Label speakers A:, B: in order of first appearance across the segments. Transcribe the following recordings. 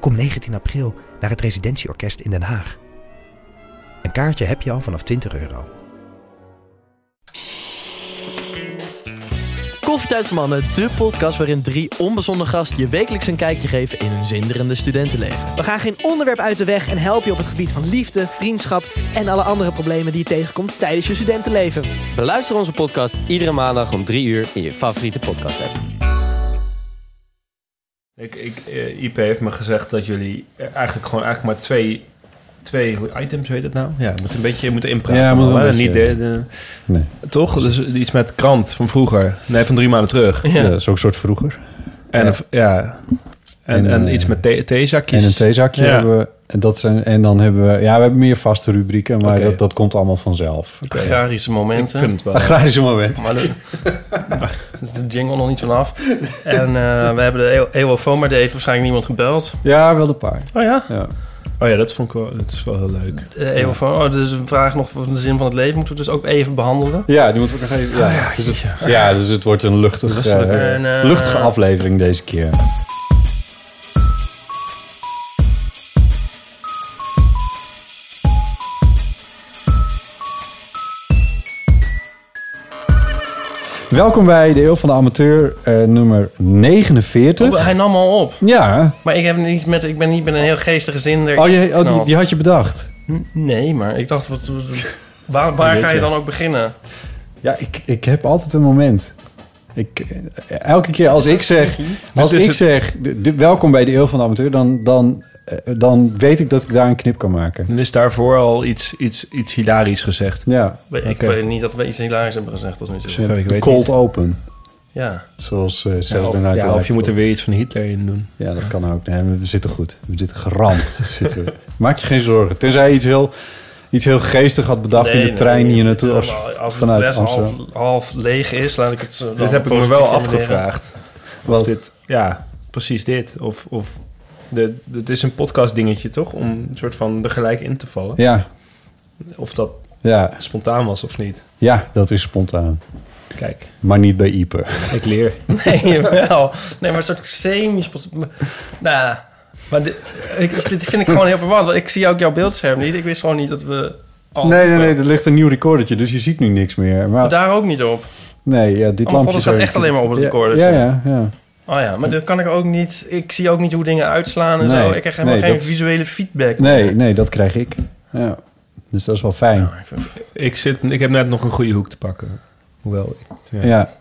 A: Kom 19 april naar het Residentieorkest in Den Haag. Een kaartje heb je al vanaf 20 euro.
B: Koffietijd voor Mannen, de podcast waarin drie onbezonnen gasten je wekelijks een kijkje geven in hun zinderende studentenleven.
C: We gaan geen onderwerp uit de weg en helpen je op het gebied van liefde, vriendschap en alle andere problemen die je tegenkomt tijdens je studentenleven.
D: Beluister onze podcast iedere maandag om 3 uur in je favoriete podcast app.
E: Ik, ik, eh, IP heeft me gezegd dat jullie eh, eigenlijk gewoon eigenlijk maar twee, twee hoe- items, hoe heet het nou? Ja, je moet een beetje moeten inpraten.
F: Ja, moet wel
E: allemaal,
F: een
E: hè?
F: beetje,
E: Niet de,
F: Nee.
E: de- toch? Dus iets met krant van vroeger. Nee, van drie maanden terug.
F: Ja. dat is ook een soort vroeger.
E: En,
F: Ja.
E: een v- ja. en, en,
F: En, eh,
E: iets met the- theezakjes.
F: En een theezakje
E: Ja.
F: hebben we. En, dat zijn, en dan hebben we... Ja, we hebben meer vaste rubrieken, maar
E: Oké.
F: dat, dat komt allemaal vanzelf.
G: Agrarische
E: Ik
G: momenten.
E: vind het wel.
F: Agrarische moment.
G: Maar de, daar is de jingle nog niet vanaf. En eh, we hebben de EO- EOFOON, maar die heeft waarschijnlijk niemand gebeld.
F: Ja, wel een paar.
G: Oh ja?
F: Ja.
E: Oh ja, dat vond ik wel, dat is wel heel leuk.
G: De EOFOON, oh, dus een vraag nog van de zin van het leven moeten we dus ook even behandelen.
F: ja, die moeten we ook nog even... Ja, dus, het, ja dus het wordt een luchtig, eh,
G: En, eh,
F: luchtige aflevering deze keer. Welkom bij de Eeuw van de Amateur, eh, nummer 49.
G: Oh, hij nam al op.
F: Ja.
G: Maar ik, heb niet met, ik ben niet met een heel geestige zin erin
F: Oh, je, oh die,
G: geknald.
F: die had je bedacht.
G: N- Nee, maar ik dacht, wat, wat- waar, waar
E: Weet
G: ga
E: je.
G: je dan ook beginnen?
F: Ja, ik, ik heb altijd een moment. Ik, eh, elke keer als ik zeg, als
E: Dit is
F: ik
E: het-
F: zeg d- d- welkom bij de Eeuw van de Amateur, dan, dan, eh, dan weet ik dat ik daar een knip kan maken.
E: Dan is daarvoor al iets, iets, iets hilarisch gezegd.
F: Ja,
G: Ik
E: Oké.
G: weet niet dat we iets hilarisch hebben gezegd tot nu toe.
E: Zover ik
F: de
E: weet
F: cold open.
G: Ja.
F: Zoals eh
E: Ja,
F: zelfs
E: of,
F: bijna
E: ja, of je moet er weer iets van Hitler in doen.
F: Ja, dat kan ook. Nee, we zitten goed. We zitten geramd. We zitten. Maak je geen zorgen. Tenzij je iets heel, iets heel geestig had bedacht
G: Nee,
F: in de
G: nee,
F: trein
G: nee.
F: hier naartoe.
G: Ja,
F: Als,
G: maar
F: vanuit
G: fles
F: Amsterdam.
G: Half, half leeg is, laat ik het zo dan
E: Dit heb ik me
G: positief
E: wel
G: formuleren.
E: afgevraagd. Of
F: Wat?
E: dit, ja, precies dit. Of, of de, het is een podcast dingetje, toch? Om een soort van er gelijk in te vallen.
F: Ja,
E: Of dat
F: ja,
E: spontaan was of niet.
F: ja, dat is spontaan.
E: Kijk,
F: Maar niet bij Ieper.
E: ik leer.
G: Nee, wel. Nee, maar een soort semi Nou, maar dit, ik, dit vind ik gewoon heel verwarrend. want Ik zie ook jouw beeldscherm niet. Ik wist gewoon niet dat we... al-
F: Nee, nee, nee, er ligt een nieuw recordertje, dus je ziet nu niks meer. Maar
G: Daar ook niet op.
F: nee, ja, dit
G: Oh,
F: lampje...
G: God, het
F: zou
G: gaat
F: je-
G: echt alleen maar op het recordertje.
F: Ja, ja, ja.
G: Oh ja, maar dan kan ik ook niet... Ik zie ook niet hoe dingen uitslaan en
F: Nee,
G: zo. Ik krijg helemaal
F: nee,
G: geen
F: dat-
G: visuele feedback.
F: Nee, nee, dat krijg ik. Ja. Dus dat is wel fijn.
G: Nou, ik vind-
E: Ik, zit, ik heb net nog een goede hoek te pakken. Hoewel, ik- ja.
F: Ja.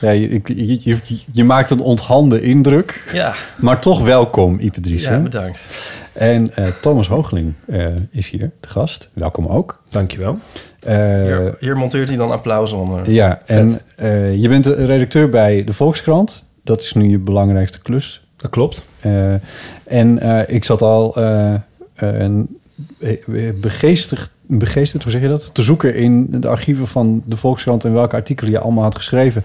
F: Ja, je, ik- je, je, je maakt een onthande indruk,
G: Ja,
F: maar toch welkom, Ipe Driessen.
G: ja, bedankt.
F: En eh, Thomas Hoogling eh, is hier, de gast. Welkom ook.
E: dankjewel.
F: Eh,
G: Hier, hier monteert hij dan applaus onder.
F: ja, en eh, je bent de redacteur bij de Volkskrant. Dat is nu je belangrijkste klus.
E: Dat klopt.
F: Eh, en eh, ik zat al eh, een- eh, begeestigd, begeesterd, hoe zeg je dat? Te zoeken in de archieven van de Volkskrant en welke artikelen je allemaal had geschreven.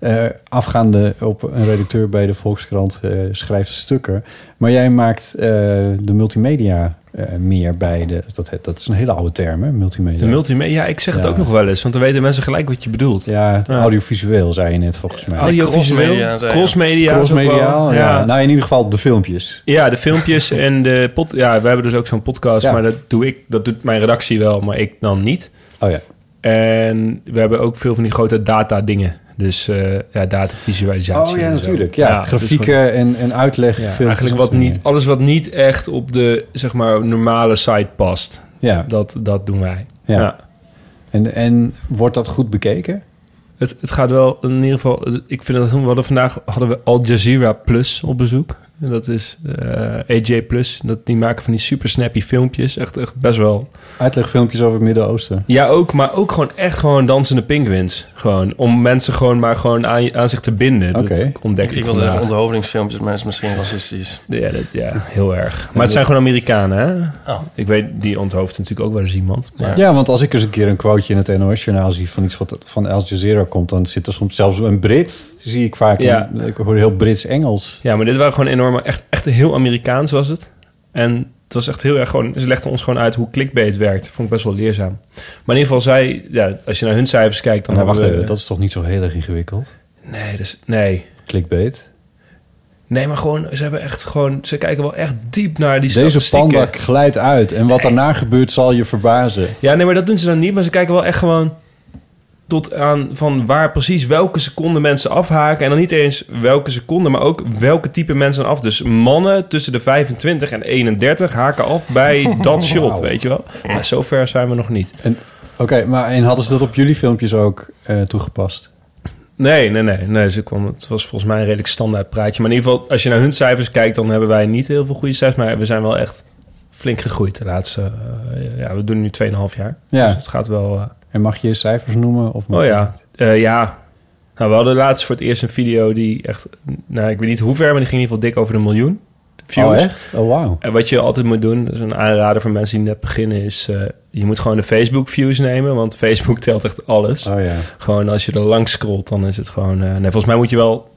F: Eh, afgaande op een redacteur bij de Volkskrant eh, schrijft stukken. Maar jij maakt eh, de multimedia eh, meer bij de. Dat, dat is een hele oude term, hè? Multimedia.
E: De multimedia, ja, ik zeg het
F: Ja.
E: ook nog wel eens, want dan weten mensen gelijk wat je bedoelt.
F: ja,
E: Ja.
F: audiovisueel zei je net volgens mij.
G: crossmedia,
E: Audiovisueel,
G: zei je.
E: crossmedia.
F: Crossmediaal.
E: ook wel.
F: Ja.
E: ja.
F: Nou, in ieder geval de filmpjes.
E: Ja, de filmpjes en de pod... Ja, we hebben dus ook zo'n podcast,
F: Ja.
E: maar dat doe ik... Dat doet mijn redactie wel, maar ik dan niet.
F: Oh ja.
E: En we hebben ook veel van die grote data dingen. Dus eh ja, datavisualisatie.
F: Oh ja,
E: en zo.
F: natuurlijk. Ja,
E: Ja, dus
F: grafieken en, en uitleg.
E: Ja,
F: filmpjes
E: eigenlijk
F: en
E: wat
F: zo.
E: niet, alles wat niet echt op de zeg maar, normale site past.
F: Ja,
E: Dat, dat doen wij.
F: ja. En, en wordt dat goed bekeken?
E: Het, het gaat wel in ieder geval. Ik vind dat wel. Vandaag hadden we Al Jazeera Plus op bezoek. En dat is eh AJ Plus. Dat, die maken van die super snappy filmpjes. Echt, echt best wel.
F: Uitlegfilmpjes over het Midden-Oosten.
E: Ja, ook. Maar ook gewoon echt gewoon dansende penguins. Gewoon. Om mensen gewoon maar gewoon aan, aan zich te binden.
F: Oké.
E: Dat ontdekte
G: Ik
E: ik
G: wilde zeggen
E: vandaag.
G: onthoofdingsfilmpjes, maar dat is misschien racistisch.
E: Ja, dat, ja, heel erg. Maar het zijn gewoon Amerikanen, hè?
G: Oh.
E: Ik weet, die onthoofd natuurlijk ook wel eens iemand. Maar...
F: Ja, want als ik eens een keer een quoteje in het NOS-journaal zie... van iets wat van Al Jazeera komt... dan zit er soms zelfs een Brit, zie ik vaak.
E: Ja.
F: Een- ik hoor heel Brits-Engels.
E: Ja, maar dit waren gewoon enorme, echt, echt heel Amerikaans was het. En het was echt heel erg gewoon, ze legden ons gewoon uit hoe clickbait werkt. Vond ik best wel leerzaam. Maar in ieder geval, zij, ja, als je naar hun cijfers kijkt, dan
F: Nou, wacht
E: hebben we-
F: even, dat is toch niet zo heel erg ingewikkeld?
E: Nee, dus, nee.
F: Clickbait.
E: Nee, maar gewoon, ze hebben echt gewoon, ze kijken wel echt diep naar die
F: Deze
E: statistieken.
F: panda glijdt uit en wat daarna gebeurt zal je verbazen.
E: Ja, nee, maar dat doen ze dan niet. Maar ze kijken wel echt gewoon tot aan van waar precies welke seconde mensen afhaken. En dan niet eens welke seconde, maar ook welke type mensen af. Dus mannen tussen de 25 en 31 haken af bij dat shot,
F: Wauw.
E: weet je wel. Maar zover zijn we nog niet.
F: Oké, maar en hadden ze dat op jullie filmpjes ook eh, toegepast?
E: Nee, nee, nee. nee ze kwam, het was volgens mij een redelijk standaard praatje. Maar in ieder geval, als je naar hun cijfers kijkt... dan hebben wij niet heel veel goede cijfers. Maar we zijn wel echt flink gegroeid de laatste... eh, ja, we doen nu 2,5 jaar.
F: Ja.
E: Dus het gaat wel... eh,
F: En mag je cijfers noemen? Of
E: Oh ja, Eh, ja. Nou, we hadden laatst voor het eerst een video die echt... Nou, ik weet niet hoe ver, maar die ging in ieder geval dik over de miljoen views.
F: Oh echt? Oh wauw.
E: En wat je altijd moet doen, dat is een aanrader voor mensen die net beginnen, is... eh, je moet gewoon de Facebook views nemen, want Facebook telt echt alles.
F: Oh ja.
E: Gewoon als je er langs scrolt, dan is het gewoon... eh, nee, volgens mij moet je wel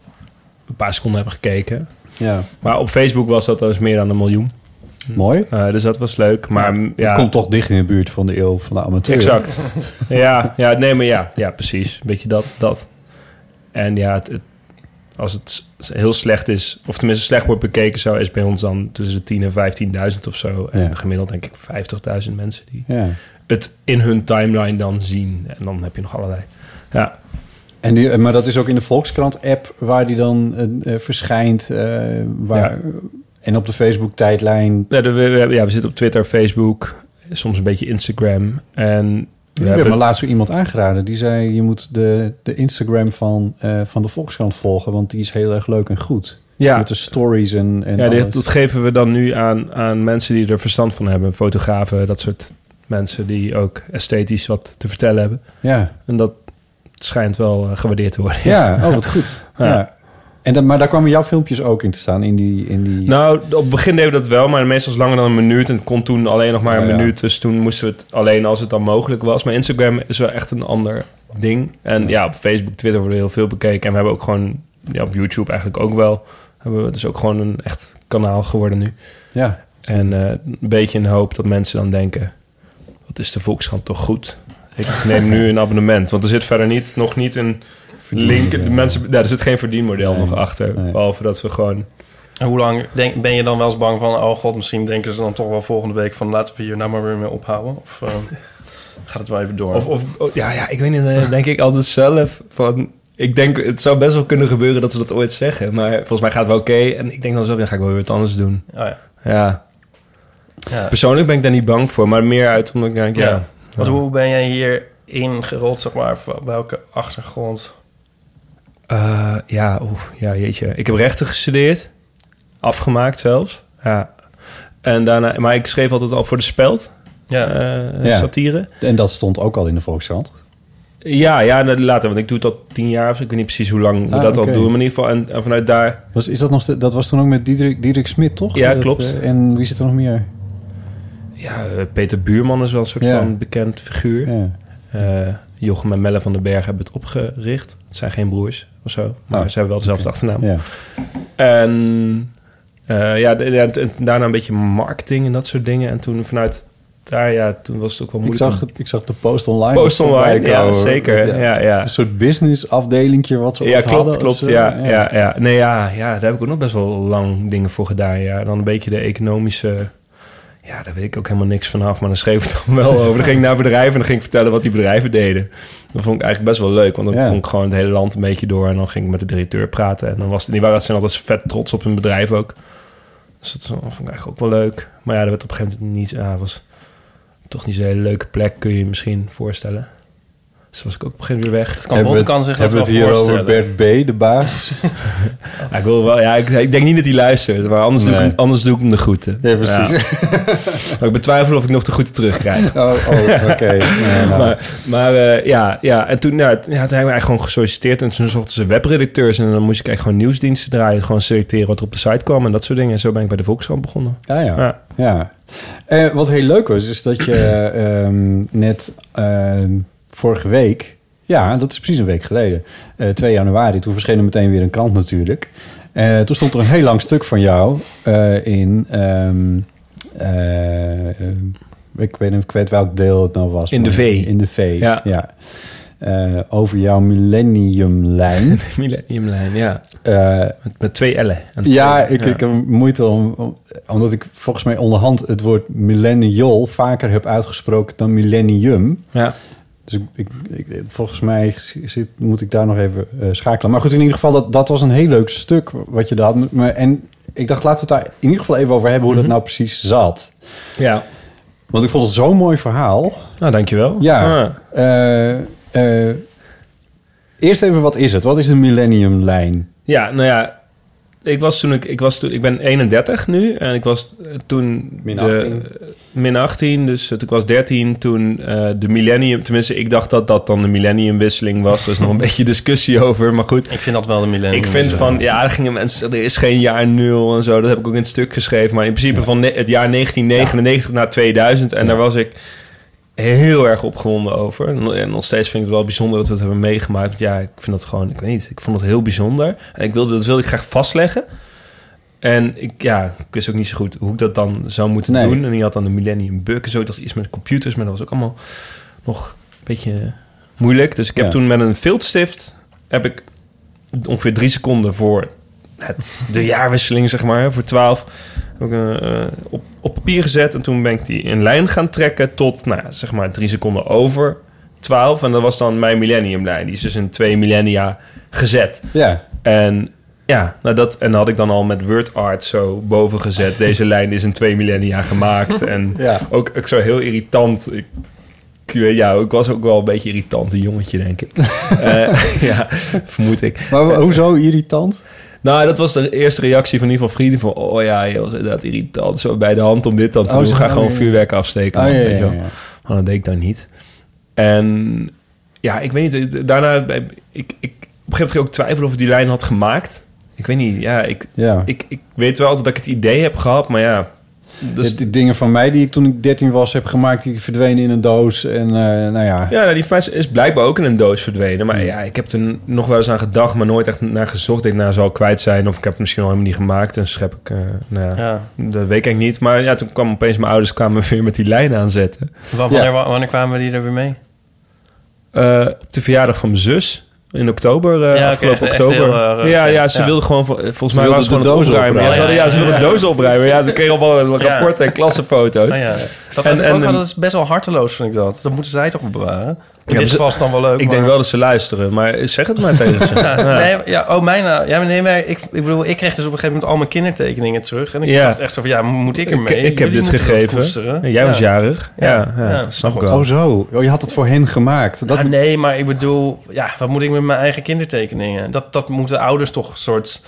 E: een paar seconden hebben gekeken.
F: Ja.
E: Maar op Facebook was dat dus meer dan een miljoen.
F: Mooi.
E: Eh, dus dat was leuk, maar mm, ja...
F: Het komt toch dicht in de buurt van de eeuw van de amateur.
E: Exact. ja, ja, nee, maar ja, ja, precies. Een beetje dat. dat. En ja, het, het- als het s- heel slecht is, of tenminste slecht wordt bekeken, zo is bij ons dan tussen de 10.000 en 15.000 of zo. En
F: Ja.
E: gemiddeld denk ik 50.000 mensen die
F: Ja.
E: het in hun timeline dan zien. En dan heb je nog allerlei. Ja,
F: En die, eh, maar dat is ook in de Volkskrant-app waar die dan eh, eh, verschijnt. eh, waar, En op de Facebook-tijdlijn.
E: ja, de- we, we- ja, we zitten op Twitter, Facebook, soms een beetje Instagram. En we
F: Ik heb
E: hebben-
F: me laatst weer iemand aangeraden. Die zei, je moet de, de Instagram van, eh, van de Volkskrant volgen. Want die is heel erg leuk en goed.
E: ja,
F: Met de stories en, en
E: ja dit-
F: alles.
E: dat geven we dan nu aan, aan mensen die er verstand van hebben. Fotografen, dat soort mensen die ook esthetisch wat te vertellen hebben.
F: Ja.
E: En dat schijnt wel eh, gewaardeerd te worden.
F: Ja, oh, wat goed. Ja.
E: Ja.
F: En dan, maar daar kwamen jouw filmpjes ook in te staan, in die... In die...
E: Nou, op het begin deden we dat wel, maar meestal is het langer dan een minuut. En het kon toen alleen nog maar een
F: Oh, ja.
E: minuut. Dus toen moesten we het alleen als het dan mogelijk was. Maar Instagram is wel echt een ander ding. En ja, op Facebook, Twitter worden heel veel bekeken. En we hebben ook gewoon, ja, op YouTube eigenlijk ook wel. Hebben we dus ook gewoon een echt kanaal geworden nu.
F: Ja,
E: En eh, een beetje in de hoop dat mensen dan denken... wat is de Volkskrant toch goed? Ik neem nu een abonnement. Want er zit verder niet, nog niet een link...
F: ja.
E: De mensen, nou, er zit geen verdienmodel
F: Nee,
E: nog achter.
F: nee.
E: Behalve dat we gewoon...
G: En hoe lang denk, ben je dan wel eens bang van... oh god, misschien denken ze dan toch wel volgende week... van laten we hier nou maar weer mee ophouden? Of eh, gaat het wel even door?
E: Of, of oh, ja, ja, ik weet niet, eh, denk ik altijd zelf van... Ik denk, het zou best wel kunnen gebeuren dat ze dat ooit zeggen. Maar volgens mij gaat het wel oké. En ik denk dan zelf, ja, ga ik wel weer wat anders doen.
G: Oh ja.
E: Ja.
G: Ja.
E: Persoonlijk ben ik daar niet bang voor. Maar meer uit omdat ik denk, ja...
G: Ja. Want hoe ben jij hier ingerold, zeg maar? Op welke achtergrond?
E: Eh, ja, oeh, ja, jeetje. Ik heb rechten gestudeerd. Afgemaakt zelfs. Ja. En daarna, maar ik schreef altijd al voor de speld.
G: Ja,
E: eh,
F: Ja.
E: Satire.
F: en dat stond ook al in de Volkskrant.
E: Ja, ja, nou, later. Want ik doe dat tien jaar of zo. Ik weet niet precies hoe lang we
F: Ah,
E: dat
F: oké.
E: al doen. Maar in ieder geval, en, en vanuit daar...
F: Was, is dat, nog, ste- dat was toen ook met Diederik, Diederik Smit, toch?
E: Ja,
F: Dat,
E: klopt.
F: eh, en wie zit er nog meer?
E: Ja, eh, Peter Buurman is wel een soort
F: Ja.
E: van bekend figuur.
F: Ja.
E: Eh, Jochem en Melle van den Berg hebben het opgericht. Het zijn geen broers of zo. Maar
F: Oh,
E: ze hebben wel dezelfde achternaam.
F: ja.
E: En eh, ja, de- de- en- en daarna een beetje marketing en dat soort dingen. En toen vanuit daar, ja, toen was het ook wel
F: Ik,
E: moeilijk.
F: zag,
E: om-
F: het- ik zag de post online.
E: Post online,
F: voorbij
E: ja,
F: komen.
E: zeker.
F: Ja. Dus
E: Ja, ja.
F: Een soort businessafdelingje wat ze
E: Ja,
F: ooit hadden
E: klopt,
F: of
E: klopt.
F: zo.
E: Ja, ja, ja. Nee, ja, ja, daar heb ik ook nog best wel lang dingen voor gedaan. Ja. Dan een beetje de economische... Ja, daar weet ik ook helemaal niks vanaf. Maar dan schreef ik het dan wel over. Dan ging ik naar bedrijven en dan ging ik vertellen wat die bedrijven deden. Dat vond ik eigenlijk best wel leuk. Want dan
F: Ja.
E: kon ik gewoon het hele land een beetje door. En dan ging ik met de directeur praten. En dan was het, die waren zijn altijd vet trots op hun bedrijf ook. Dus dat vond ik eigenlijk ook wel leuk. Maar ja, dat werd op een ah, gegeven moment niet... Ja, was toch niet zo'n hele leuke plek, kun je je misschien voorstellen. Dus was ik ook op een gegeven moment weer weg.
G: Het kan Bontekan zich dat
F: hebben
G: wel
F: we het hier over
G: voorstellen.
F: Bert B., de baas?
E: Ja, ik, wil wel, ja, ik, ik denk niet dat hij luistert, maar anders, doe, ik
F: Nee.
E: hem, anders doe ik hem de groeten.
F: Ja, precies.
E: Ja. Maar ik betwijfel of ik nog de groeten terugkrijg.
F: Oh, oh, oké. Nee, nou.
E: Maar, maar eh, ja, ja, en toen, nou, ja, toen hebben we eigenlijk gewoon gesolliciteerd. En toen zochten ze webredacteurs. En dan moest ik eigenlijk gewoon nieuwsdiensten draaien. Gewoon selecteren wat er op de site kwam en dat soort dingen. En zo ben ik bij de Volkskrant begonnen.
F: Ah, ja.
E: Ja.
F: Ja. Eh, wat heel leuk was, is dat je ehm, net ehm, vorige week... Ja, dat is precies een week geleden. eh 2 januari, toen verscheen er meteen weer een krant natuurlijk. Eh, toen stond er een heel lang stuk van jou eh, in... ehm, eh, eh, ik weet niet ik weet welk deel het nou was.
E: In de
F: maar-
E: V.
F: In de V,
E: Ja.
F: ja. Eh, over jouw millenniumlijn.
E: Millenniumlijn, ja.
F: Eh
E: Met, met twee L'en. En twee-
F: ja, ik, ik heb moeite om, om- omdat ik volgens mij onderhand het woord millennial vaker heb uitgesproken dan millennium.
E: Ja.
F: Dus ik, ik, ik- volgens mij zit, moet ik daar nog even eh, schakelen. Maar goed, in ieder geval, dat, dat was een heel leuk stuk wat je daar had. Maar, en ik dacht, laten we het daar in ieder geval even over hebben hoe dat nou precies zat.
E: ja.
F: Want ik vond het zo'n mooi verhaal.
E: Nou, dankjewel.
F: Ja. Eh, eh, eerst even, wat is het? Wat is de millenniumlijn?
E: Ja, nou ja. Ik was toen ik, ik was toen, ik ben 31 nu en ik was eh, toen
F: Min
E: de-
F: 18.
E: eh, min 18, dus eh, toen ik was 13 toen eh, de millennium, tenminste ik dacht dat dat dan de millenniumwisseling was. Er is nog een beetje discussie over, maar goed.
G: Ik vind dat wel de millennium.
E: Ik vind van, ja, daar gingen mensen, er is geen jaar nul en zo. Dat heb ik ook in het stuk geschreven. Maar in principe van ne- het jaar 1999 naar 2000. En daar was ik heel erg opgewonden over. En- En nog steeds vind ik het wel bijzonder dat we het hebben meegemaakt. Want ja, ik vind dat gewoon, ik weet niet, ik vond het heel bijzonder. En ik wilde, dat wilde ik graag vastleggen. En ik, ja, ik wist ook niet zo goed hoe ik dat dan zou moeten
F: Nee.
E: doen. En die had dan de Millennium Bug en zo. Ik dacht iets met computers, maar dat was ook allemaal nog een beetje moeilijk. Dus ik heb
F: Ja.
E: toen met een viltstift... heb ik ongeveer drie seconden voor het, de jaarwisseling, zeg maar, voor 12, heb ik, eh, eh, op, op papier gezet. En toen ben ik die in lijn gaan trekken tot, nou, ja, zeg maar, drie seconden over 12. En dat was dan mijn millenniumlijn. Die is dus in twee millennia gezet.
F: Ja,
E: En ja, nou dat, en had ik dan al met WordArt zo boven gezet. Deze lijn is in twee millennia gemaakt. En
F: Ja.
E: ook, ook zo heel irritant. Ik, ik weet- ja, ik was ook wel een beetje irritant, een jongetje, denk ik. Eh, ja, vermoed ik.
F: maar hoezo irritant?
E: Nou, dat was de eerste reactie van in ieder geval vrienden. Van, oh ja, joh, dat is inderdaad irritant. Zo bij de hand om dit dan te
F: Oh,
E: doen.
F: ze
E: Ga
F: gaan-
E: gewoon
F: oh, ja.
E: vuurwerk afsteken.
F: Oh,
E: man,
F: ja,
E: weet
F: ja,
E: je wel.
F: ja.
E: Maar dat deed ik dan niet. En ja, ik weet niet. eh, Daarna, eh, ik, ik, op een gegeven moment ging ik ook twijfelen of ik die lijn had gemaakt. Ik weet niet, ja, ik,
F: Ja.
E: ik, ik weet wel dat ik het idee heb gehad, maar ja. Dus,
F: Dus die dingen van mij die ik toen ik 13 was heb gemaakt, die verdwenen in een doos. En eh, nou ja.
E: ja, nou, die fles is blijkbaar ook in een doos verdwenen.
F: Hmm.
E: Maar ja, ik heb er nog wel eens aan gedacht, maar nooit echt naar gezocht. Ik denk, nou, zal ik kwijt zijn of ik heb het misschien al helemaal niet gemaakt. En schep ik, eh, nou ja,
G: Ja.
E: Dat weet ik niet. Maar ja, toen kwam opeens mijn ouders kwamen weer met die lijn aanzetten.
G: Wa- Wanneer, wa- wanneer kwamen die er weer mee?
E: Eh, op de verjaardag van mijn zus in oktober, eh,
G: Ja, oké,
E: afgelopen
G: echt- echt
E: oktober.
G: heel, eh,
E: ja, ja,
G: recent,
E: ze
G: ja.
E: wilden gewoon, vol- volgens mij
F: wilden
E: was het
F: de
E: gewoon
F: dozen
E: opruimen. Ja, ze,
G: opruimen.
E: hadden- ja, ze
G: Ja, ja,
E: wilden de dozen opruimen. Ja, ze kregen allemaal
G: Ja.
E: rapporten en klassenfoto's.
G: Oh, ja. Dat,
E: En-
G: en,
E: en-
G: dat is best wel harteloos, vind ik dat. Dat moeten zij toch bewaren?
E: Ja,
G: In dit
E: ze-
G: geval is het dan wel leuk.
E: Ik denk
G: maar-
E: wel dat ze luisteren, maar zeg het maar tegen ze.
G: Ja, Nee, ja, oh, mijn... eh, Ja, maar nee, maar ik, ik bedoel, ik kreeg dus op een gegeven moment al mijn kindertekeningen terug. En ik
E: Ja.
G: dacht echt zo van, ja, moet ik ermee?
E: Ik, ik heb
G: Jullie
E: dit
G: moeten dat
E: gegeven.
G: koesteren.
E: En jij was jarig. Ja, ja,
G: Ja, ja,
E: snap ik
G: goed.
E: wel.
F: Oh zo, oh, je had het voor hen gemaakt. Dat,
G: Ja, nee, maar ik bedoel, ja, wat moet ik met mijn eigen kindertekeningen? Dat, dat moeten ouders toch een soort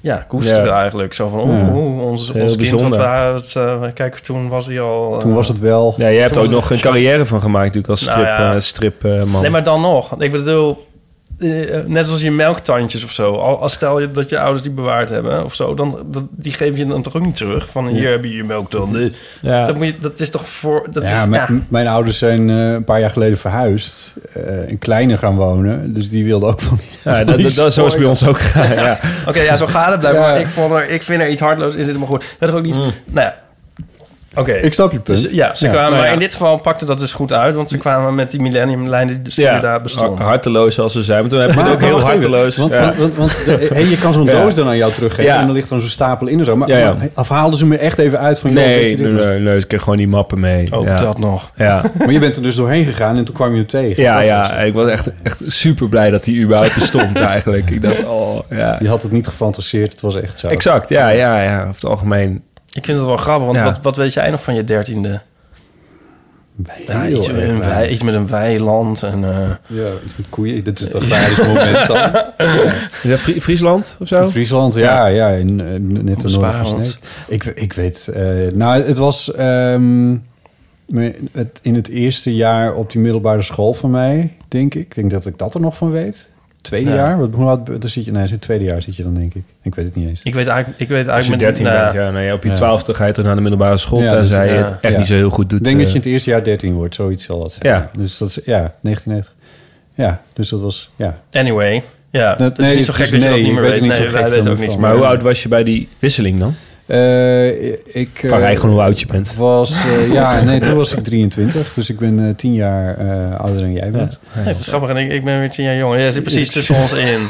G: ja, koesteren
E: Ja.
G: eigenlijk. Zo van, oeh,
F: Ja.
G: oeh, ons,
E: Heel
G: ons kind, wat
E: bijzonder.
G: we, het, eh, kijk, toen was hij al... eh,
F: Toen was het wel.
E: Ja, jij hebt er
G: was
E: ook
G: het
E: nog een carrière van gemaakt natuurlijk als
G: Nou
E: strip,
G: ja.
E: eh, strip, eh, man.
G: Nee, maar dan nog. Ik bedoel, eh, net als je melktandjes of zo. Al- Als stel je dat je ouders die bewaard hebben of zo, dan dat, die geef je dan toch ook niet terug. Van hier heb je je melktanden.
E: ja.
G: Dat, moet je, dat is toch voor. Dat
F: ja,
G: is,
F: mijn-
G: ja.
F: m- mijn ouders zijn eh, een paar jaar geleden verhuisd. eh in kleine gaan wonen. Dus die wilden ook van die...
E: Ja,
F: van
E: dat,
F: die
E: dat, dat- zo is het bij ons ook gegaan, ja.
G: Oké, ja, zo gaat het blijven.
F: Ja. Mm.
G: Maar ik, vond er, ik vind er iets hardloos in zitten, maar goed. Dat is ook niet. Nou ja. Oké.
F: Ik snap je punt.
G: Ze- Dus, ja, ze
F: Ja.
G: kwamen,
E: Nou ja.
G: maar in dit geval pakte dat dus goed uit, want ze kwamen met die millenniumlijnen die ja. daar bestond.
E: har- harteloos als ze zijn. Maar toen heb je het ook heel
F: wacht even,
E: harteloos.
F: Want,
E: ja.
F: want, want, want de- hé, je kan zo'n
E: Ja.
F: doos dan aan jou teruggeven.
E: Ja.
F: En dan ligt dan zo'n stapel in en zo. Maar,
E: Ja, ja.
F: maar of haalden ze me echt even uit van... joh, weet
E: nee,
F: je dit
E: nee,
F: nog?
E: nee, nee, ik kreeg gewoon die mappen mee.
G: Ook
E: ja.
G: dat nog.
E: Ja,
F: Maar je bent er dus doorheen gegaan en toen kwam je hem tegen.
E: ja,
F: Dat was
E: ja
F: het.
E: ik was echt, echt super blij dat die überhaupt bestond eigenlijk. Ik dacht, oh ja.
F: Je had het niet gefantaseerd, het was echt zo.
E: Exact, ja, ja, ja. Over het algemeen.
G: Ik vind het wel grappig, want
E: Ja.
G: wat, wat weet jij nog van je dertiende? Ja,
F: Heel
G: Nou, iets, met een
F: erg
G: wei- iets met een weiland en... eh,
F: Ja, iets met koeien. Dit is het agrarische moment dan.
E: Ja, Fri- Friesland of zo?
F: In Friesland, ja, ja. in, eh, net ten noorden van
G: Spaarland.
F: Sneek. Ik, we- ik weet... eh, nou, het was ehm, me- het, in het eerste jaar op die middelbare school van mij, denk ik. Ik denk dat ik dat er nog van weet. Tweede
G: Ja.
F: jaar? Wat, hoe oud dan zit je? Nee, het tweede jaar zit je dan, denk ik. Ik weet het niet eens.
G: ik weet eigenlijk... Ik weet
E: Als je
G: eigenlijk
E: 13
G: nou,
E: bent, ja, nee, op je
F: Ja.
E: 12 ga je terug naar de middelbare school.
F: Ja,
E: en tenzij
F: dat
G: is-
E: je het
G: ja.
E: echt
F: Ja.
E: niet zo heel goed doet.
F: Ik denk dat je
E: eh,
F: in het eerste jaar 13 wordt, zoiets zal dat zijn.
E: Ja.
F: Dus dat is, ja, 1990. Ja, dus dat was, ja.
G: Anyway, ja.
F: nee,
G: het is niet zo
F: dus
G: gek dat je dat
F: nee,
G: niet
F: ik
G: meer
F: weet
G: weet.
F: niet
G: Nee,
F: zo gek
G: wij weten
F: van-
G: ook niks
F: van-
G: meer.
E: eh. Maar hoe oud was je bij die wisseling dan?
F: Eh, ik... eh,
E: Vraag eigenlijk gewoon hoe oud je bent.
F: Was, eh, ja, nee, toen was ik 23. Dus ik ben eh 10 jaar eh, ouder dan jij bent.
G: Nee, het is grappig. En ik, ik ben weer tien jaar jonger. Ja, zit precies
F: Ja.
G: tussen ons in.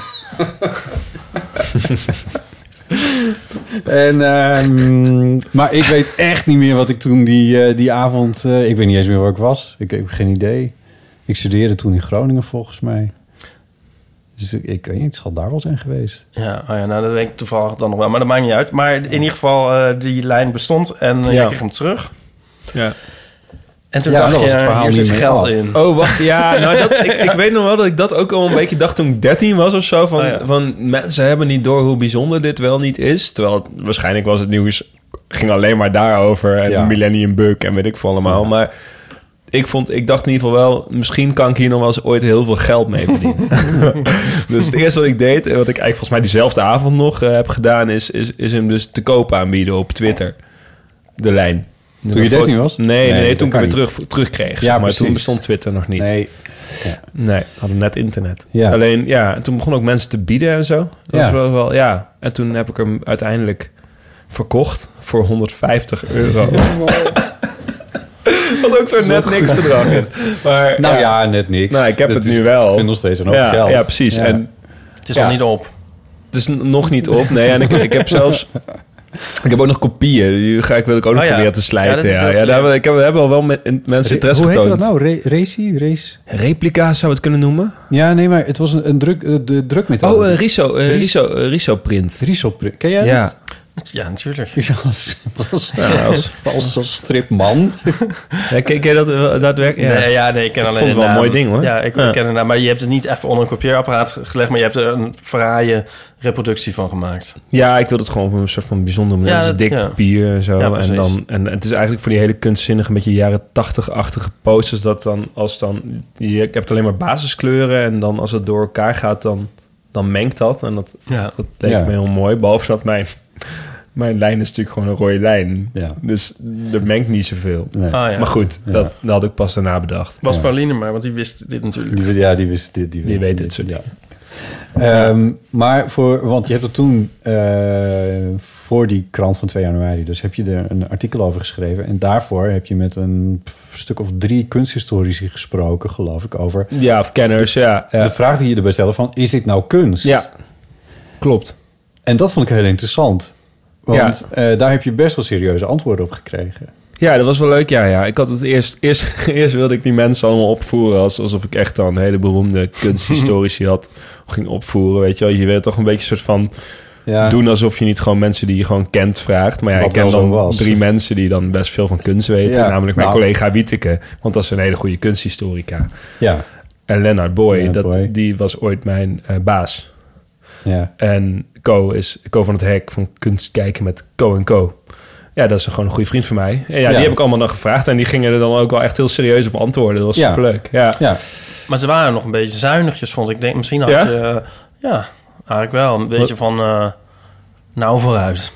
F: En, ehm, maar ik weet echt niet meer wat ik toen die, eh, die avond... eh, ik weet niet eens meer waar ik was. Ik, ik heb geen idee. Ik studeerde toen in Groningen volgens mij. Dus ik, ik weet niet, het zal daar wel zijn geweest.
G: Ja, oh ja, nou dat denk ik toevallig dan nog wel. Maar dat maakt niet uit. Maar in ieder geval, eh, die lijn bestond en eh,
E: Ja.
G: jij kreeg hem terug.
E: Ja.
G: En toen
F: Ja,
G: dacht
F: dan
G: je,
F: was het verhaal
G: hier
F: niet
G: zit
F: meer
G: geld
F: af.
G: in.
E: Oh, wacht. Ja, nou, dat, ik, ik weet nog wel dat ik dat ook al een beetje dacht toen ik 13 was of zo. Van,
G: Oh, ja.
E: van mensen hebben niet door hoe bijzonder dit wel niet is. Terwijl het- waarschijnlijk was het nieuws ging alleen maar daarover. En
F: Ja.
E: Millennium Bug en weet ik veel allemaal. Maar ik, vond, ik dacht in ieder geval wel, misschien kan ik hier nog wel eens ooit heel veel geld mee verdienen. dus het eerste wat ik deed, en wat ik eigenlijk volgens mij diezelfde avond nog eh, heb gedaan, is, is, is hem dus te koop aanbieden op Twitter. De lijn.
F: Toen je 13 was?
E: Nee, nee,
F: Nee,
E: nee,
F: dat
E: toen ik
F: kan
E: hem weer
F: niet.
E: terug, terugkreeg. Ja,
F: Ja,
E: maar toen
F: precies.
E: bestond Twitter nog niet.
F: Nee,
E: Nee, we hadden net internet.
F: Ja.
E: Alleen, ja, en toen begonnen ook mensen te bieden en zo. Dat
F: Ja.
E: was wel, wel, ja. En toen heb ik hem uiteindelijk verkocht voor 150 euro. Wat ook zo net niks bedrag is. Maar,
F: nou ja, net niks.
E: Nou, ik heb
F: Dat
E: het
F: is-
E: nu wel.
F: Ik vind nog steeds een hoop
E: ja,
F: geld.
E: ja, precies.
F: Ja.
E: En
G: Het is
E: Ja.
G: nog niet op.
E: het is dus n- nog niet op. Nee, en ik, ik heb zelfs... Ik heb ook nog kopieën. Die ga ik, wil ik ook nog
G: Oh ja.
E: proberen te
G: Ja, dat
E: slijten.
G: is
E: Ja, ja, daar
G: heel slim.
E: hebben, we- ik heb, we hebben al wel met, in- mensen
F: Re-
E: interesse
F: hoe heette
E: getoond.
F: dat nou? Re- racy? Race?
E: Replica's nou? zou het kunnen noemen.
F: Ja, nee, maar het was een, een druk, eh, de drukmethode.
E: Oh, eh, riso, eh,
F: Ris-
E: riso, eh, riso print.
F: Riesopri- Ken jij
E: Ja.
F: dat?
G: Ja, natuurlijk.
F: Ik zag als, als,
E: Ja, als-
F: als, als stripman.
E: Ja, ken, ken je dat eh, daadwerkelijk?
G: Nee, ja, nee, ik ken
E: Ik
G: alleen
E: vond het
G: de
E: wel een
G: naam.
E: mooi ding, hoor.
G: Ja, ik
E: Ja.
G: ken de naam. Maar je hebt het niet even onder een kopieerapparaat gelegd, maar je hebt er een fraaie reproductie van gemaakt.
E: Ja, ik wil het gewoon op een soort van bijzonder manier.
G: Ja,
E: Het is
G: dat-
E: dik
G: ja.
E: papier en zo.
G: Ja, precies.
E: en, dan, en het is eigenlijk voor die hele kunstzinnige, een beetje jaren tachtig-achtige posters. Dat dan als dan. Je hebt alleen maar basiskleuren. En dan als het door elkaar gaat, dan, dan mengt dat. En dat,
G: Ja.
E: dat leek
F: Ja.
E: me heel mooi. Behalve dat mijn, mijn lijn is natuurlijk gewoon een rode lijn.
F: Ja.
E: Dus er mengt niet zoveel.
F: Nee.
G: Ah, ja.
E: Maar goed,
F: Ja.
E: dat, dat had ik pas daarna bedacht.
G: Was
F: Ja.
G: Pauline maar, want die wist dit natuurlijk.
F: Die- Ja, die wist dit.
E: Je weet dit soort dingen.
F: Ehm, maar voor, want je hebt er toen eh, voor die krant van 2 januari, dus heb je er een artikel over geschreven. En daarvoor heb je met een pff, stuk of drie kunsthistorici gesproken, geloof ik, over
E: Ja, of kenners, ja. ja.
F: de vraag die je erbij stelde: van is dit nou kunst?
E: Ja, klopt.
F: En dat vond ik heel interessant. Want eh, daar heb je best wel serieuze antwoorden op gekregen.
E: Ja, dat was wel leuk. Ja, ja. Ik had het eerst, eerst, eerst wilde ik die mensen allemaal opvoeren. Als, alsof ik echt dan een hele beroemde kunsthistorici had. Ging opvoeren, weet je wel. Je werd toch een beetje een soort van
F: Ja.
E: doen alsof je niet gewoon mensen die je gewoon kent vraagt. Maar ja,
F: Wat
E: ik ken
F: wel zo
E: dan
F: was.
E: drie mensen die dan best veel van kunst weten.
F: Ja,
E: Namelijk mijn
F: nou.
E: collega Wieteke. Want dat is een hele goede kunsthistorica.
F: ja.
E: En Lennart Boy,
F: Lennart
E: dat,
F: Boy.
E: die was ooit mijn eh, baas.
F: ja.
E: En Co is Co van het Hek van Kunst Kijken met Co en Co. Ja, dat is gewoon een goede vriend van mij. En ja,
F: Ja.
E: die heb ik allemaal dan gevraagd. En die gingen er dan ook wel echt heel serieus op antwoorden. Dat was
F: Ja.
E: superleuk. Ja.
F: Ja.
G: Maar ze waren nog een beetje zuinigjes, vond ik. Ik Denk, misschien had
E: Ja?
G: je... eh, ja, eigenlijk wel. Een beetje van... eh, nou, vooruit.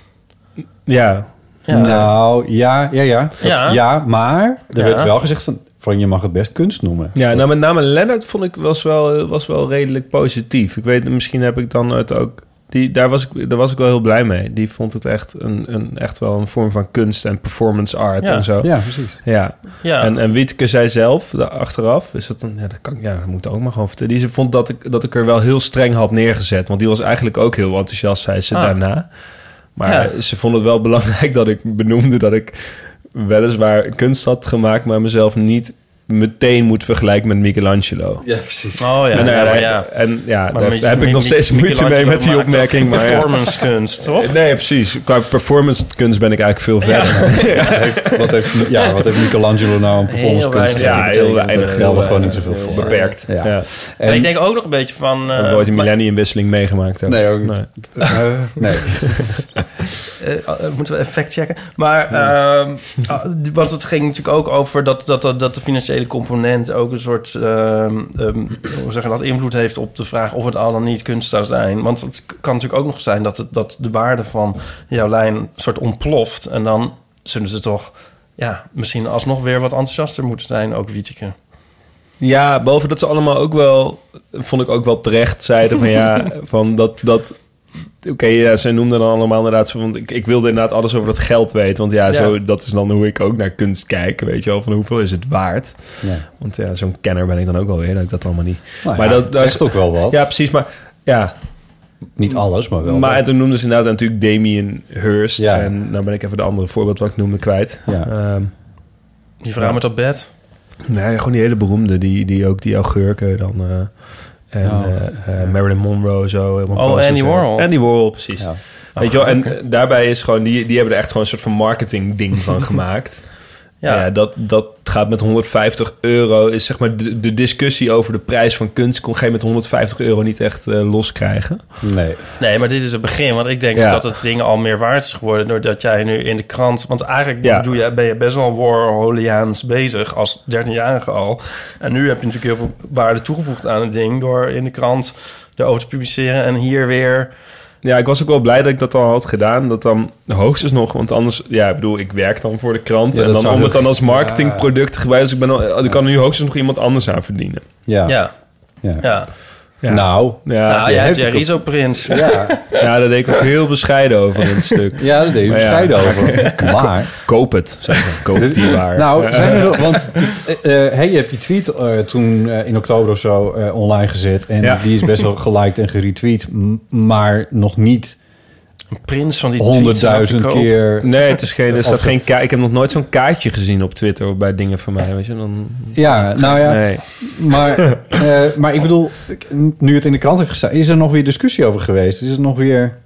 E: ja.
G: Ja.
F: Nou, ja, ja, ja. Dat-
G: Ja.
F: ja. maar er
G: Ja.
F: werd wel gezegd van, van je mag het best kunst noemen.
E: Ja, nou met name Lennart vond ik was wel, was wel redelijk positief. Ik weet, misschien heb ik dan het ook. Die, daar, was ik, daar was ik wel heel blij mee. Die vond het echt, een, een, echt wel een vorm van kunst en performance art
G: Ja.
E: en zo.
F: Ja, precies.
E: Ja.
G: Ja.
E: En, en Wietke zei zelf, da- achteraf, is dat dan, ja, dat kan ik, ja, dat moet ik ook maar gewoon vertellen. Die ze vond dat ik, dat ik er wel heel streng had neergezet. Want die was eigenlijk ook heel enthousiast, zei ze
G: Ah.
E: daarna. Maar ze vond het wel belangrijk dat ik benoemde dat ik weliswaar kunst had gemaakt, maar mezelf niet meteen moet vergelijken met Michelangelo.
F: Ja, precies.
G: Oh ja,
E: en,
G: ja,
E: eh,
G: maar ja.
E: en ja,
G: Maar
E: daar
G: met-
E: heb ik
G: met-
E: nog steeds
G: met-
E: moeite mee met die
G: Michelangelo maakt
E: opmerking. Maar ja.
G: Performance kunst, toch?
E: Nee, precies. Qua performance kunst ben ik eigenlijk veel verder.
F: Wat, heeft, ja, wat heeft Michelangelo nou aan performancekunst
G: weinig.
F: gedaan?
E: Ja, heel weinig.
F: Dat stelde
E: Heel,
F: gewoon
E: eh,
F: niet zoveel
E: heel
F: voor.
E: Beperkt.
F: Ja.
E: Ja.
F: En-
G: Maar ik denk ook nog een beetje van... eh,
E: Ook nooit een millenniumwisseling meegemaakt. Ook.
F: Nee, ook niet. Eh, nee.
G: eh, eh, moeten we even fact checken. Maar, ehm, ah, d- want het ging natuurlijk ook over dat, dat, dat, dat de financiële component ook een soort ehm, ehm, hoe zeggen dat invloed heeft op de vraag of het al dan niet kunst zou zijn. Want het k- kan natuurlijk ook nog zijn dat, het, dat de waarde van jouw lijn een soort ontploft. En dan zullen ze toch ja, misschien alsnog weer wat enthousiaster moeten zijn, ook Wieteke.
E: Ja, boven dat ze allemaal ook wel, vond ik ook wel terecht, zeiden van ja, van dat, dat oké, ja, ze noemden dan allemaal inderdaad, zo, want ik, ik wilde inderdaad alles over dat geld weten, want ja,
G: Ja.
E: Zo, dat is dan hoe ik ook naar kunst kijk, weet je wel, van hoeveel is het waard?
F: Ja.
E: Want ja, zo'n kenner ben ik dan ook wel weer, dat ik dat allemaal niet.
F: Nou
E: Maar
F: ja,
E: dat-
F: het
E: dat is-
F: zegt ook wel wat.
E: Ja, precies, maar ja,
F: Niet alles, maar wel.
E: maar
F: wat.
E: toen noemden ze inderdaad natuurlijk Damien Hirst,
F: Ja.
E: en nou ben ik even de andere voorbeeld wat ik noemde kwijt.
F: Ja.
E: Ehm,
G: Die vrouw met dat bed.
E: Nee, gewoon die hele beroemde, die, die ook die augurken dan. eh, en
F: Oh.
E: eh, eh, Marilyn Monroe zo. helemaal
G: Oh,
E: posters
G: Andy
E: heeft.
G: Warhol.
E: Andy Warhol, precies.
F: Ja.
E: Weet je wel, en eh, daarbij is gewoon, die, die hebben er echt gewoon een soort van marketing ding van gemaakt. Ja, dat, dat gaat met 150 euro. Is zeg maar de, de discussie over de prijs van kunst kon geen met 150 euro niet echt eh, loskrijgen.
F: Nee.
G: Nee, maar dit is het begin. Want ik denk dus
E: Ja.
G: dat het ding al meer waard is geworden... doordat jij nu in de krant... Want eigenlijk
E: Ja.
G: doe je, ben je best wel Warholiaans bezig als 13-jarige al. En nu heb je natuurlijk heel veel waarde toegevoegd aan het ding... door in de krant erover te publiceren en hier weer...
E: Ja, ik was ook wel blij dat ik dat al had gedaan. Dat dan hoogstens nog, want anders... Ja, ik bedoel, ik werk dan voor de krant.
F: Ja,
E: en
F: dat
E: dan
F: zou
E: om het
F: heel-
E: dan als marketingproduct te gebruiken. Dus ik, ben al, ik kan er nu hoogstens nog iemand anders aan verdienen.
F: Ja.
G: Ja,
F: Ja.
G: ja.
E: Ja.
F: Nou.
E: Ja,
G: nou,
E: ja,
G: jij hebt
F: hebt
G: je
F: die
G: risoprins.
F: Ja,
E: ja, daar deed ik ook heel bescheiden over in het stuk.
F: ja daar deed je
E: Maar ja.
F: bescheiden over. Maar,
E: Koop het, zeg maar. Koop die waar.
F: nou, zijn er... wel- Want eh, eh, hey, je hebt die tweet eh, toen eh, in oktober of zo eh, online gezet. En
E: Ja.
F: die is best wel geliked en geretweet. m- Maar nog niet
G: Een prins van die tweets aan te
F: honderdduizend
G: koop.
F: keer...
E: Nee, het is geen, er staat
F: Of-
E: geen ka- ik heb nog nooit zo'n kaartje gezien op Twitter bij dingen van mij. Weet je, dan,
F: Ja, nou ja.
E: nee.
F: Maar, eh, maar ik bedoel, ik- nu het in de krant heeft gestaan... is er nog weer discussie over geweest? Is er nog weer...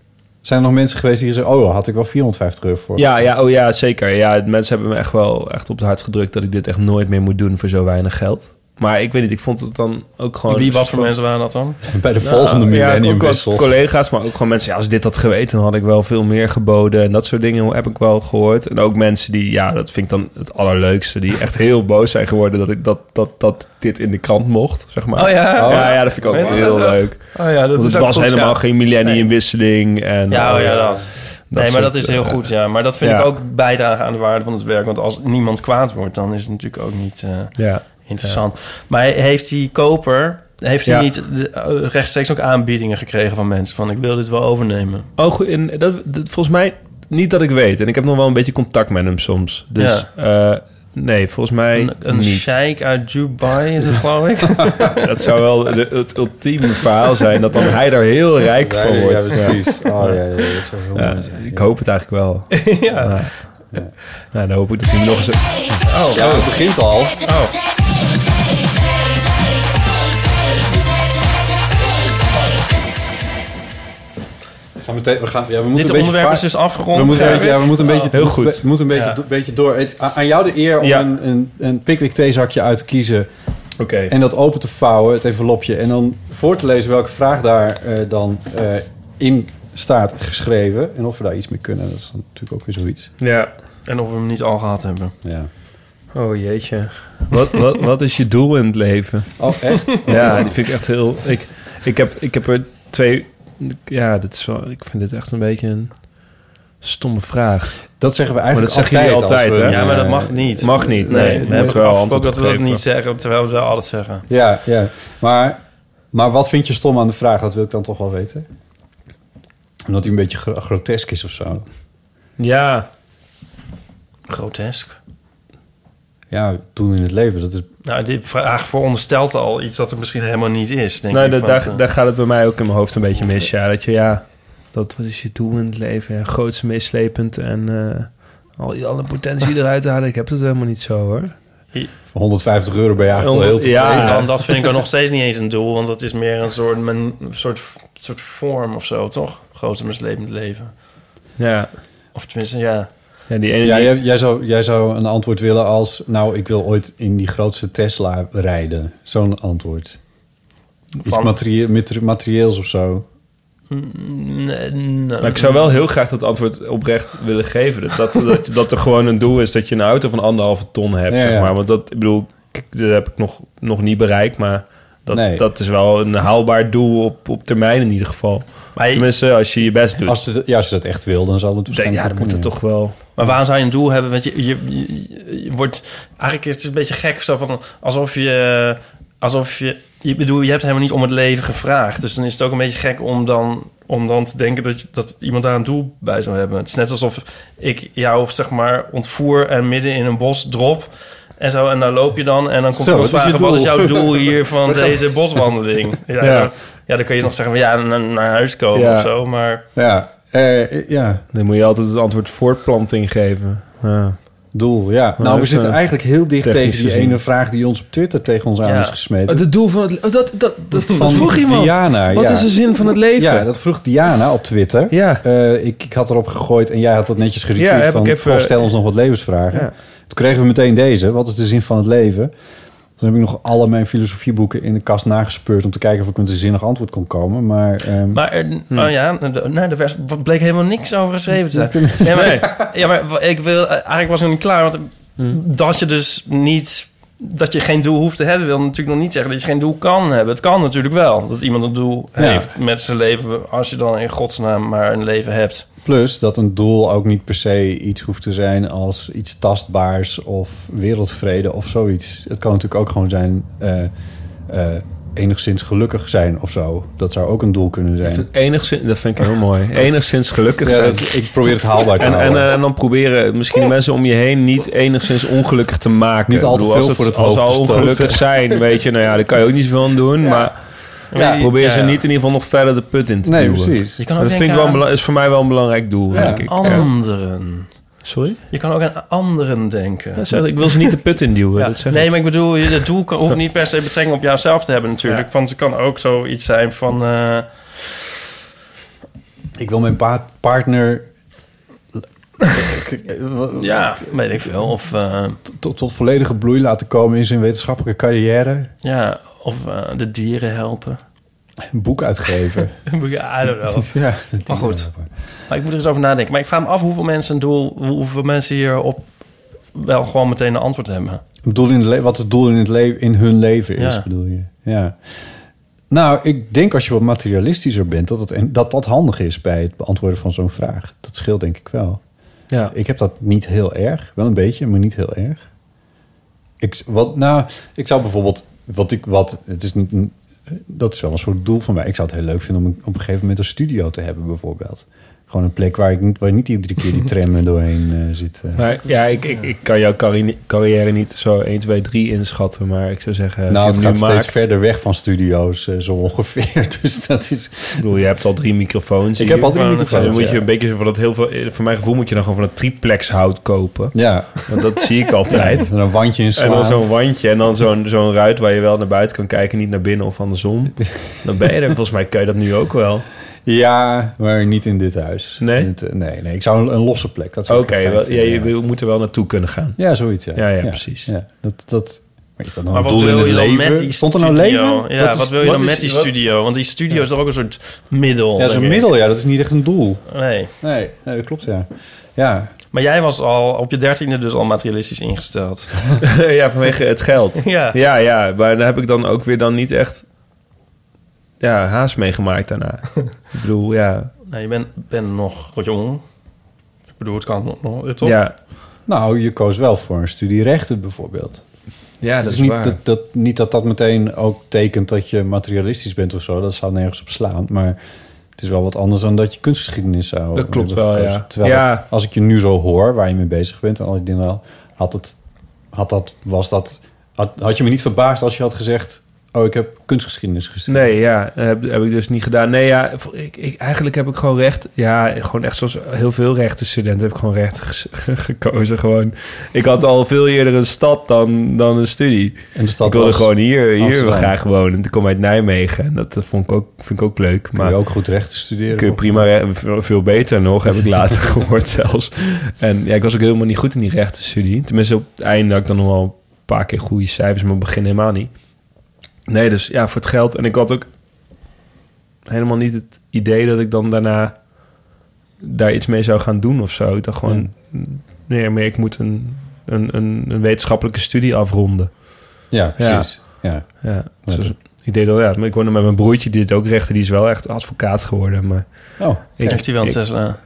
F: Zijn er nog mensen geweest die zeggen... oh, daar had ik wel 450 euro voor.
E: Ja, ja, oh ja, zeker. Ja, de mensen hebben me echt wel echt op het hart gedrukt dat ik dit echt nooit meer moet doen voor zo weinig geld. Maar ik weet niet, ik vond het dan ook gewoon...
G: Wie, wat voor mensen waren dat dan?
F: Bij de volgende
E: Nou,
F: millennium
E: ook wel
F: wissel.
E: collega's, maar ook gewoon mensen. Ja, als ik dit had geweten, dan had ik wel veel meer geboden. En dat soort dingen heb ik wel gehoord. En ook mensen die, ja, dat vind ik dan het allerleukste. Die echt heel boos zijn geworden dat, ik, dat, dat, dat dit in de krant mocht, zeg maar.
G: Oh ja.
E: Ja, ja, dat vind ik ook
G: Mensen
E: heel
G: zijn zo-
E: leuk.
G: Oh ja, dat
E: Want
G: is
E: het
G: ook
E: was
G: goed, ja.
E: helemaal geen millenniumwisseling. En,
G: Ja, oh ja,
E: eh,
G: dat. nee, maar
E: soort,
G: dat is heel
E: eh,
G: goed, ja. Maar dat vind
E: ja.
G: ik ook bijdrage aan de waarde van het werk. Want als niemand kwaad wordt, dan is het natuurlijk ook niet eh,
E: Ja.
G: interessant. Maar heeft die koper, heeft hij
E: Ja.
G: niet de- eh, rechtstreeks ook aanbiedingen gekregen van mensen? Van ik wil dit wel overnemen.
E: Oh, goed, en dat, dat- volgens mij niet dat ik weet. En ik heb nog wel een beetje contact met hem soms. Dus eh, nee, volgens mij
G: Een, een
E: niet.
G: sheik uit Dubai is het, geloof ik.
E: Dat zou wel de- het ultieme verhaal zijn. Dat dan hij daar heel rijk
F: Ja,
E: van
F: ja,
E: wordt. Ja.
F: precies. Oh, ja, ja, ja, dat zou heel
E: Ja,
F: mooi zijn.
E: ik hoop het eigenlijk wel. ja. Ja. Ja, dan hoop ik dat hij nog eens...
F: Oh, ja, het begint al. We gaan meteen, we gaan, ja, we moeten
G: dit
F: een beetje
G: onderwerp
F: vaar-
G: is dus
F: we
G: afgerond.
F: moeten, een beetje,
G: Gerrit.
F: ja, we moeten een beetje,
E: Ah. Heel
F: we moeten-
E: goed.
F: we moeten een beetje,
G: Ja.
F: do- beetje door. Het- a- aan jou de eer om
E: Ja.
F: een, een, een Pickwick theezakje uit te kiezen
E: Oké.
F: en dat open te vouwen, het envelopje, en dan voor te lezen welke vraag daar eh, dan eh, in staat geschreven en of we daar iets mee kunnen. Dat is dan natuurlijk ook weer zoiets.
E: Ja.
G: En of we hem niet al gehad hebben.
F: Ja.
E: Oh jeetje. Wat, wat, wat is je doel in het leven?
F: Oh, echt? Oh,
E: Ja, die vind ik echt heel... Ik, ik, heb, ik heb er twee... Ja, dit is wel, ik vind dit echt een beetje een stomme vraag.
F: Dat zeggen we
E: Maar dat
F: eigenlijk
E: zeggen
F: altijd.
E: jullie altijd,
F: als we-
E: hè?
G: Ja, maar dat mag niet.
E: Mag niet, nee.
G: Nee,
E: Je
G: we
E: moet
G: hebben
E: wel
G: afgesproken
E: antwoord
G: dat we dat
E: geven.
G: niet zeggen, terwijl we wel altijd zeggen.
F: Ja, ja. Maar, maar wat vind je stom aan de vraag? Dat wil ik dan toch wel weten. Omdat hij een beetje gro- grotesk is of zo.
E: Ja.
G: Grotesk.
F: Ja, toen in het leven. Dat is,
G: Nou, die vraag veronderstelt al iets dat er misschien helemaal niet is. Denk
E: Nee,
G: ik,
E: dat,
G: want,
E: daar,
G: eh,
E: daar gaat het bij mij ook in mijn hoofd een beetje mis. Ja, dat je, ja... Dat, wat is je doel in het leven? Ja, groots en meeslepend en... eh, al alle potentie eruit halen. Ik heb dat helemaal niet zo, hoor.
F: Voor 150 euro ben je eigenlijk wel heel tevreden.
E: Ja.
G: En dan, dat vind ik er nog steeds niet eens een doel, want dat is meer een soort, men, soort, soort vorm of zo, toch? Grootste mislevend leven.
E: Ja.
G: Of tenminste, ja.
E: ja, die ene...
F: Ja,
E: die-
F: jij, jij zou, jij zou een antwoord willen als... nou, ik wil ooit in die grootste Tesla rijden. Zo'n antwoord. Iets
G: Van-
F: materie- mater- materieels of zo.
G: Nee, nee.
E: Nou, ik zou wel heel graag dat antwoord oprecht willen geven. Dat, dat, dat, dat er gewoon een doel is dat je een auto van anderhalve ton hebt,
F: Ja,
E: zeg
F: ja.
E: maar. Want dat, ik bedoel, k- dat heb ik nog, nog niet bereikt, maar... Dat,
F: Nee.
E: dat is wel een haalbaar doel op, op termijn in ieder geval.
G: Maar je-
E: Tenminste, als je je best doet.
F: Als ze, ja, als ze dat echt wil, dan zal het
E: Ik denk,
F: waarschijnlijk
E: ja, dan
F: wel
E: moet het
F: kunnen,
E: toch wel...
G: Maar waarom zou je een doel hebben? Want je, je, je- je wordt... Eigenlijk is het een beetje gek. Zo van, alsof je... Alsof je... Ik bedoel, je hebt helemaal niet om het leven gevraagd. Dus dan is het ook een beetje gek om dan, om dan te denken dat, je, dat iemand daar een doel bij zou hebben. Het is net alsof ik jou zeg maar ontvoer en midden in een bos drop. En zo, en daar loop je dan. En dan komt
F: Zo,
G: iemand
F: wat is je
G: vragen, wat is
F: doel?"
G: jouw doel hier van deze boswandeling? Ja,
E: Ja.
G: ja. dan kun je nog zeggen van ja, naar, naar huis komen
E: Ja.
G: of zo. Maar
F: Ja, Eh, ja.
E: Dan moet je altijd het antwoord voortplanting geven. Ja.
F: doel, ja.
E: dat
F: Nou, we
E: is,
F: zitten
E: eh,
F: eigenlijk heel dicht
E: technisch
F: tegen die
E: gezien.
F: ene vraag... die ons op Twitter tegen ons aan
G: Ja.
F: is gesmeten.
E: Het doel van het... oh, dat, dat, dat,
F: Van
E: dat vroeg iemand.
F: Diana,
E: Wat
F: ja.
E: is de zin van het leven?
F: Ja, dat vroeg Diana op Twitter.
E: Ja.
F: Eh, ik, ik had erop gegooid en jij had dat netjes geretweet
E: Ja, heb
F: van...
E: ik even-
F: goh, stel ons nog wat levensvragen.
E: Ja.
F: Toen kregen we meteen deze. Wat is de zin van het leven? Toen heb ik nog alle mijn filosofieboeken in de kast nagespeurd... om te kijken of ik met een zinnig antwoord kon komen. Maar, ehm,
G: Maar er,
E: Hmm.
G: oh ja, de- nou, er werd- wat bleek helemaal niks over geschreven te zijn. Ja, maar, ja, maar wa- ik wil, eh, eigenlijk was ik nog niet klaar. Want eh,
E: Hmm.
G: dat je dus niet, dat je geen doel hoeft te hebben, wil natuurlijk nog niet zeggen dat je geen doel kan hebben. Het kan natuurlijk wel dat iemand een doel
F: Ja.
G: heeft met zijn leven, als je dan in godsnaam maar een leven hebt.
F: plus dat een doel ook niet per se iets hoeft te zijn... als iets tastbaars of wereldvrede of zoiets. Het kan natuurlijk ook gewoon zijn... eh, eh, enigszins gelukkig zijn of zo. Dat zou ook een doel kunnen zijn.
E: Enigszins, dat vind ik heel mooi. Enigszins gelukkig
F: Ja,
E: zijn.
F: dat, ik probeer het haalbaar te
E: en, en,
F: houden.
E: eh, en dan proberen misschien de mensen om je heen niet enigszins ongelukkig te maken.
F: Niet al te
E: Ik bedoel, als
F: veel voor het
E: als
F: hoofd
E: ze
F: te
E: al
F: stoten.
E: ongelukkig zijn, weet je, nou ja, daar kan je ook niet zoveel aan doen. Maar
G: Ja,
E: probeer ze
G: ja, ja.
E: niet in ieder geval nog verder de put in te
F: nee,
E: duwen.
F: precies.
G: Je kan
E: Maar
G: ook
E: dat vind ik wel een bela- is voor mij wel een belangrijk doel,
F: Ja.
E: denk ik. Ja.
G: anderen.
E: Sorry?
G: Je kan ook aan anderen denken.
E: Ja, zeg, ik wil ze niet de put in duwen.
G: Ja,
E: dat zeg ik.
G: nee, maar ik bedoel, je- het doel kan, hoeft niet per se betrekking op jouzelf te hebben natuurlijk. Want het kan ook zoiets zijn van... eh,
F: Ik wil mijn pa- partner
G: ja, weet ik veel. Of, eh,
F: tot, tot volledige bloei laten komen in zijn wetenschappelijke carrière.
G: ja, of eh, de dieren helpen.
F: Een boek uitgeven.
G: I don't know.
F: ja, dat
G: Maar goed. Maar ik moet er eens over nadenken. Maar ik vraag me af hoeveel mensen een doel... hoeveel mensen hierop wel gewoon meteen een antwoord hebben.
F: Het doel in het le- wat het doel in, het le- in hun leven is,
G: Ja.
F: bedoel je. Ja. Nou, ik denk als je wat materialistischer bent, dat, het, en dat dat handig is bij het beantwoorden van zo'n vraag. Dat scheelt denk ik wel.
E: Ja.
F: Ik heb dat niet heel erg. Wel een beetje, maar niet heel erg. Ik, wat, nou, ik zou bijvoorbeeld... Wat ik, wat, het is niet, een- dat is wel een soort doel van mij. Ik zou het heel leuk vinden om een- op een gegeven moment een studio te hebben, bijvoorbeeld. Gewoon een plek waar ik niet, waar niet iedere keer die tram er doorheen eh, zit. eh.
E: Maar ja, ik, ik, ik kan jouw carri- carrière niet zo 1, 2, 3 inschatten. Maar ik zou zeggen, eh, als
F: nou,
E: je
F: het
E: hem nu
F: gaat steeds
E: maakt-
F: verder weg van studio's, eh, zo ongeveer. Dus dat is...
E: Ik bedoel, je hebt al drie microfoons.
F: Ik
E: hier.
F: heb al drie
E: Maar
F: microfoons,
E: Dan moet je
F: ja.
E: een beetje van dat heel veel... eh, Voor mijn gevoel moet je dan gewoon van het triplex hout kopen.
F: Ja,
E: Want dat zie ik altijd.
F: en een wandje in
E: En dan
F: slaan.
E: zo'n wandje en dan zo'n zo'n ruit waar je wel naar buiten kan kijken, niet naar binnen of andersom. Dan ben je er. Volgens mij kan je dat nu ook wel.
F: Ja, maar niet in dit huis.
E: Nee?
F: In het, eh, nee, nee, ik zou een, een losse plek. dat
E: Oké,
F: zou ik wel fijn
E: wel- ja,
F: vinden,
E: je
F: ja.
E: wil- moet er wel naartoe kunnen gaan.
F: Ja, zoiets. Ja,
E: Ja, ja, precies.
F: Ja. Dat, dat, maar is dat nou
G: Maar
F: een
G: wat
F: doel in
G: wil
F: het
G: je dan
F: leven?
G: met die
F: Stond er
G: studio?
F: nou leven?
G: Ja,
F: Dat is-
G: wat wil je dan
E: wat
G: met
E: is-
G: die
E: wat-
G: studio? Want die studio is toch ook een soort middel?
F: Ja, zo'n
G: denk ik.
F: middel, ja. Dat is niet echt een doel.
G: Nee.
F: Nee, nee dat klopt, ja. Ja,
G: Maar jij was al op je dertiende dus al materialistisch ingesteld.
E: ja, vanwege het geld.
G: ja.
E: Ja, ja, maar daar heb ik dan ook weer dan niet echt ja, haast meegemaakt daarna. ik bedoel, ja.
G: Nou, je bent ben nog wat jong. Ik bedoel, het kan nog- nog, toch?
E: Ja,
F: nou, je koos wel voor een studie rechten bijvoorbeeld.
E: ja
F: Het niet, Dat, dat, niet dat dat meteen ook tekent dat je materialistisch bent of zo. Dat zou nergens op slaan, maar... Het is wel wat anders dan dat je kunstgeschiedenis zou
E: Dat klopt
F: hebben
E: wel,
F: gekozen.
E: ja.
F: Terwijl
E: Ja.
F: als ik je nu zo hoor, waar je mee bezig bent en al die dingen al... Had, het, had dat, was dat... Had, had je me niet verbaasd als je had gezegd... Oh, ik heb kunstgeschiedenis gestudeerd.
E: Nee, ja, heb, heb ik dus niet gedaan. Nee, ja, vo- ik, ik, eigenlijk heb ik gewoon recht. Ja, gewoon echt zoals heel veel rechtenstudenten heb ik gewoon recht ges- gekozen. Gewoon. Ik had al veel eerder een stad dan, dan een studie.
F: En de stad
E: ik wilde
F: was-
E: gewoon hier, hier
F: Amsterdam.
E: graag wonen. Ik kom uit Nijmegen en dat eh, vond ik ook, vind ik ook leuk.
F: Kun
E: Maar
F: je ook goed recht studeren.
E: kun je prima, re- veel- veel beter nog, heb ik later gehoord zelfs. En ja, ik was ook helemaal niet goed in die rechtenstudie. Tenminste, op het einde had ik dan nog wel een paar keer goede cijfers, maar op het begin helemaal niet. Nee, dus ja, voor het geld. En ik had ook helemaal niet het idee dat ik dan daarna daar iets mee zou gaan doen of zo. Ik dacht gewoon, nee, maar ik moet een, een, een, een wetenschappelijke studie afronden.
F: Ja, precies. Ja.
E: Ja,
F: Ja,
E: dus ik deed dat, ja, maar ik woonde met mijn broertje, die het ook rechten, die is wel echt advocaat geworden, maar...
F: Oh,
E: Ik,
G: Heeft hij wel een
E: ik-
G: Tesla?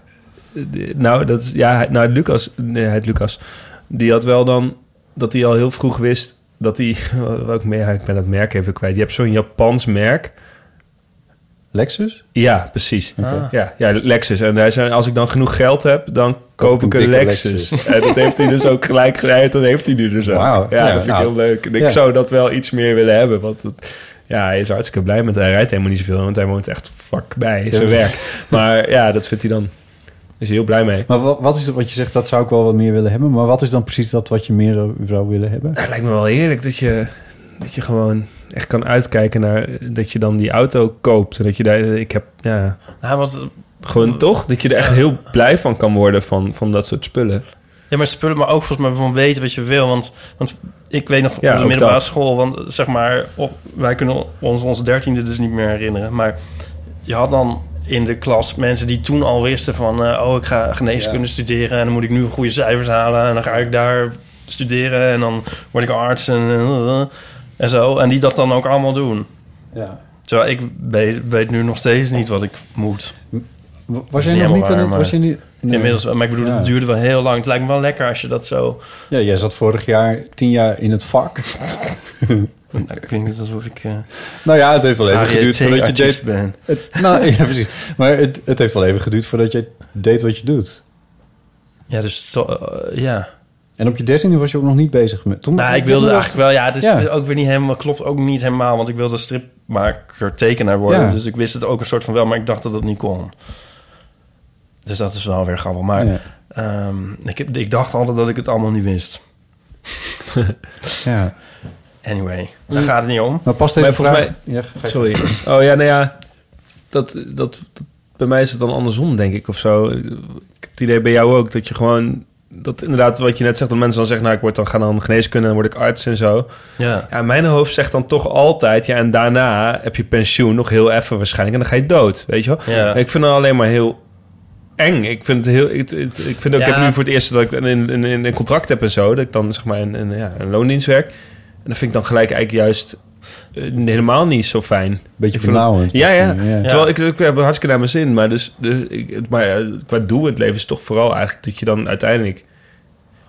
E: eh, Nou, dat is, ja, hij- nou Lucas, nee, het Lucas, die had wel dan dat hij al heel vroeg wist dat hij, welk merk, ik ben dat merk even kwijt. Je hebt zo'n Japans merk.
F: Lexus?
E: Ja, precies.
F: Oké.
E: Ja, ja, Lexus. En hij zei, als ik dan genoeg geld heb, dan koop ik een
F: dikke
E: Lexus.
F: Lexus.
E: En dat heeft hij dus ook gelijk gedaan. Dat heeft hij nu dus ook.
F: Wauw,
E: ja,
F: ja,
E: dat vind
F: nou,
E: ik heel leuk. En ik
F: ja.
E: zou dat wel iets meer willen hebben, want het- ja, hij is er hartstikke blij met. Hij rijdt helemaal niet zoveel, want hij woont echt vlakbij zijn
F: maar-
E: werk. Maar ja, dat vindt hij dan... Is hij heel blij mee.
F: Maar wat, wat is het wat je zegt, dat zou ik wel wat meer willen hebben. Maar wat is dan precies dat wat je meer zou- zou willen hebben?
E: Het lijkt me wel heerlijk dat je, dat je gewoon echt kan uitkijken naar eh, dat je dan die auto koopt. En dat je daar, ik heb, ja,
G: Nou, want,
E: gewoon toch? Dat je er echt heel blij van kan worden van, van dat soort spullen.
G: ja, maar spullen, maar ook volgens mij van weten wat je wil. Want, want ik weet nog
E: Ja,
G: op de
E: ook
G: middelbare
E: dat.
G: school, want eh, zeg maar, op, wij kunnen ons onze dertiende dus niet meer herinneren. Maar je had dan in de klas mensen die toen al wisten van... eh, oh, ik ga geneeskunde studeren en dan moet ik nu goede cijfers halen... en dan ga ik daar studeren en dan word ik arts en, eh, en zo. En die dat dan ook allemaal doen.
F: Ja.
G: Terwijl ik weet, weet nu nog steeds niet wat ik moet.
F: Was jij
G: niet
F: nog niet
G: helemaal
F: aan het...
G: waar,
F: Was jij niet, nee.
G: Inmiddels wel. Maar ik bedoel,
F: Ja.
G: het duurde wel heel lang. Het lijkt me wel lekker als je dat zo...
F: Ja, jij zat vorig jaar tien jaar in het vak.
E: Hm.
G: Nou, dat klinkt net alsof ik... eh
F: Nou ja, het heeft wel even geduurd voordat je
G: variété-artiest
F: deed...
G: ben.
F: Het, nou, ja, precies. Maar het, het heeft wel even geduurd voordat je deed wat je doet.
G: Ja, dus... Zo, eh, ja.
F: En op je dertiende was je ook nog niet bezig met... Toen,
G: Nou, ik wilde
F: toen was-
G: eigenlijk wel... Ja, het is,
F: Ja.
G: het is ook weer niet helemaal... Klopt ook niet helemaal, want ik wilde stripmaker, tekenaar worden.
F: Ja.
G: Dus ik wist het ook een soort van wel, maar ik dacht dat dat niet kon. Dus dat is wel weer grappig. Maar
F: Ja.
G: ehm, ik, heb, ik dacht altijd dat ik het allemaal niet wist.
F: Ja.
G: Anyway, daar
E: Mm.
G: gaat het niet om.
F: Maar past deze
E: Maar volgens
F: vraag... Ja, ga ik-
E: Sorry. Oh ja, nou ja, dat, dat, dat- bij mij is het dan andersom, denk ik, of zo. Ik heb het idee bij jou ook, dat je gewoon... Dat inderdaad, wat je net zegt, dat mensen dan zeggen... nou, ik word dan, ga dan geneeskunde en word ik arts en zo.
G: Ja.
E: Ja, mijn hoofd zegt dan toch altijd... ja, en daarna heb je pensioen, nog heel even waarschijnlijk... en dan ga je dood, weet je wel?
G: Ja.
E: Ik vind het alleen maar heel eng. Ik vind het heel. Ik, het- ik vind ook. Ik
G: Ja.
E: heb nu voor het eerst dat ik een, een, een, een contract heb en zo. Dat ik dan zeg maar een, een, ja, een loondienst werk. En dat vind ik dan gelijk eigenlijk juist eh, helemaal niet zo fijn.
F: Beetje
E: Ik vind het-
F: benauwend.
E: Ja, ja.
F: misschien, ja.
E: Terwijl ik, ik heb hartstikke naar mijn zin. Maar, dus, dus, ik, het- maar ja, qua doel in het leven is toch vooral eigenlijk dat je dan uiteindelijk.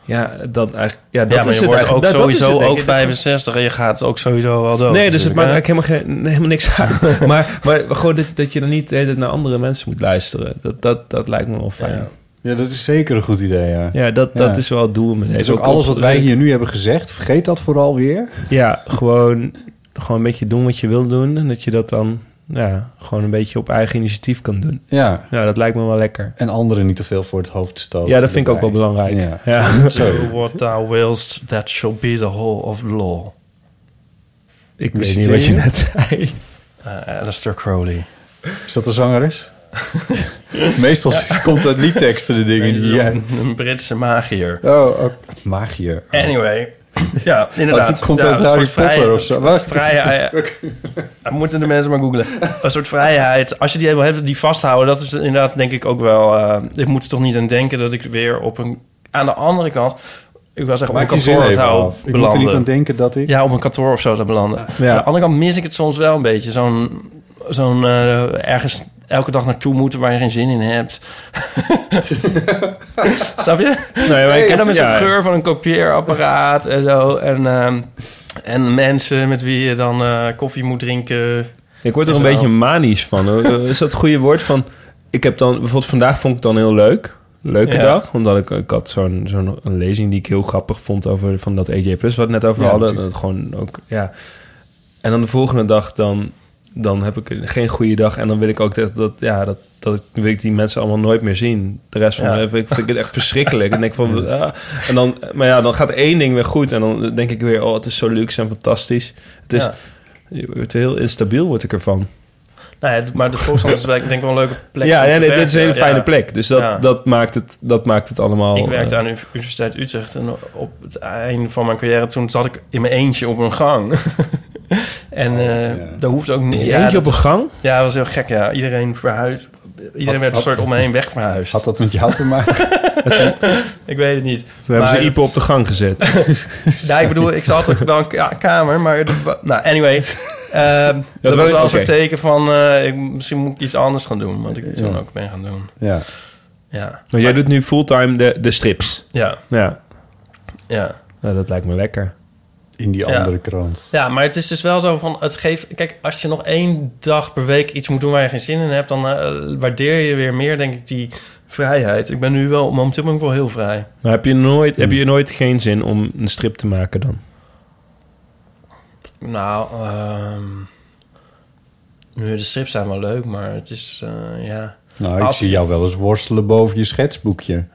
E: Ja, dan eigenlijk. Ja, dat
G: ja, maar
E: is
G: je
E: het
G: wordt
E: eigenlijk.
G: ook
E: Nou, Dat- dat is
G: sowieso
E: het, denk
G: ook
E: ik. Dat-
G: 65 en je gaat ook sowieso wel dood.
E: Nee, dus het maakt
G: Oh, natuurlijk, hè?
E: eigenlijk helemaal, geen, helemaal niks uit. maar, maar gewoon dat, dat je dan niet de hele tijd naar andere mensen moet luisteren. Dat, dat, dat lijkt me wel fijn.
G: Ja.
F: Ja, dat is zeker een goed idee, ja.
E: Ja, dat,
F: Ja.
E: dat is wel het doel in mijn leven.
F: Dus ook alles wat wij hier nu hebben gezegd, vergeet dat vooral weer.
E: Ja, gewoon, gewoon een beetje doen wat je wil doen. En dat je dat dan ja, gewoon een beetje op eigen initiatief kan doen.
F: Ja.
E: Ja, dat lijkt me wel lekker.
F: En anderen niet te veel voor het hoofd stoten.
E: Ja, dat vind ik ook wel
F: Daarbij.
E: belangrijk. Ja.
F: Ja.
G: Do what thou willst, that shall be the whole of law.
E: Ik
F: Wie
E: weet niet
F: citeer
E: wat je
F: je?
E: net zei.
G: Eh Alistair Crowley.
F: Is dat de zangeres? Meestal komt uit liedteksten de dingen die...
G: Een, een Britse magier.
F: Oh, oh, magier. Oh.
G: Anyway. Ja, inderdaad.
F: Oh, dit komt
G: Ja,
F: uit
G: een
F: Harry
G: soort vrije-
F: Potter of zo. Wacht.
G: Vrije, eh, moeten de mensen maar googlen. Een soort vrijheid. Als je die wil hebben, die vasthouden, dat is inderdaad denk ik ook wel. eh, ik moet er toch niet aan denken dat ik weer op een. Aan de andere kant, ik was echt op een
F: Maak die zin
G: kantoor
F: even
G: zou
F: af. Ik moet er
G: belanden.
F: niet aan denken dat ik...
G: Ja, op een kantoor of zo te belanden. Aan de andere kant mis ik het soms wel een beetje. Zo'n, zo'n eh, ergens elke dag naartoe moeten waar je geen zin in hebt. Snap je?
E: Nee, maar ik
G: en
E: heb
G: dan met zo'n
E: ja.
G: geur van een kopieerapparaat en zo. En, ehm, en mensen met wie je dan eh, koffie moet drinken.
E: Ik word er
G: Is
E: een
G: wel-
E: beetje manisch van. hoor. Is dat het goede woord van... Ik heb dan... Bijvoorbeeld vandaag vond ik het dan heel leuk. Leuke
G: Ja.
E: dag. Omdat ik, ik had zo'n zo'n een lezing die ik heel grappig vond... over van dat AJ Plus wat we het net over
F: Ja,
E: hadden.
F: precies.
E: Dat het gewoon ook... Ja. En dan de volgende dag, dan, dan heb ik geen goede dag. En dan wil ik ook dat, dat, ja, dat, dat ik, wil ik die mensen allemaal nooit meer zien. De rest van
G: Ja.
E: mijn leven. Ik vind ik het echt verschrikkelijk. En, denk van, ah. en dan, maar ja, dan gaat één ding weer goed. En dan denk ik weer, oh, het is zo luxe en fantastisch. Het is
G: Ja.
E: je wordt heel instabiel, word ik ervan.
G: Nou ja, maar de Volkskrant is wel, ik denk wel een leuke plek.
E: ja,
G: om te
E: ja nee, dit is een hele
G: werken.
E: fijne
G: Ja.
E: plek. Dus dat,
G: Ja.
E: dat, maakt, het, dat maakt het allemaal...
G: Ik werkte
E: eh,
G: aan de Universiteit Utrecht en op het einde van mijn carrière... toen zat ik in mijn eentje op een gang. en eh
F: ja.
G: dat hoeft ook niet.
E: in je
G: ja,
E: Oh, eentje
G: dat-
E: op een gang?
G: ja, dat was heel gek, ja. Iedereen verhuisd.
F: Had-
G: Iedereen werd een
F: had-
G: soort om me heen wegverhuisd.
F: Had dat met jou te maken?
G: Ik weet het niet.
E: Toen hebben ze
G: Maar-
E: Ipe op de gang gezet.
G: Ja, ik bedoel, ik zat ook wel een ka- kamer, maar... de- nou, anyway. ehm, dat
E: weet ik,
G: was wel een
E: oké.
G: soort teken van... eh, ik, misschien moet ik iets anders gaan doen, wat ik toen
F: Ja.
G: ook ben gaan doen.
F: ja.
G: Ja,
E: Maar jij doet nu fulltime de, de strips.
G: ja,
E: Ja.
G: ja.
E: Nou, dat lijkt me lekker.
F: In die
G: Ja.
F: andere krant.
G: Ja, maar het is dus wel zo van, het geeft... Kijk, als je nog één dag per week iets moet doen waar je geen zin in hebt... dan eh, waardeer je weer meer, denk ik, die vrijheid. Ik ben nu wel, momenteel ben ik wel heel vrij.
E: Maar heb je, nooit,
G: Hmm.
E: heb je nooit geen zin om een strip te maken dan?
G: Nou, ehm nu, de strips zijn wel leuk, maar het is, eh, ja...
F: Nou, ik
G: Als-
F: zie jou wel eens worstelen boven je schetsboekje,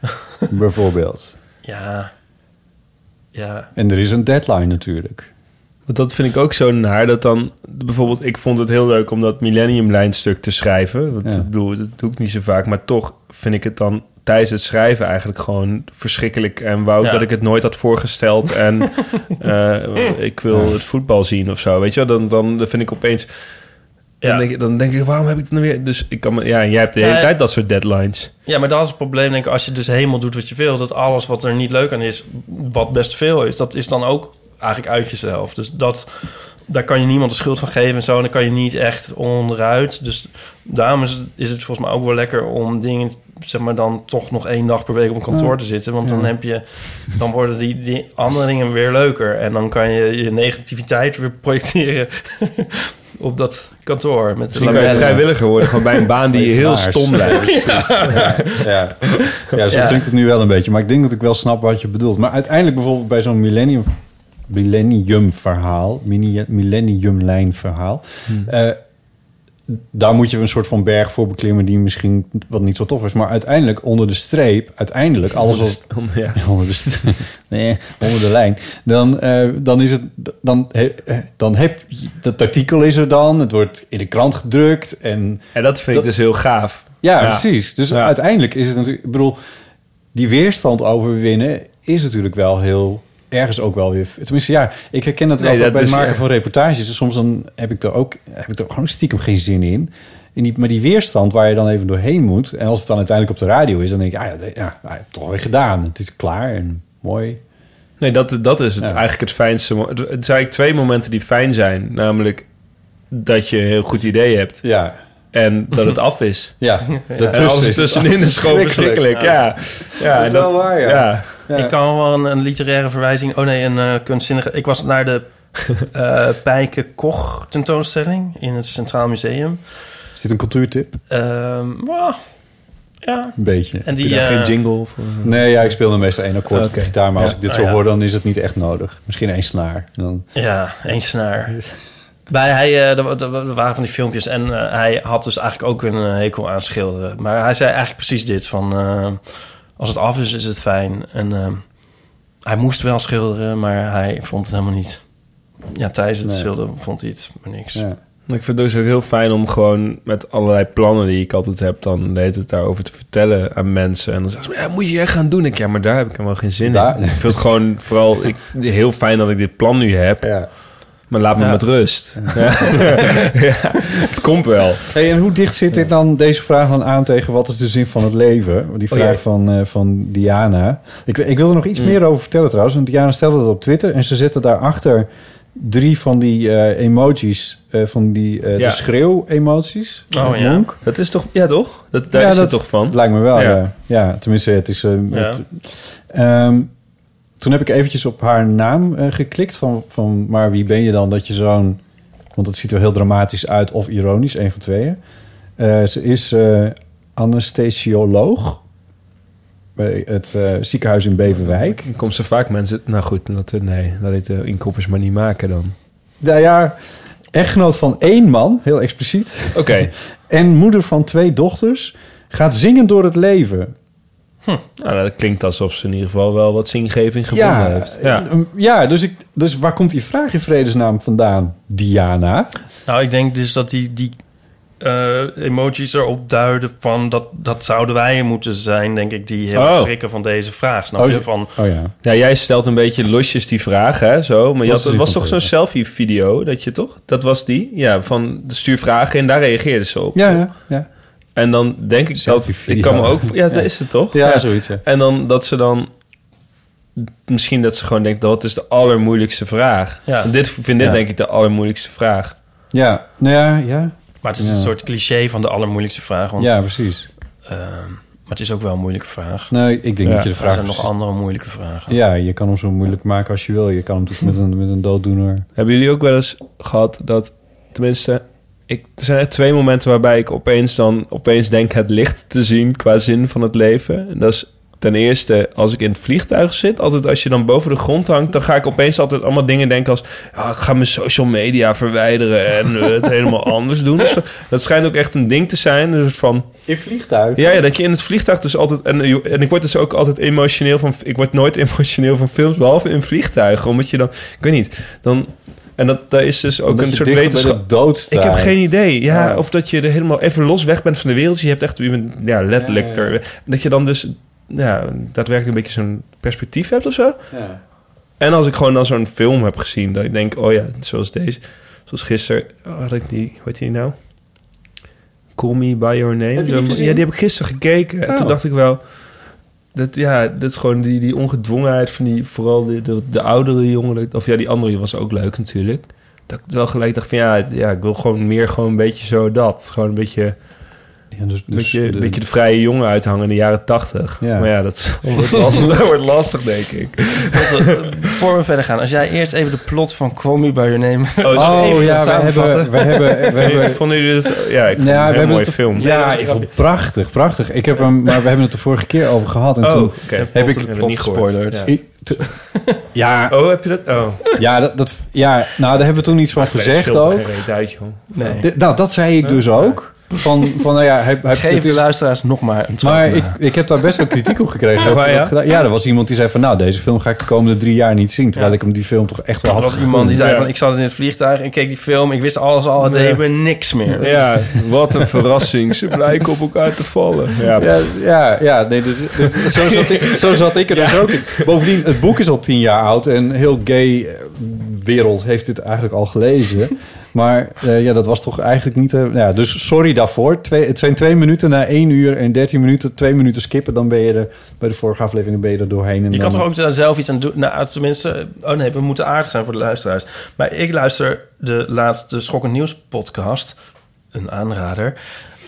F: bijvoorbeeld.
G: Ja, ja...
F: En er is een deadline natuurlijk.
E: Want dat vind ik ook zo naar. Dat dan bijvoorbeeld, ik vond het heel leuk om dat Millennium Lijnstuk te schrijven. Want
F: Ja.
E: ik bedoel, dat doe ik niet zo vaak. Maar toch vind ik het dan tijdens het schrijven eigenlijk gewoon verschrikkelijk. En wou ik
G: Ja.
E: dat ik het nooit had voorgesteld. En eh, ik wil het voetbal zien of zo. Weet je, wel? dan, dan, dan vind ik opeens. Dan,
G: Ja.
E: denk, ik- dan denk ik, waarom heb ik het nou weer? Dus ik kan me, ja, jij hebt de
G: Ja,
E: hele
G: ja.
E: tijd dat soort deadlines.
G: Ja, maar dat is het probleem, denk ik. Als je dus helemaal doet wat je wil... dat alles wat er niet leuk aan is, wat best veel is... dat is dan ook eigenlijk uit jezelf. Dus dat, daar kan je niemand de schuld van geven en zo... en daar kan je niet echt onderuit. Dus daarom is, is het volgens mij ook wel lekker om dingen... zeg maar dan toch nog één dag per week op een kantoor te zitten. Want dan heb je... dan worden die, die andere dingen weer leuker. En dan kan je je negativiteit weer projecteren... op dat kantoor. Met de
E: Misschien kan je
G: lamellen.
E: vrijwilliger worden, gewoon bij een baan die je
F: Iets
E: heel
F: raars.
E: stom lijkt.
F: Ja, ja zo
G: Ja.
F: klinkt het nu wel een beetje. Maar ik denk dat ik wel snap wat je bedoelt. Maar uiteindelijk bijvoorbeeld bij zo'n millennium, millennium verhaal... mini- millennium lijn verhaal...
E: Hmm.
F: eh, daar moet je een soort van berg voor beklimmen... die misschien wat niet zo tof is. Maar uiteindelijk, onder de streep... uiteindelijk alles wat...
E: Ja.
F: onder de, st- nee, onder de lijn. Dan, eh, dan is het. Dan, he- eh, dan heb je. Dat artikel is er dan. Het wordt in de krant gedrukt. En
E: En dat vind ik
F: Dat-
E: dus heel gaaf.
F: ja,
E: Ja.
F: precies. Dus
E: Ja.
F: uiteindelijk is het natuurlijk. Ik bedoel, die weerstand overwinnen is natuurlijk wel heel. Ergens ook wel weer. Tenminste, ja, ik herken dat wel
E: Nee,
F: van
E: dat
F: bij het
E: is-
F: maken
E: ja.
F: van reportages. Dus soms dan heb ik er ook, heb ik er gewoon stiekem geen zin in. En die, maar die weerstand waar je dan even doorheen moet. En als het dan uiteindelijk op de radio is, dan denk ik, ah ja, de- ja, ja, toch weer gedaan. Het is klaar en mooi.
E: Nee, dat, dat is het,
F: Ja.
E: eigenlijk het fijnste. mo- Het zijn eigenlijk twee momenten die fijn zijn. Namelijk dat je een heel goed idee hebt
F: Ja,
E: en dat het af is.
F: ja.
E: En alles tussenin is gewoon verschrikkelijk. Ja. Ja,
F: Dat
E: en
F: is wel waar, ja.
G: Ik kan wel een, een literaire verwijzing. Oh nee, een eh, kunstzinnige. Ik was naar de eh Pijken Koch tentoonstelling in het Centraal Museum.
F: Is dit een cultuurtip?
G: Ehm, wauw, ja.
F: Een beetje.
G: En
E: Heb
G: die.
E: je daar
G: eh,
E: geen jingle voor?
F: Nee, ja, ik speelde meestal één akkoord op de
E: Oké.
F: gitaar. Maar als
E: Ja.
F: ik dit
G: Ah,
F: zo
G: ja.
F: hoor, dan is het niet echt nodig. Misschien één snaar. En Dan,
G: Ja, één snaar. Bij hij, eh, er wa- er wa- er waren van die filmpjes en eh, hij had dus eigenlijk ook een eh, hekel aan schilderen. Maar hij zei eigenlijk precies dit: van eh, als het af is, is het fijn. En eh, hij moest wel schilderen, maar hij vond het helemaal niet. Ja, tijdens het
F: Nee.
G: schilderen vond hij het maar niks.
F: ja.
E: Ik vind het dus ook heel fijn om gewoon met allerlei plannen die ik altijd heb... dan de hele tijd daarover te vertellen aan mensen. En dan zeggen ze, ja, moet je echt gaan doen? Ik, ja, maar daar heb ik helemaal geen zin
F: Daar-
E: in. Ik vind het gewoon vooral ik, heel fijn dat ik dit plan nu heb.
F: Ja.
E: Maar laat me
G: Ja.
E: met rust. Ja. Ja, het komt wel.
F: Hey, en hoe dicht zit dit dan, deze vraag dan aan tegen wat is de zin van het leven? Die
E: Oh,
F: vraag
E: ja.
F: van, eh, van Diana. Ik, ik wil er nog iets meer over vertellen trouwens. Want Diana stelde dat op Twitter en ze zette daarachter drie van die eh, emojis. eh, van die eh,
E: Ja.
F: de schreeuw-emoties.
G: Oh, ja.
F: Monk.
E: Dat is toch... Ja, toch? Dat, daar
F: Ja,
E: is
F: dat-
E: het toch van?
F: Het lijkt me wel,
E: Ja.
F: ja. ja. tenminste, het is... eh,
G: Ja.
F: ehm, toen heb ik eventjes op haar naam eh, geklikt van, van... maar wie ben je dan dat je zo'n... want dat ziet er heel dramatisch uit of ironisch, een van tweeën. Eh, ze is eh, anesthesioloog bij het eh, ziekenhuis in Beverwijk.
E: Dan eh, komt ze vaak mensen... Nou goed, dat, nee, laat dit de inkoppers maar niet maken dan.
F: Nou ja, echtgenoot van één man, heel expliciet,
E: Oké.
F: en moeder van twee dochters, gaat zingend door het leven.
E: Nou, dat klinkt alsof ze in ieder geval wel wat zingeving gevonden heeft. Ja.
F: eh, ja dus, ik, dus waar komt die vraag in vredesnaam vandaan, Diana?
G: Nou, ik denk dus dat die, die eh, emoties erop duiden van dat, dat zouden wij moeten zijn, denk ik, die heel erg
E: Oh.
G: schrikken van deze vraag. Snap je?
F: ze-
G: Van,
F: oh ja.
E: ja, jij stelt een beetje losjes die vraag, hè? Zo. Maar je
F: Was
E: had,
F: er
E: het
F: die
E: was
F: van
E: toch zo'n selfie-video, dat je toch? Dat was die? Ja, van stuur vragen in, daar reageerden ze op.
F: Ja, ja, ja.
E: En dan denk ik dat...
F: Selfie-video.
E: Ik kan me ook... Ja, dat is het toch?
F: Ja, zoiets. Ja.
E: En dan dat ze dan... Misschien dat ze gewoon denkt, dat is de allermoeilijkste vraag.
G: Ja.
E: En Dit, ik vind dit
F: Ja.
E: denk ik de allermoeilijkste vraag.
F: ja, nou ja, ja.
G: maar het is
F: Ja.
G: een soort cliché van de allermoeilijkste vraag. Want,
F: ja, precies.
G: ehm, maar het is ook wel een moeilijke vraag.
F: Nee, ik denk
E: Ja,
F: dat je de
G: er
F: vraag... dus-
G: zijn nog andere moeilijke vragen.
F: ja, je kan hem zo moeilijk maken als je wil. Je kan hem natuurlijk met een, met een dooddoener...
E: Hebben jullie ook wel eens gehad dat, tenminste, ik, er zijn echt twee momenten waarbij ik opeens dan opeens denk het licht te zien qua zin van het leven. En dat is ten eerste als ik in het vliegtuig zit, altijd als je dan boven de grond hangt, dan ga ik opeens altijd allemaal dingen denken als "Ah, ik ga mijn social media verwijderen en eh, het helemaal anders doen. of zo. Dat schijnt ook echt een ding te zijn, een soort van
F: In vliegtuig?
E: ja, ja, dat je in het vliegtuig dus altijd... En, en ik word dus ook altijd emotioneel van... Ik word nooit emotioneel van films, behalve in vliegtuigen. Omdat je dan... Ik weet niet. Dan, en dat, daar is dus ook een soort wetenschap...
F: dood
E: Ik heb
F: staat.
E: geen idee. Ja,
F: Ja.
E: Of dat je er helemaal even los weg bent van de wereld. dus Je hebt echt... je bent, Ja, letterlijk...
F: Ja, ja, ja.
E: er- dat je dan dus ja, daadwerkelijk een beetje zo'n perspectief hebt of zo.
F: Ja.
E: En als ik gewoon dan zo'n film heb gezien... Dat ik denk, oh ja, zoals deze... Zoals gisteren oh, had ik die... Hoe heet die nou? Call Me By Your Name.
F: Heb je die
E: Zo'n-
F: gezien?
E: ja, die heb ik gisteren gekeken. En
F: Oh.
E: toen dacht ik wel... Dat, ja, dat is gewoon die, die ongedwongenheid van die... Vooral de, de, de oudere jongeren. Of ja, die andere was ook leuk natuurlijk. Dat ik wel gelijk dacht van... Ja, ja ik wil gewoon meer gewoon een beetje zo dat. Gewoon een beetje, een
F: Ja, dus, dus
E: beetje, een
F: de-
E: beetje de vrije jongen uithangen in de jaren tachtig.
F: Ja.
E: Maar ja, dat, is- dat wordt lastig, dat wordt lastig denk ik.
G: Want, eh, voor we verder gaan, als jij eerst even de plot van Call Me By Your Name...
F: Oh
G: even
F: ja, we
G: samenvatten.
F: hebben... We hebben, we hebben
E: Vonden jullie dat... Ja, ik vond het
F: Nou,
E: een
F: we
E: hele
F: hebben
E: mooie
F: het-
E: film.
F: Ja, ik vond het prachtig, prachtig. Ik heb hem, maar we hebben het de vorige keer over gehad. En
E: Oh,
F: toen,
E: oké.
F: heb ik-
E: Plot-
G: plot gespoilerd.
E: Ja.
F: ik- te- ja,
E: Oh, heb je dat? Oh,
F: ja, dat, dat, ja, nou, daar hebben we toen iets van gezegd ook.
E: uit, joh. Nee.
F: De- nou, dat zei ik dus ook. Van, van nou ja, hij, hij,
G: Geef
F: het
G: de
F: is-
G: luisteraars nog maar een trap
F: maar
G: na.
F: ik, ik heb daar best wel kritiek op gekregen. Dat,
E: waar,
F: dat
E: ja?
F: gedaan- ja, er was iemand die zei van... nou, deze film ga ik de komende drie jaar niet zien. Terwijl ik hem die film toch echt wel
G: Er
F: had
G: was iemand die
F: gevonden.
G: zei
E: Ja.
G: van, ik zat in het vliegtuig en keek die film. Ik wist alles al, en
E: Nee.
G: deed me niks meer.
E: Ja, wat een verrassing. Ze blijken op elkaar te vallen. Ja,
F: Ja, ja, ja nee, dus, dus- zo, zat ik, zo zat ik er dus ook in. Bovendien, het boek is al tien jaar oud en heel gay eh, wereld heeft dit eigenlijk al gelezen. Maar eh, ja, dat was toch eigenlijk niet... eh, ja, dus sorry daarvoor. Twee, het zijn twee minuten na één uur en dertien minuten. Twee minuten skippen, dan ben je er bij de vorige aflevering ben je er doorheen. En
G: Je
F: dan,
G: kan toch ook daar zelf iets aan doen? Nou, tenminste... Oh nee, we moeten aardig zijn voor de luisteraars. Maar ik luister de laatste Schokkend Nieuws podcast. Een aanrader.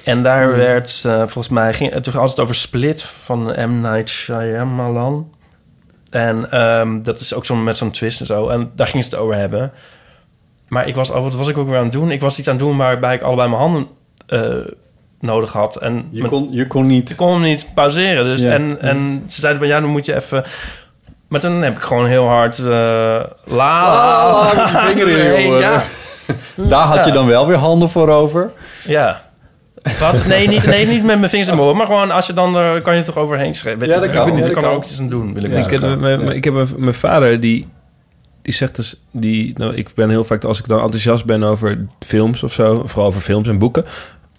G: En daar werd, eh, volgens mij... Ging, het had het over Split van M. Night Shyamalan. En ehm, dat is ook zo met zo'n twist en zo. En daar gingen ze het over hebben. Maar ik was, oh, wat was ik ook weer aan het doen? Ik was iets aan het doen waarbij ik allebei mijn handen eh, nodig had. En
F: Je
G: mijn-
F: kon, je kon niet...
G: ik kon hem niet pauzeren. Dus
F: Ja.
G: en, en ze zeiden van ja, dan moet je even. Maar toen heb ik gewoon heel hard. eh la, la,
F: Ah,
G: la.
F: met die vinger in,
G: Nee,
F: jongen.
G: ja.
F: Daar had je dan wel weer handen voor over.
G: Ja. Wat? Nee, niet, nee, niet met mijn vingers in mijn oor. Maar gewoon als je dan er kan je toch overheen schrijven.
F: Ja, dat kan.
G: Ik,
F: Ja,
G: weet niet,
F: dat
G: ik kan er
F: kan.
G: ook iets aan doen. Wil ik
E: ik, heb,
G: zeggen.
E: mijn, mijn- ik heb een- mijn vader die, die zegt dus die nou, ik ben heel vaak als ik dan enthousiast ben over films of zo, vooral over films en boeken,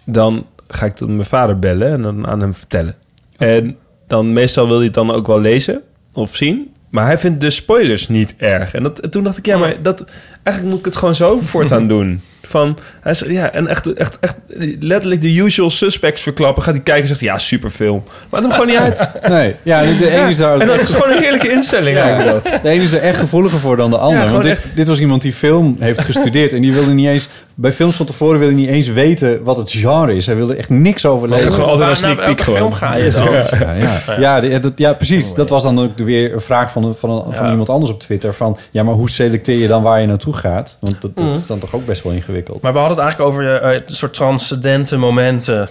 E: dan ga ik dan mijn vader bellen en dan aan hem vertellen. En dan meestal wil hij het dan ook wel lezen of zien. Maar hij vindt de spoilers niet erg. En, dat, en toen dacht
G: Oh.
E: ik, ja, maar dat, eigenlijk moet ik het gewoon zo voortaan doen. Van, hij zei, ja, en echt, echt, echt letterlijk de usual suspects verklappen. Gaat hij kijken en zegt, ja, superfilm. Maakt hem gewoon niet uit.
F: Nee, ja, de ene is daar...
E: En dat is gewoon een heerlijke instelling.
F: Ja,
E: eigenlijk.
F: dat. De ene is er echt gevoeliger voor dan de ander.
E: Ja,
F: Want
E: gewoon
F: dit, dit was iemand die film heeft gestudeerd. En die wilde niet eens... Bij films van tevoren wilde hij niet eens weten wat het genre is. Hij wilde echt niks over
E: Het is
F: lezen.
E: gewoon altijd een
G: Waar- naar
E: sneak peek
G: nou, welke film
E: gewoon.
G: ga je dan?
F: Ja, ja. Ja, die- dat, ja, precies. Dat was dan ook weer een vraag van, een- van, een- van iemand anders op Twitter. Van, ja, maar hoe selecteer je dan waar je naartoe gaat? Want dat,
E: Mhm.
F: dat is dan toch ook best wel ingewikkeld.
G: Maar we hadden het eigenlijk over eh, een soort transcendente momenten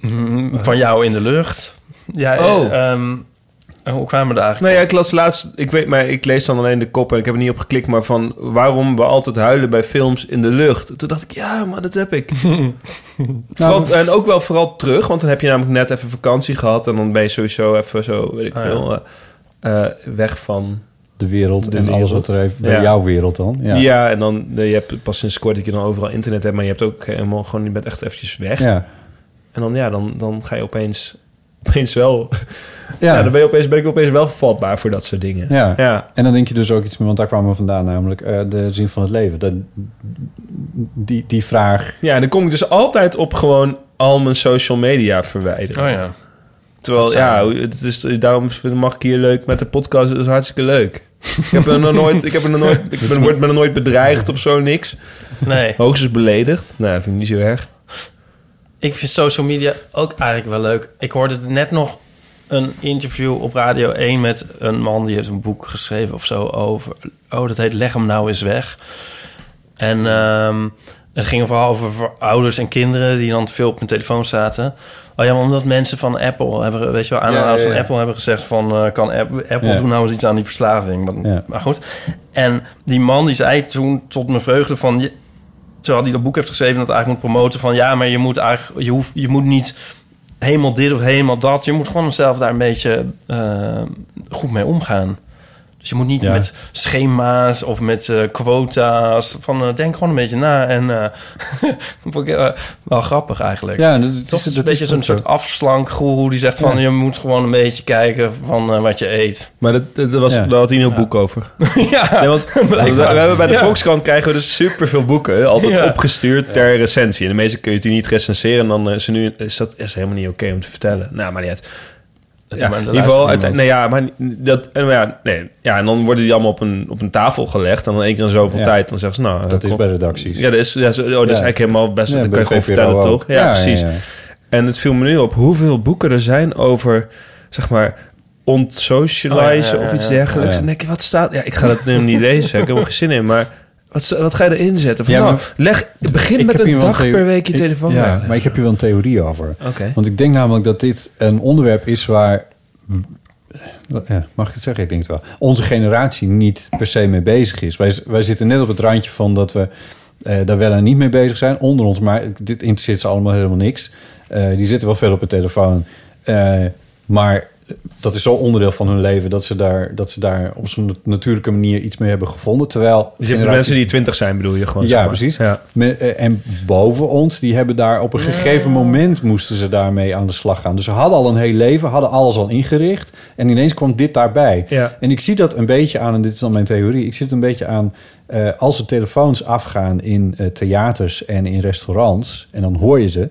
G: mm, van jou in de lucht. Ja,
E: Oh.
G: eh, ehm, En hoe kwamen we daar eigenlijk
E: Nou ja, ik las laatst, ik weet maar, ik lees dan alleen de kop en ik heb er niet op geklikt, maar van waarom we altijd huilen bij films in de lucht. Toen dacht ik, ja, maar dat heb
F: Nou,
E: ik. Vooral- en ook wel vooral terug, want dan heb je namelijk net even vakantie gehad en dan ben je sowieso even zo, weet ik
G: Ah, ja.
E: veel, eh, eh, weg van.
F: de wereld
E: De
F: en alles
E: wereld.
F: wat er heeft. Bij
E: Ja.
F: jouw wereld dan. Ja.
E: Ja. en dan, eh, je hebt pas sinds kort dat je dan overal internet hebt, maar je hebt ook helemaal gewoon, je bent echt eventjes weg.
F: Ja.
E: En dan, ja, dan, dan ga je opeens, opeens wel, ja.
F: Ja.
E: dan ben, je opeens, ben ik opeens wel vatbaar voor dat soort dingen.
F: Ja.
E: ja.
F: En dan denk je dus ook iets meer, want daar kwamen we vandaan, namelijk eh, de zin van het leven. Dat, die, die vraag.
E: Ja, en dan kom ik dus altijd op gewoon al mijn social media
F: Nou
E: verwijderen.
G: Oh ja.
E: Terwijl,
G: Dat
E: ja,
G: zou-
E: het is, daarom mag ik hier leuk met de podcast. Dat is hartstikke leuk. ik heb er nog nooit, ik heb er nog nooit, ik ben, word me nog nooit bedreigd of zo, niks.
G: Nee.
E: Hoogstens beledigd. Nou, dat vind ik niet zo erg.
G: Ik vind social media ook eigenlijk wel leuk. Ik hoorde net nog een interview op Radio 1 met een man die heeft een boek geschreven of zo over. Oh, dat heet Leg hem nou eens weg. En ehm, het ging vooral over voor ouders en kinderen die dan te veel op hun telefoon zaten. Oh ja, maar omdat mensen van Apple hebben, weet je wel, aanhouders
F: Ja, ja, ja.
G: van Apple hebben gezegd van eh, kan App- Apple
F: Ja.
G: doen nou eens iets aan die verslaving. Maar,
F: Ja.
G: maar goed. En die man die zei toen tot mijn vreugde van "Je- terwijl hij dat boek heeft geschreven dat eigenlijk moet promoten van ja, maar je moet eigenlijk je hoeft je moet niet helemaal dit of helemaal dat. Je moet gewoon zelf daar een beetje eh, goed mee omgaan. Dus je moet niet
F: Ja.
G: met schema's of met eh, quota's van eh, denk gewoon een beetje na en eh vond ik, eh, wel grappig eigenlijk.
F: Ja, dat, is,
G: Toch
F: dat
G: is, een beetje
F: ook
G: zo'n
F: zo.
G: soort afslankgoeroe die zegt van...
F: Ja.
G: je moet gewoon een beetje kijken van eh, wat je eet.
E: Maar dat, dat was,
F: Ja.
E: daar had hij een heel boek over.
G: ja,
E: Nee, want we, we hebben bij de Volkskrant krijgen we dus superveel boeken. Altijd
G: Ja.
E: opgestuurd ter recensie. En de meeste kun je die niet recenseren. En dan eh, is, er nu, is dat is helemaal niet oké om te vertellen. Nou, maar niet uit.
G: Het
E: Ja,
G: is maar
E: in
G: de
E: ieder geval,
G: laatste
E: uite- nee, ja, maar dat, en, maar ja, nee, ja, en dan worden die allemaal op een, op een tafel gelegd. En dan één keer in zoveel
F: Ja.
E: tijd, dan zeggen ze, nou...
F: Dat
E: eh,
F: is
E: kom-
F: bij redacties.
E: Ja, dat is, ja, zo- oh, dat is eigenlijk helemaal best...
F: Ja,
E: dat
F: bij
E: kan je gewoon
F: VPRO
E: vertellen,
F: ook.
E: toch? Ja, precies. En het viel me nu op hoeveel boeken er zijn over, zeg maar, ontsocializen
G: Oh, ja, ja,
E: of iets
G: ja, ja.
E: dergelijks.
F: Ja.
E: En dan denk je, wat staat... Ja, ik ga dat nu niet lezen, ik heb er helemaal geen zin in, maar... Wat, sta- wat ga je erin zetten? Van,
F: Ja,
E: nou,
F: maar-
E: leg, begin
F: Ik
E: met
F: heb hier
E: een
F: wel
E: dag
F: theo-
E: per week je
F: ik-
E: telefoon
F: Ja,
E: bijleggen.
F: maar ik heb hier wel een theorie over.
E: Oké.
F: Want ik denk namelijk dat dit een onderwerp is waar... Ja, mag ik het zeggen? Ik denk het wel. Onze generatie niet per se mee bezig is. Wij, wij zitten net op het randje van dat we eh, daar wel en niet mee bezig zijn. Onder ons, maar dit interesseert ze allemaal helemaal niks. Eh, die zitten wel veel op hun telefoon. Eh, maar dat is zo onderdeel van hun leven... dat ze daar, dat ze daar op zo'n natuurlijke manier iets mee hebben gevonden. Terwijl
E: Dus je hebt de mensen die twintig zijn, bedoel je gewoon.
F: Ja,
E: zeg maar.
F: precies.
E: Ja.
F: Me- eh, en boven ons, die hebben daar op een gegeven moment moesten ze daarmee aan de slag gaan. Dus ze hadden al een heel leven, hadden alles al ingericht. En ineens kwam dit daarbij.
E: Ja.
F: En ik zie dat een beetje aan, en dit is dan mijn theorie, ik zie het een beetje aan eh, als de telefoons afgaan in eh, theaters en in restaurants. En dan hoor je ze.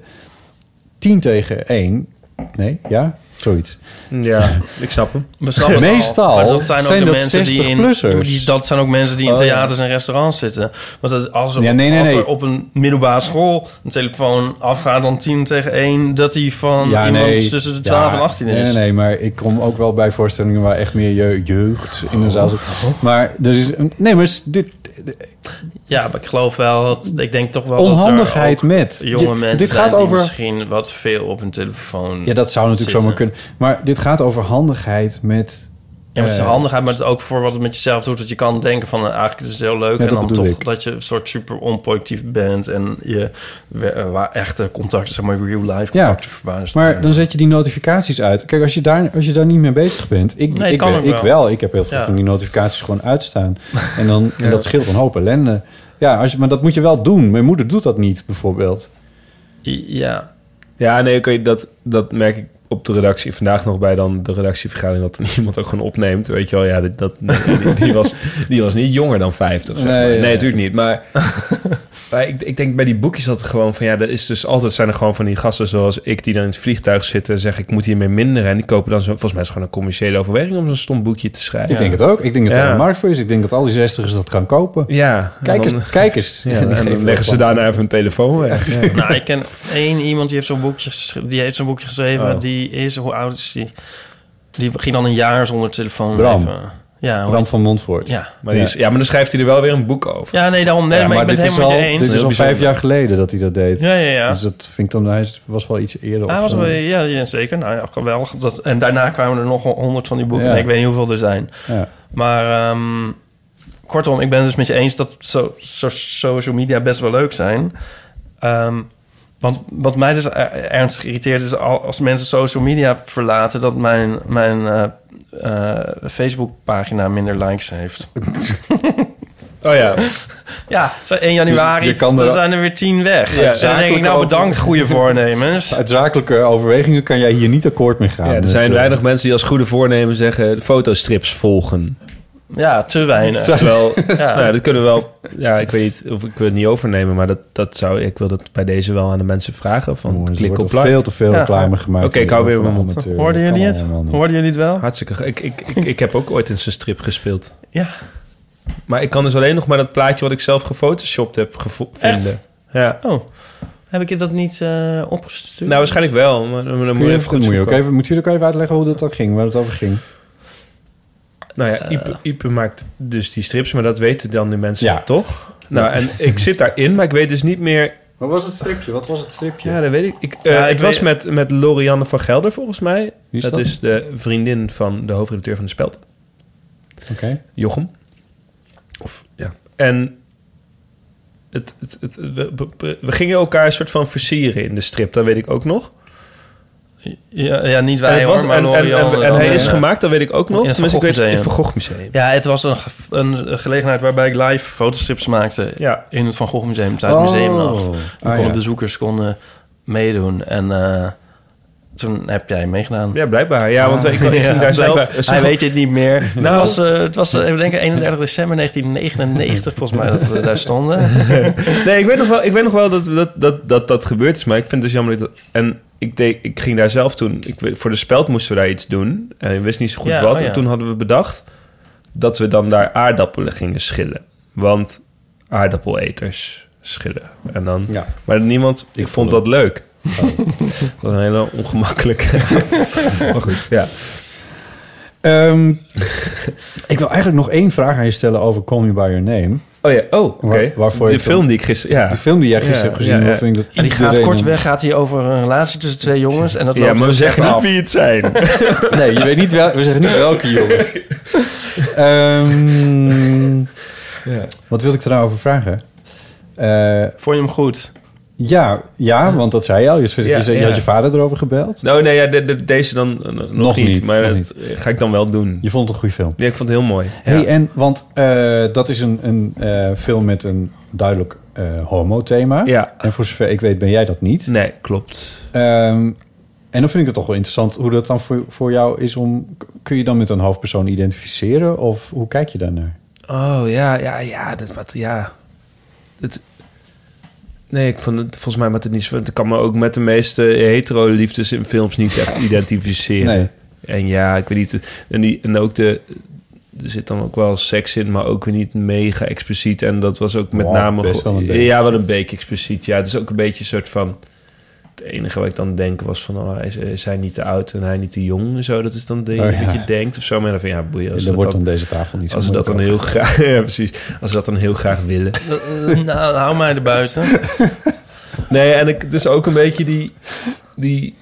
F: 10 tegen 1. Nee, ja, zoiets.
E: ja, ik snap hem.
G: We snappen het
F: Meestal
G: al, maar dat zijn,
F: zijn
G: ook de
F: dat
G: mensen die in
F: 60-plussers.
G: die- dat zijn ook mensen die in
F: Oh, ja.
G: theaters en restaurants zitten. Want dat- als, er,
F: Ja, nee, nee,
G: als er
F: nee.
G: op een middelbare school een telefoon afgaat dan 10 tegen 1 dat die van
F: Ja,
G: iemand
F: nee.
G: tussen de 12
F: Ja,
G: en 18 is.
F: Nee, nee, nee, maar ik kom ook wel bij voorstellingen waar echt meer je, jeugd in de zaal
G: Oh,
F: zit. Maar er is een. Nee, maar is dit.
G: Ja, maar ik geloof wel dat ik denk toch wel
F: Onhandigheid
G: dat er ook
F: met.
G: jonge
F: Je-
G: mensen
F: dit
G: zijn
F: gaat
G: die
F: over-
G: misschien wat veel op hun telefoon.
F: Ja, dat zou natuurlijk zomaar
G: zitten.
F: kunnen. Maar dit gaat over handigheid met.
G: Ja, maar het is
F: Eh,
G: een handigheid, maar het ook voor wat het met jezelf doet. Dat je kan denken van, eh, eigenlijk is het heel leuk.
F: Ja,
G: en
F: dat
G: dan
F: bedoel
G: toch
F: ik.
G: dat je een soort super onproductief bent. En je we- eh, waar echte contacten, zeg maar real life
F: Ja,
G: contacten verbaasd.
F: Maar dan zet je die notificaties uit. Kijk, als je daar, als je daar niet mee bezig bent. Ik,
G: Nee, het
F: ik,
G: kan
F: ben-
G: ook
F: ik
G: wel.
F: wel. Ik heb heel veel
G: Ja.
F: van die notificaties gewoon uitstaan. En, dan, en dat scheelt een hoop ellende. Ja, als je, maar dat moet je wel doen. Mijn moeder doet dat niet, bijvoorbeeld.
G: Ja,
E: Ja, nee, oké, dat, dat merk ik op de redactie. Vandaag nog bij dan de redactievergadering dat er iemand ook gewoon opneemt. Weet je wel, ja, dit- dat, die, die was, die was niet jonger dan 50. zeg maar.
F: Nee,
E: Nee,
F: ja, ja.
E: natuurlijk niet. Maar, maar ik, ik denk bij die boekjes dat gewoon van ja, er is dus altijd zijn er gewoon van die gasten zoals ik die dan in het vliegtuig zitten en zeggen ik moet hiermee minderen. En die kopen dan zo, volgens mij is het gewoon een commerciële overweging om zo'n stom boekje te schrijven.
F: Ik denk het ook. Ik denk dat
E: Ja.
F: er een markt voor is. Ik denk dat al die zestigers dat gaan kopen.
E: Ja,
F: Kijk
E: en dan-
F: eens, kijk eens.
E: ja, en dan leggen ze daarna even hun telefoon weg.
G: nou, ik ken één iemand die heeft zo'n boekje, gesch- die heeft zo'n boekje geschreven.
E: Oh.
G: Die is, hoe oud is die? Die ging dan een jaar zonder telefoon
F: Bram.
G: leven. Ja, hoor.
F: Bram van Montvoort.
G: ja.
E: Maar die
F: Ja.
E: is, ja, maar dan schrijft hij er wel weer een boek over.
G: ja nee, daarom. Nee,
F: Ja,
G: maar, ik ben
F: dit
G: het
F: is
G: helemaal
F: al,
G: met je eens.
F: dit is al
E: Heel
F: vijf
E: bijzonder.
F: jaar geleden dat hij dat deed.
G: Ja, ja, ja.
F: Dus dat vind ik dan, hij was wel iets eerder.
G: Ah,
F: of
G: was
F: zo.
G: wel, ja, ja, zeker. Nou ja, geweldig. Dat, en daarna kwamen er nog honderd van die boeken.
F: Ja.
G: En ik weet niet hoeveel er zijn.
F: Ja.
G: Maar ehm, kortom, ik ben dus met je eens dat so- so- social media best wel leuk zijn. Ehm, want wat mij dus eh, ernstig irriteert is al- als mensen social media verlaten... dat mijn, mijn eh, eh, Facebookpagina minder likes heeft.
E: Oh ja.
G: Ja, zo 1 januari,
F: Dus je kan er-
G: dan zijn er weer 10 weg.
E: Ja.
G: en dan denk ik, nou
F: Over-
G: bedankt, goede voornemens.
F: Uit zakelijke overwegingen kan jij hier niet akkoord mee gaan.
E: ja, er
F: Met,
E: zijn
F: eh,
E: weinig mensen die als goede voornemen zeggen... de fotostrips volgen.
G: Ja, te weinig.
E: Terwijl, nou ja, dat kunnen we wel... Ja, ik weet niet of ik wil het niet overnemen... maar dat, dat zou, ik wil dat bij deze wel aan de mensen vragen. Van,
F: jongens, er
E: klik
F: wordt
E: op
F: al
E: like.
F: veel te veel
G: Ja.
F: reclame gemaakt.
E: Oké, ik hou weer mijn mond.
G: Hoorden jullie het? Hoorden jullie het wel?
E: Hartstikke ge- ik, ik, ik, ik heb ook ooit eens een strip gespeeld.
G: Ja.
E: Maar ik kan dus alleen nog maar dat plaatje... wat ik zelf gefotoshopt heb gevo-
G: Echt?
E: vinden. Ja.
G: Oh, heb ik je dat niet eh, opgestuurd?
E: Nou, waarschijnlijk wel. Maar, maar dan moet je even goed
F: moet, je ook
E: zoeken.
F: even, moet jullie ook even uitleggen hoe dat dan ging, waar het over ging?
E: Nou ja, Ipe, Ipe maakt dus die strips, maar dat weten dan de mensen
F: Eh. Ja.
E: toch? Nou, en ik zit daarin, maar ik weet dus niet meer...
F: Wat was het stripje? Wat was het stripje?
E: Ja, dat weet ik. ik eh,
G: Ja, ik
E: het was
G: weet-
E: met, met Lorianne van Gelder, volgens mij.
F: Wie is
E: dat,
F: dat?
E: is de vriendin van de hoofdredacteur van De Speld,
F: Oké.
E: Jochem. Of, ja. En het, het, het, we, we- we gingen elkaar een soort van versieren in de strip, dat weet ik ook nog.
G: Ja, ja niet
E: en
G: wij
E: het
G: hoor,
E: was-
G: maar
E: en, en, en,
G: L'Oréal
E: en
G: dan,
E: hij
G: eh,
E: is gemaakt, dat weet ik ook nog.
G: In het
E: Tenminste, ik weet
G: Van Gogh Museum.
E: in Van Gogh Museum.
G: Ja, het was een, ge- een gelegenheid waarbij ik live fotostrips maakte
E: Ja.
G: in het Van Gogh Museum, tijdens
F: Oh.
G: museumnacht.
F: Ah,
G: Dan konden
F: ja.
G: bezoekers konden meedoen en eh, toen heb jij meegedaan.
E: Ja, blijkbaar. Ja, want ik, ik ging daar zelf... Nou.
G: blijkbaar. Hij weet het niet meer. het was, eh, het was eh, even denken, 31 december 1999 volgens mij dat we daar stonden.
E: Nee, ik weet nog wel, ik weet nog wel dat, dat, dat, dat dat gebeurd is. Maar ik vind het dus jammer dat... En ik, deed, ik ging daar zelf toen... Ik, weet- voor de speld moesten we daar iets doen. En ik wist niet zo goed
G: Ja,
E: wat.
G: oh ja.
E: En toen hadden we bedacht... dat we dan daar aardappelen gingen schillen. Want aardappeleters schillen. En dan...
F: Ja.
E: Maar niemand... Ik,
F: vond
E: vond dat leuk. Dat was een hele ongemakkelijke... maar goed, ja.
F: Ehm, ik wil eigenlijk nog één vraag aan je stellen over Call Me By Your Name.
E: Oh ja, oh, oké.
F: Waar- waarvoor
E: De
F: ik dan-
E: film die ik gisteren... Ja,
F: De film die jij gisteren
E: Ja,
F: hebt gezien,
E: ja, ja.
F: waarvan ik dat
G: En die gaat
F: iedereen
G: kortweg gaat hij over een relatie tussen twee jongens en dat
E: ja
G: loopt
E: maar we
G: heel slecht
E: zeggen niet
G: af.
E: wie het zijn.
F: een- Nee, je weet niet wel, we zeggen niet welke jongens. Ehm, Wat wil ik er nou over vragen? Eh,
G: Vond je hem goed?
F: ja, ja, want dat zei je al. Je, je,
E: Ja,
F: zei- je
E: ja.
F: had je vader erover gebeld.
E: Nou, nee, ja, de- de- deze dan eh, nog,
F: Nog
E: niet,
F: niet,
E: Maar
F: nog
E: dat ga ik dan wel doen.
F: Je vond het een goede film.
E: Ja, ik vond het heel mooi.
F: Hey,
E: Ja.
F: en, want eh, dat is een, een eh, film met een duidelijk eh homo-thema.
E: Ja.
F: En voor zover ik weet ben jij dat niet.
E: Nee, klopt.
F: Ehm, en dan vind ik het toch wel interessant hoe dat dan voor, voor jou is om... Kun je dan met een hoofdpersoon identificeren? Of hoe kijk je daarnaar?
E: Oh, ja, ja, ja. Dat, wat, ja. Het, nee, ik vond het, volgens mij maakt het niet zo... Ik kan me ook met de meeste hetero-liefdes in films niet echt identificeren.
F: Nee.
E: En ja, ik weet niet... En, die, en ook de... Er zit dan ook wel seks in, maar ook weer niet mega expliciet. En dat was ook met
F: Wow,
E: name...
F: best wel een beetje.
E: ja, wel een beetje expliciet. Ja, het is ook een beetje een soort van... Het enige wat ik dan denken was van... Oh, is, is hij niet te oud en hij niet te jong en zo? Dat is dan de
F: Oh, ja.
E: wat je denkt of zo. Maar dan van, ja, boeien. Als
F: Dan
E: dat
F: wordt
E: dan-
F: dan deze tafel niet zo
E: Als ze dat dan
F: moeilijk
E: heel graag... Ja, precies. Als ze dat dan heel graag willen.
G: Eh, eh, nou, hou mij er buiten.
E: Nee, en ik, dus ook een beetje die... die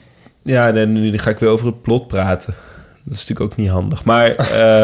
E: ja, nee, nu ga ik weer over het plot praten. Dat is natuurlijk ook niet handig. Maar eh,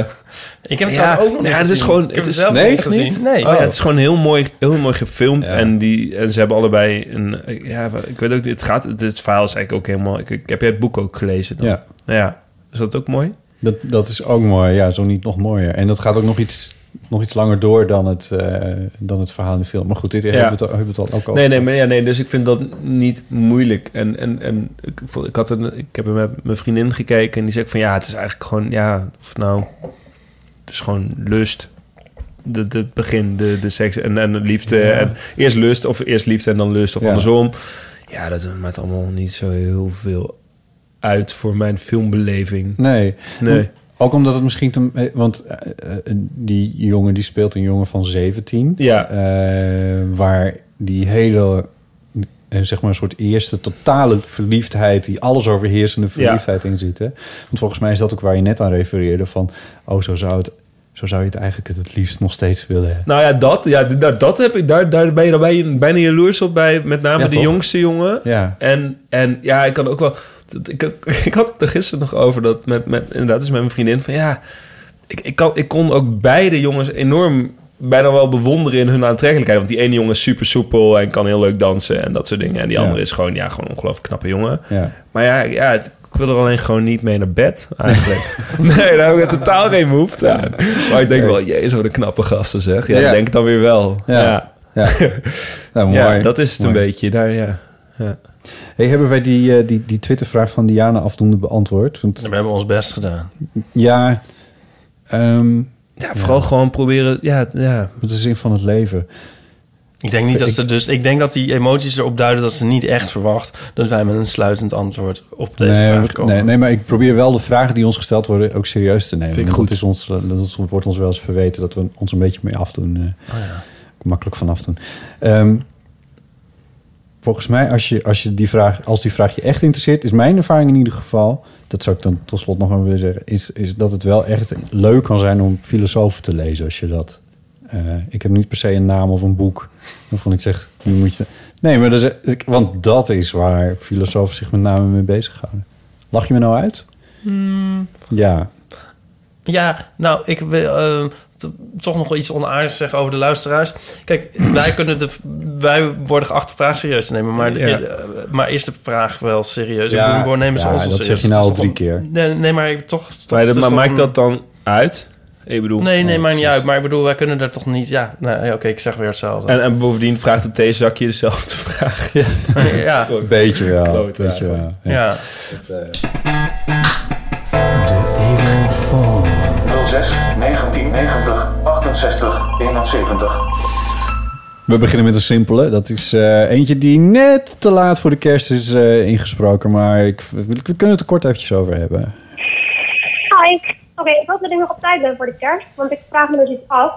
G: Ik heb het
E: Ja,
G: trouwens ook nog niet
E: ja, het is
G: gezien.
E: gewoon-
G: Ik heb
E: het
G: het
E: is-
G: zelf
F: nee,
G: niet
F: echt niet?
G: gezien. Oh. Nee.
E: Oh ja, het is gewoon heel mooi, heel mooi gefilmd.
F: Ja.
E: En, die, en ze hebben allebei een... Ja, ik weet ook... niet, Het, gaat, dit verhaal is eigenlijk ook helemaal... Ik, ik- heb jij het boek ook gelezen dan?
F: Ja,
E: Nou ja, is dat ook mooi?
F: dat, dat is ook mooi. Ja, zo niet nog mooier. En dat gaat ook nog iets, nog iets langer door dan het, eh, dan het verhaal in de film. Maar goed, dit hebben we het, al- hebben we het al ook al
E: Nee, nee, maar ja, nee, dus ik vind dat niet moeilijk. En, en, en ik, vond- ik, had een, ik heb er met mijn vriendin gekeken en die zei ook van ja, het is eigenlijk gewoon, ja, of nou, het is gewoon lust. De, de begin, de, de seks en, en de liefde. En eerst lust of eerst liefde en dan lust of
F: Ja.
E: andersom. Ja, dat maakt allemaal niet zo heel veel uit voor mijn filmbeleving.
F: Nee.
E: Nee.
F: Ook omdat het misschien te... eh, Want eh, eh, die jongen die speelt een jongen van 17.
E: Ja.
F: eh, waar die hele... eh, Zeg maar een soort eerste totale verliefdheid... die alles overheersende verliefdheid in zit. Hè? Want volgens mij is dat ook waar je net aan refereerde... van, oh, zo zou het Zo zou je het eigenlijk het, het liefst nog steeds willen.
E: Nou ja, dat, ja, nou, dat heb ik, daar, daar ben je dan bij- bijna jaloers op bij met name
F: Ja,
E: de
F: toch?
E: jongste jongen.
F: Ja.
E: En, en ja, ik kan ook wel. dat- Ik, ik had het er gisteren nog over dat met, met inderdaad, dus met mijn vriendin van ja, ik, ik, kan, ik kon ook beide jongens enorm bijna wel bewonderen in hun aantrekkelijkheid. Want die ene jongen is super soepel en kan heel leuk dansen en dat soort dingen. En die
F: Ja.
E: andere is gewoon, ja, gewoon een ongelooflijk knappe jongen.
F: ja.
E: Maar ja, ja het- ik wil er alleen gewoon niet mee naar bed, eigenlijk. nee, daar heb ik totaal geen behoefte aan. Maar ik denk wel, jezus, wat een knappe gasten zeg. Ja,
F: Ja.
E: dat denk ik dan weer wel. Ja,
F: Ja.
E: ja.
F: Ja, nou, mooi.
E: dat is het
F: Mooi.
E: een beetje. Daar, ja.
F: Hey, hebben wij die, eh, die, die Twitter-vraag van Diana afdoende beantwoord?
E: Oh.
F: Want,
G: We hebben ons best gedaan.
F: ja, ehm,
E: ja, vooral gewoon proberen... Ja, ja.
F: wat is de zin van het leven?
G: Ik denk niet dat ze dus. Ik denk dat die emoties erop duiden dat ze niet echt verwacht dat wij met een sluitend antwoord op deze
F: nee,
G: vraag
F: we-
G: komen.
F: nee, nee, maar ik probeer wel de vragen die ons gesteld worden ook serieus te nemen.
G: Vind ik
F: Want
G: goed.
F: Het is ons, eh, dat wordt ons wel eens verweten dat we ons een beetje mee afdoen.
G: Oh,
F: eh, Makkelijk van afdoen. Ehm, volgens mij, als, je, als, je die vraag, als die vraag je echt interesseert, is mijn ervaring in ieder geval, dat zou ik dan tot slot nog maar willen zeggen, is, is dat het wel echt leuk kan zijn om filosofen te lezen als je dat. eh, ik heb niet per se een naam of een boek waarvan ik zeg, die moet je. Nee, maar dat is, ik- want dat is waar filosofen zich met name mee bezighouden. Lach je me nou uit? Hmm. Ja.
G: Ja, nou, ik wil eh, t- toch nog wel iets onaardigs zeggen over de luisteraars. Kijk, wij, kunnen de, wij worden geacht de vraag serieus te nemen, maar, de-
E: Ja.
G: eh, maar is de vraag wel serieus?
E: Ja.
G: Ja, nemen ze
F: Ja,
G: ons
F: dat
G: wel serieus?
F: zeg je nou
G: Het
F: al
G: is toch
F: drie keer.
G: een- Nee, nee, maar ik- toch... toch-
E: Maar,
G: het
E: dat,
G: is
E: maar
G: toch
E: maakt
G: een-
E: dat dan uit? Ik bedoel...
G: Nee, nee,
F: Oh,
G: maakt niet
F: precies.
G: uit. Maar ik bedoel, wij kunnen daar toch niet... Ja, nee, oké, ik zeg weer hetzelfde.
E: En, en bovendien vraagt het theezakje dezelfde vraag. Ja.
G: ja,
F: Een beetje wel.
E: Kloot, ja,
F: beetje wel. Ja.
G: ja.
H: 06 1990 68 71.
F: We beginnen met een simpele. Dat is eh, eentje die net te laat voor de kerst is eh, ingesproken. Maar ik, we kunnen het er kort eventjes over hebben.
I: Hi. Oké, ik hoop dat ik nog op tijd ben voor de kerst, want ik vraag me dus iets af.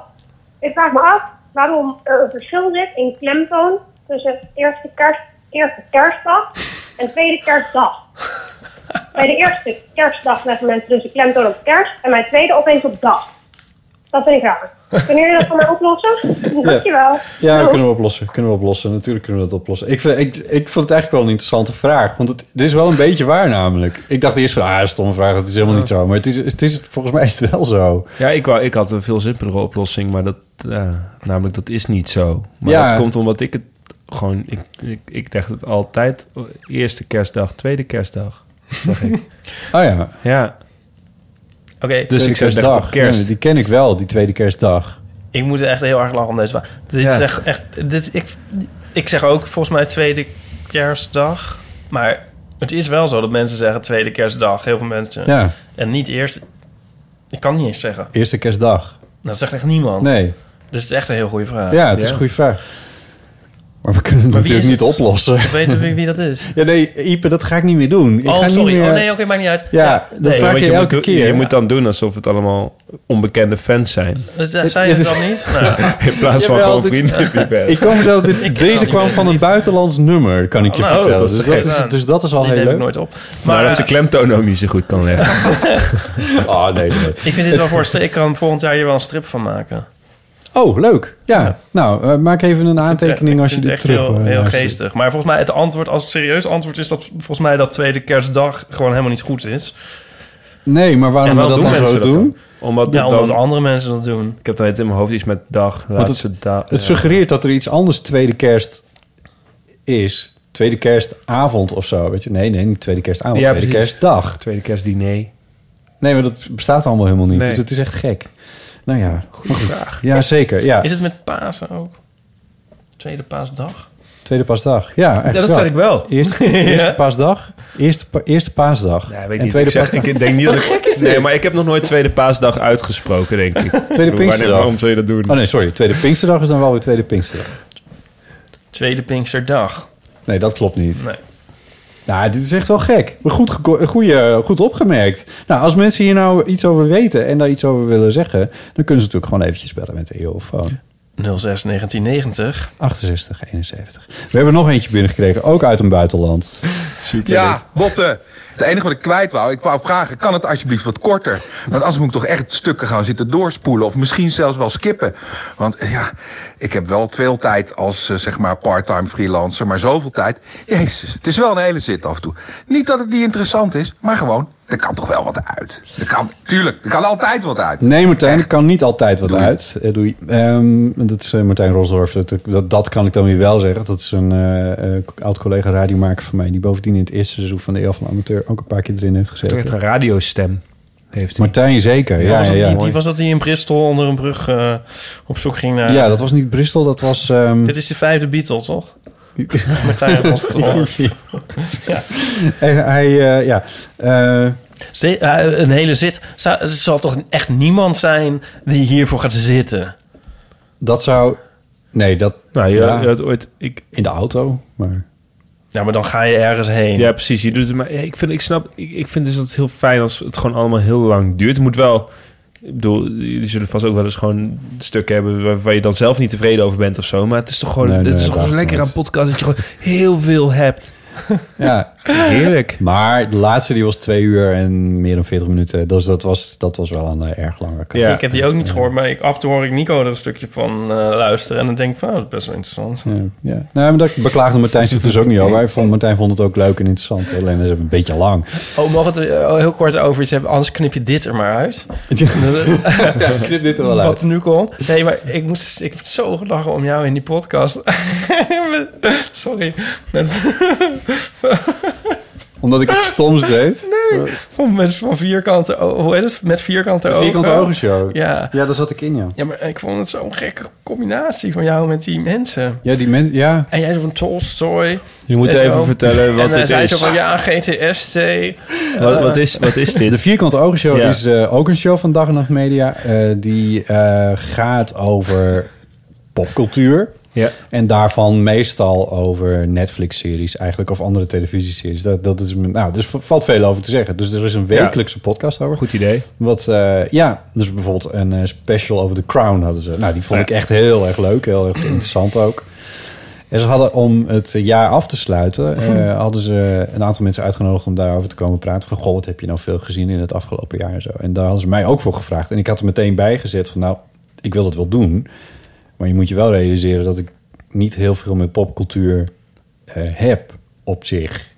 I: Ik vraag me af waarom er een verschil zit in klemtoon tussen eerste, kerst, eerste kerstdag en tweede kerstdag. Bij de eerste kerstdag leggen mensen dus de klemtoon op kerst en bij de tweede opeens op dag. Dat vind ik raar. Kunnen jullie dat voor mij oplossen? Dankjewel.
F: Ja, we
I: Doei.
F: kunnen we oplossen. Kunnen we oplossen. Natuurlijk kunnen we dat oplossen. Ik, vind- ik, ik vond het eigenlijk wel een interessante vraag. Want het, dit is wel een beetje waar namelijk. Ik dacht eerst van, ah, stomme vraag. Dat is helemaal niet zo. Maar het is, het is, volgens mij is het wel zo.
E: Ja, ik, wou, ik had een veel simpelere oplossing, maar dat, ja, namelijk dat is niet zo. Maar
F: Ja.
E: dat komt omdat ik het gewoon, ik, ik, ik dacht het altijd, eerste kerstdag, tweede kerstdag, dacht ik.
F: Oh ja.
E: Ja,
G: Oké,
E: dus
F: tweede
E: ik zei echt op kerst.
F: Ja, die ken ik wel, die tweede kerstdag.
G: ik moet echt heel erg lachen om deze vraag. Dit
E: Ja.
G: is echt... echt dit, ik, ik zeg ook volgens mij tweede kerstdag. Maar het is wel zo dat mensen zeggen tweede kerstdag. Heel veel mensen.
F: Ja,
G: En niet eerst... Ik kan het niet eens zeggen.
F: eerste kerstdag.
G: Dat zegt echt niemand.
F: Nee.
G: Dus het is echt een heel goede vraag.
F: Ja, het is een goede vraag. Maar we kunnen het
G: Maar wie
F: natuurlijk niet
G: is het?
F: oplossen.
G: Weet je wie dat is?
F: Ja, nee, Ipe, dat ga ik niet meer doen. Ik ga
G: oh, sorry.
F: Niet meer...
G: Oh, nee, oké, maakt niet uit.
F: Ja, dat
G: nee,
F: vraag
E: want
F: je,
E: je, moet,
F: elke
E: doen-
F: keer.
E: je moet dan doen alsof het allemaal onbekende fans zijn.
G: Dat zei zei je
F: dit
G: het
F: is-
G: dan niet? Nou,
E: In plaats van
F: Jawel,
E: gewoon
F: dit-
E: vrienden die je bent.
F: Ik kan vertellen, dit,
G: Ik kan
F: deze
G: niet,
F: kwam
G: ik
F: van
G: weet
F: een
G: niet.
F: buitenlands nummer, kan ik je
G: Oh,
F: vertellen.
E: dat is
F: dus, dat
E: gek.
F: is, dus dat is al
G: die
F: heel
G: neem ik
F: leuk.
G: nooit op.
E: Maar
G: Maar
E: Nou, dat ze
G: eh,
E: klemtoon ook niet zo goed kan leggen.
F: Oh, nee, nee.
G: ik vind dit wel voor... een st- Ik kan volgend jaar hier wel een strip van maken.
F: Oh, leuk. Ja, nou, eh, maak even een aantekening
G: Ja,
F: als
G: ik
F: je
G: vind
F: dit
G: het
F: terug...
G: echt heel,
F: eh,
G: heel
F: luistert.
G: geestig. Maar volgens mij het antwoord, als het serieus antwoord is... dat volgens mij dat tweede kerstdag gewoon helemaal niet goed is.
F: Nee, maar waarom
G: En
F: we
G: waarom
F: dat dan
G: doen
F: zo
G: mensen
F: doen?
G: dat
E: Omdat
G: Ja,
E: het
G: Nou, omdat
E: dan,
G: andere mensen dat doen.
E: ik heb dan net in mijn hoofd iets met dag, laatste dag. eh,
F: Het suggereert dat er iets anders tweede kerst is. Tweede kerstavond of zo. Weet je? Nee, nee, niet tweede kerstavond.
E: Ja,
F: tweede
E: precies.
F: kerstdag.
E: Tweede kerstdiner.
F: Nee, maar dat bestaat allemaal helemaal niet.
E: Nee.
F: Dus het is echt gek. Nou ja, goed. vraag. Ja, zeker. Ja,
G: Is het met Pasen ook? Tweede paasdag?
F: tweede paasdag. Ja, eigenlijk
E: Ja, dat
F: wel.
E: zei ik wel.
F: Eerste, eerste paasdag. Eerste, pa- eerste paasdag.
E: Ja, weet
F: en
E: niet.
F: tweede
E: ik, zeg,
F: paasdag.
E: ik denk niet dat ik, Nee, maar ik heb nog nooit tweede paasdag uitgesproken, denk ik.
F: Tweede
E: Wanneer,
F: Pinksterdag.
E: waarom zou je dat doen?
F: Oh nee, sorry. Tweede Pinksterdag is dan wel weer tweede Pinksterdag.
G: Tweede Pinksterdag.
F: Nee, dat klopt niet.
G: Nee.
F: Nou, dit is echt wel gek. Maar Goed, geko- eh, goeie, goed opgemerkt. Nou, als mensen hier nou iets over weten en daar iets over willen zeggen... dan kunnen ze natuurlijk gewoon eventjes bellen met de E eeuwfoon.
G: 06 1990.
F: 68 71. We hebben nog eentje binnengekregen, ook uit een buitenland.
E: Super.
J: Ja, Botte. Het enige wat ik kwijt wou, ik wou vragen, kan het alsjeblieft wat korter? Want anders moet ik toch echt stukken gaan zitten doorspoelen of misschien zelfs wel skippen. Want eh, ja, ik heb wel veel tijd als eh, zeg maar part-time freelancer, maar zoveel tijd. Jezus, het is wel een hele zit af en toe. Niet dat het niet interessant is, maar gewoon, er kan toch wel wat uit. Er kan, tuurlijk, er kan altijd wat uit.
F: Nee, Martijn, ik kan niet altijd wat uit. Eh, doei. Ehm, dat is eh, Martijn Rosdorf. Dat, dat, dat kan ik dan weer wel zeggen. Dat is een eh, eh, oud-collega radiomaker van mij... die bovendien in het eerste seizoen van de Eeuw van de Amateur... ook een paar keer erin heeft gezeten.
E: Echt een radiostem heeft hij.
F: Martijn zeker, ja.
G: was,
F: ja,
G: dat
F: ja.
G: die, die, was dat die in Bristol onder een brug eh, op zoek ging naar...
F: Ja, dat was niet Bristol, dat was... ehm,
G: eh, Dit is de vijfde Beatle, toch? Martijn Rosdorff.
F: eh, hij, eh, ja. Eh,
G: Ze- eh, Een hele zit. Zou- Er zal toch echt niemand zijn die hiervoor gaat zitten?
F: dat zou... Nee, dat
E: Nou, je,
F: Ja.
E: je had ooit... Ik,
F: in de auto, maar...
G: Ja, maar dan ga je ergens heen.
E: ja, precies. Je doet het, maar ik, vind, ik snap... Ik, ik vind dus dat het heel fijn als het gewoon allemaal heel lang duurt. Het moet wel... Ik bedoel, jullie zullen vast ook wel eens gewoon stukken hebben... waar, waar je dan zelf niet tevreden over bent of zo. Maar het is toch gewoon...
F: Nee,
E: het
F: nee,
E: is toch gewoon
F: dat
E: lekker
F: niet.
E: aan podcast dat je gewoon heel veel hebt.
F: Ja,
E: Heerlijk.
F: maar de laatste die was twee uur en meer dan 40 minuten. Dus dat was, dat was wel een eh, erg lange kant.
E: Ja.
G: Ik heb die ook niet gehoord, maar ik, af en toe hoor ik Nico er een stukje van eh, luisteren. En dan denk ik van, oh, dat is best wel interessant.
F: Ja, ja. Nou, maar dat beklaagde Martijn zich dus ook niet over. Hij vond, Martijn vond het ook leuk en interessant. Alleen dat is een beetje lang.
G: Oh, mogen we het eh, heel kort over iets hebben? Anders knip je dit er maar uit.
F: knip dit er wel
G: Wat
F: uit.
G: nu komt. Nee, maar ik, moest, dus- ik heb zo gelachen om jou in die podcast. Sorry. Met-
F: Omdat ik het stoms deed.
G: Van, met, van vierkante o- Hoe heet het? Met vierkante ogen.
F: Vierkante ogen show.
G: Ja.
F: Ja, daar zat ik in, ja.
G: Ja, maar ik vond het zo'n gekke combinatie van jou met die mensen.
F: Ja, die mensen... Ja.
G: En jij zo van Tolstoy.
E: Je moet
G: en
E: even
G: zo.
E: vertellen wat
G: en hij
E: dit
G: zei
E: is.
G: zo van, ja, GTST.
E: Wat, wat is. Wat is
F: De
E: dit?
F: Vierkante Ogen Show
E: Ja.
F: is eh, ook een show van Dag en Nacht Media. eh, die eh, gaat over popcultuur.
E: Ja.
F: En daarvan meestal over Netflix-series eigenlijk. Of andere televisieseries. Dat, dat is, mijn- nou, dus v- valt veel over te zeggen. Dus er is een
E: Ja.
F: wekelijkse podcast over.
E: Goed idee.
F: Wat, eh, ja, dus bijvoorbeeld een eh, special over The Crown hadden ze. Nou, die vond ik echt heel erg leuk, heel erg interessant ook. En ze hadden om het jaar af te sluiten, eh, hadden ze een aantal mensen uitgenodigd om daarover te komen praten. Van, goh, wat heb je nou veel gezien in het afgelopen jaar en zo. En daar hadden ze mij ook voor gevraagd. En ik had er meteen bij gezet van, nou, ik wil dat wel doen. Maar je moet je wel realiseren dat ik niet heel veel met popcultuur eh, heb op zich.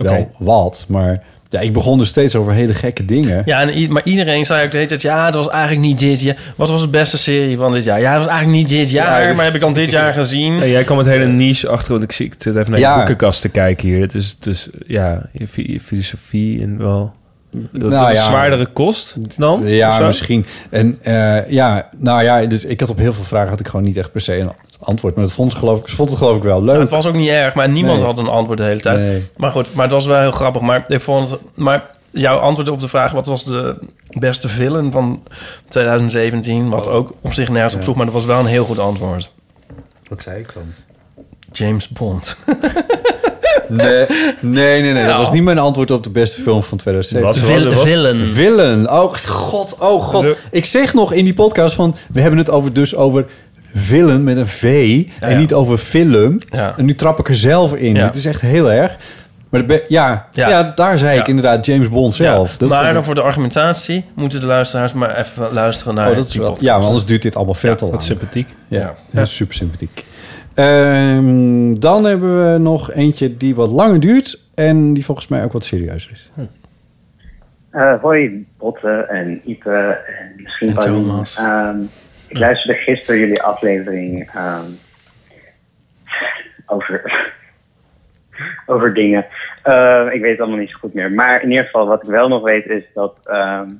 E: Oké.
F: Wel wat, maar ja, ik begon dus steeds over hele gekke dingen.
G: Ja, en, i- maar iedereen zei ook de hele tijd, ja, het was eigenlijk niet dit jaar. Wat was de beste serie van dit jaar? Ja, het was eigenlijk niet dit jaar, maar heb ik dan dit jaar gezien.
E: En jij kwam het hele niche achter, want ik zie ik zit even naar
F: Ja.
E: je boekenkast te kijken hier. Het is, het is ja, je fi- je filosofie en wel. Dat
F: Nou
E: een
F: ja.
E: zwaardere kost dan? of
F: Ja,
E: zo?
F: misschien. En eh, ja, nou ja, dus ik had op heel veel vragen had ik gewoon niet echt per se een antwoord. Maar dat vond ze geloof ik, ze vond het geloof ik wel
G: Het
F: leuk.
G: was ook niet erg, maar niemand
F: Nee.
G: had een antwoord de hele tijd.
F: Nee.
G: Maar goed, maar het was wel heel grappig. Maar ik vond het- maar jouw antwoord op de vraag wat was de beste villain van 2017, wat ook op zich nergens op zoek, maar dat was wel een heel goed antwoord.
F: Wat zei ik dan?
G: James Bond.
F: Nee, nee, nee. nee.
G: Nou.
F: Dat was niet mijn antwoord op de beste film van 2017.
E: Wat- wat-
G: villain.
F: Villain. Oh god, oh god.
E: De-
F: Ik zeg nog in die podcast van... We hebben het over, dus over villain met een V. En
G: ja.
F: niet over film.
G: Ja.
F: En nu trap ik er zelf in.
G: Ja.
F: Het is echt heel erg. Maar de be- ja, ja.
G: Ja.
F: daar zei ik
G: Ja.
F: inderdaad James Bond zelf. Dat vond
G: maar
F: ik-
G: dan voor de argumentatie moeten de luisteraars maar even luisteren naar
F: Oh, dat is
G: die
F: wel,
G: podcast.
F: ja, maar anders duurt dit allemaal veel te lang.
E: Wat sympathiek.
F: Ja, ja, super sympathiek. Ehm, dan hebben we nog eentje die wat langer duurt en die volgens mij ook wat serieuzer is.
K: Eh, hoi, Botte en Ipe en misschien
G: En
K: Paulien.
G: Thomas.
K: Ehm, ik luisterde gisteren jullie aflevering ehm, over, over dingen. Eh, ik weet het allemaal niet zo goed meer. Maar in ieder geval, wat ik wel nog weet is dat ehm,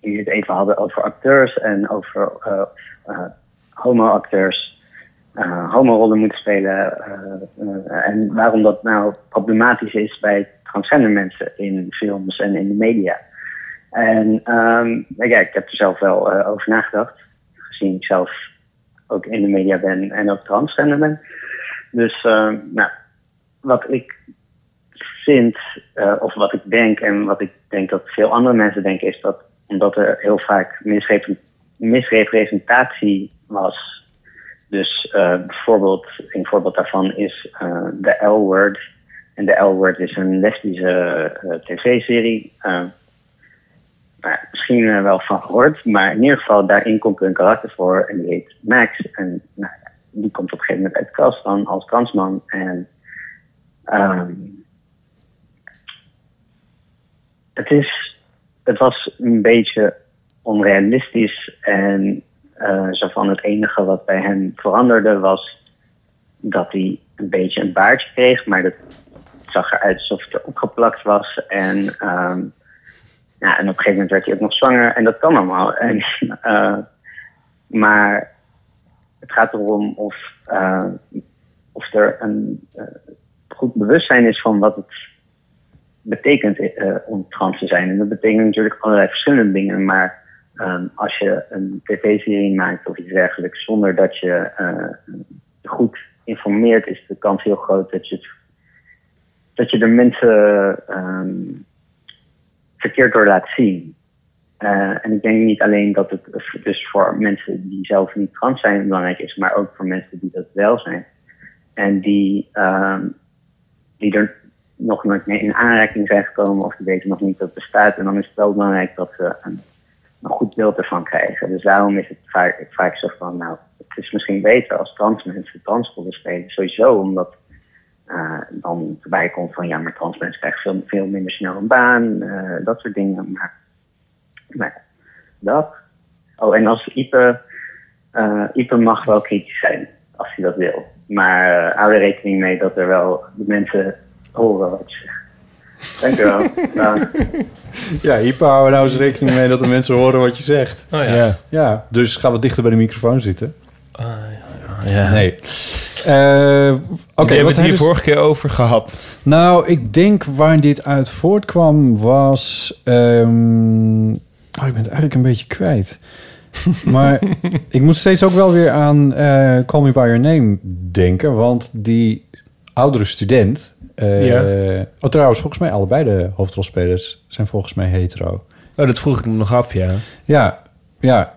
K: jullie het even hadden over acteurs en over eh, eh, homo-acteurs. eh, homo-rollen moeten spelen eh, eh, en waarom dat nou problematisch is bij transgender mensen in films en in de media. En ehm, nou ja, ik heb er zelf wel eh, over nagedacht, gezien ik zelf ook in de media ben en ook transgender ben. Dus ehm, nou, wat ik vind, eh, of wat ik denk en wat ik denk dat veel andere mensen denken, is dat omdat er heel vaak misrep- misrepresentatie was. Dus eh, bijvoorbeeld, een voorbeeld daarvan is eh, de L-word En de L-word is een lesbische eh, tv-serie. eh, maar misschien eh, wel van gehoord. Maar in ieder geval, daarin komt er een karakter voor. En die heet Max. En nou, ja, die komt op een gegeven moment uit de kast dan als transman. En ehm, het, is, het was een beetje onrealistisch. En eh, zo van het enige wat bij hem veranderde was dat hij een beetje een baardje kreeg. Maar dat zag eruit alsof het er opgeplakt was. En, ehm, ja, en op een gegeven moment werd hij ook nog zwanger. En dat kan allemaal. En, eh, maar het gaat erom of, eh, of er een eh, goed bewustzijn is van wat het betekent eh, om trans te zijn. En dat betekent natuurlijk allerlei verschillende dingen. Maar ehm, als je een tv-serie maakt of iets dergelijks zonder dat je eh, goed informeert, is de kans heel groot dat je, het- dat je er mensen ehm, verkeerd door laat zien. Eh, en ik denk niet alleen dat het dus voor mensen die zelf niet trans zijn belangrijk is, maar ook voor mensen die dat wel zijn. En die, ehm, die er nog nooit mee in aanraking zijn gekomen of die weten nog niet dat het bestaat. En dan is het wel belangrijk dat ze een, een goed beeld ervan krijgen. Dus daarom is het vaak, vaak zo van, nou, het is misschien beter als trans mensen transrollen spelen. Sowieso omdat eh, dan erbij komt van, ja, maar trans mensen krijgen veel, veel minder snel een baan, eh, dat soort dingen. Maar, maar dat. Oh, en als Ipe, eh, Ipe mag wel kritisch zijn, als hij dat wil. Maar eh, hou er rekening mee dat er wel de mensen horen wat je zegt. Dankjewel. Dag.
F: Ja, hier houden we nou eens rekening mee dat de mensen horen wat je zegt.
G: Oh ja. Ah,
F: Ja, ja. dus ga wat dichter bij de microfoon zitten.
L: ja.
F: Nee. Eh
L: We hebben
F: Oké, wat
L: het hier
F: hebben
L: vorige keer over gehad.
F: Nou, ik denk waar dit uit voortkwam was... ehm, Oh, ik ben het eigenlijk een beetje kwijt. Maar ik moet steeds ook wel weer aan eh Call Me By Your Name denken. Want die oudere student... eh,
L: Ja.
F: Oh, trouwens, volgens mij allebei de hoofdrolspelers zijn volgens mij hetero.
L: Oh, dat vroeg ik me nog af, ja.
F: Ja, ja.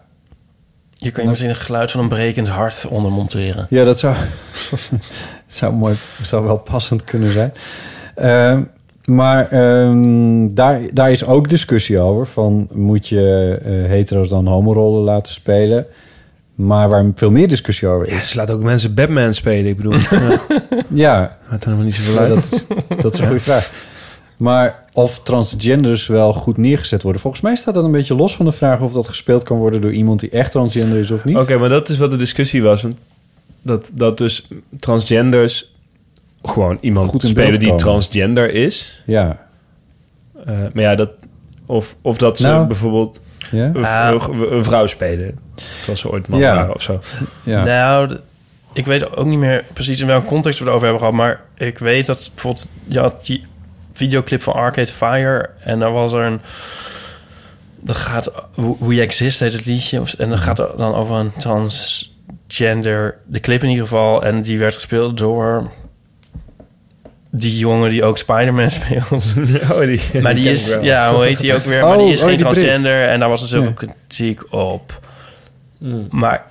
G: Hier kun je misschien het geluid van een brekend hart onder monteren.
F: Ja, dat zou, zou, mooi, zou wel passend kunnen zijn. Ehm, maar ehm, daar, daar is ook discussie over. Van moet je eh, hetero's dan homorollen laten spelen? Maar waar veel meer discussie over is.
L: Ze laten ook mensen Batman spelen, ik bedoel. ja.
F: Ja.
L: Maakt er helemaal niet zoveel
F: Ja,
L: uit.
F: dat, is, dat is een goede vraag. Maar of transgenders wel goed neergezet worden. Volgens mij staat dat een beetje los van de vraag of dat gespeeld kan worden door iemand die echt transgender is of niet.
L: Oké, maar dat is wat de discussie was. want Dat, dat dus transgenders gewoon iemand
F: Goed in
L: spelen
F: beeld
L: die
F: komen.
L: transgender is.
F: Ja.
L: Eh, maar ja, dat, of, of dat ze
F: Nou.
L: bijvoorbeeld
F: Ja.
L: een, v- een vrouw spelen. Terwijl ze ooit man
F: Ja.
L: waren of zo. Oh,
G: Nou, d- ik weet ook niet meer precies in welk context we het over hebben gehad. Maar ik weet dat bijvoorbeeld... Je had die videoclip van Arcade Fire. En daar was er een... Dan gaat... Who Who You Exist heet het liedje. of- En dan gaat het dan over een transgender... De clip in ieder geval. En die werd gespeeld door... Die jongen die ook Spider-Man speelt. maar die
L: ken ik
G: is...
L: wel.
G: Ja, hoe heet die ook weer? maar
L: Oh,
G: die is
L: oh,
G: geen
L: die Brit.
G: transgender. En daar was er zoveel
L: Ja.
G: kritiek op. Maar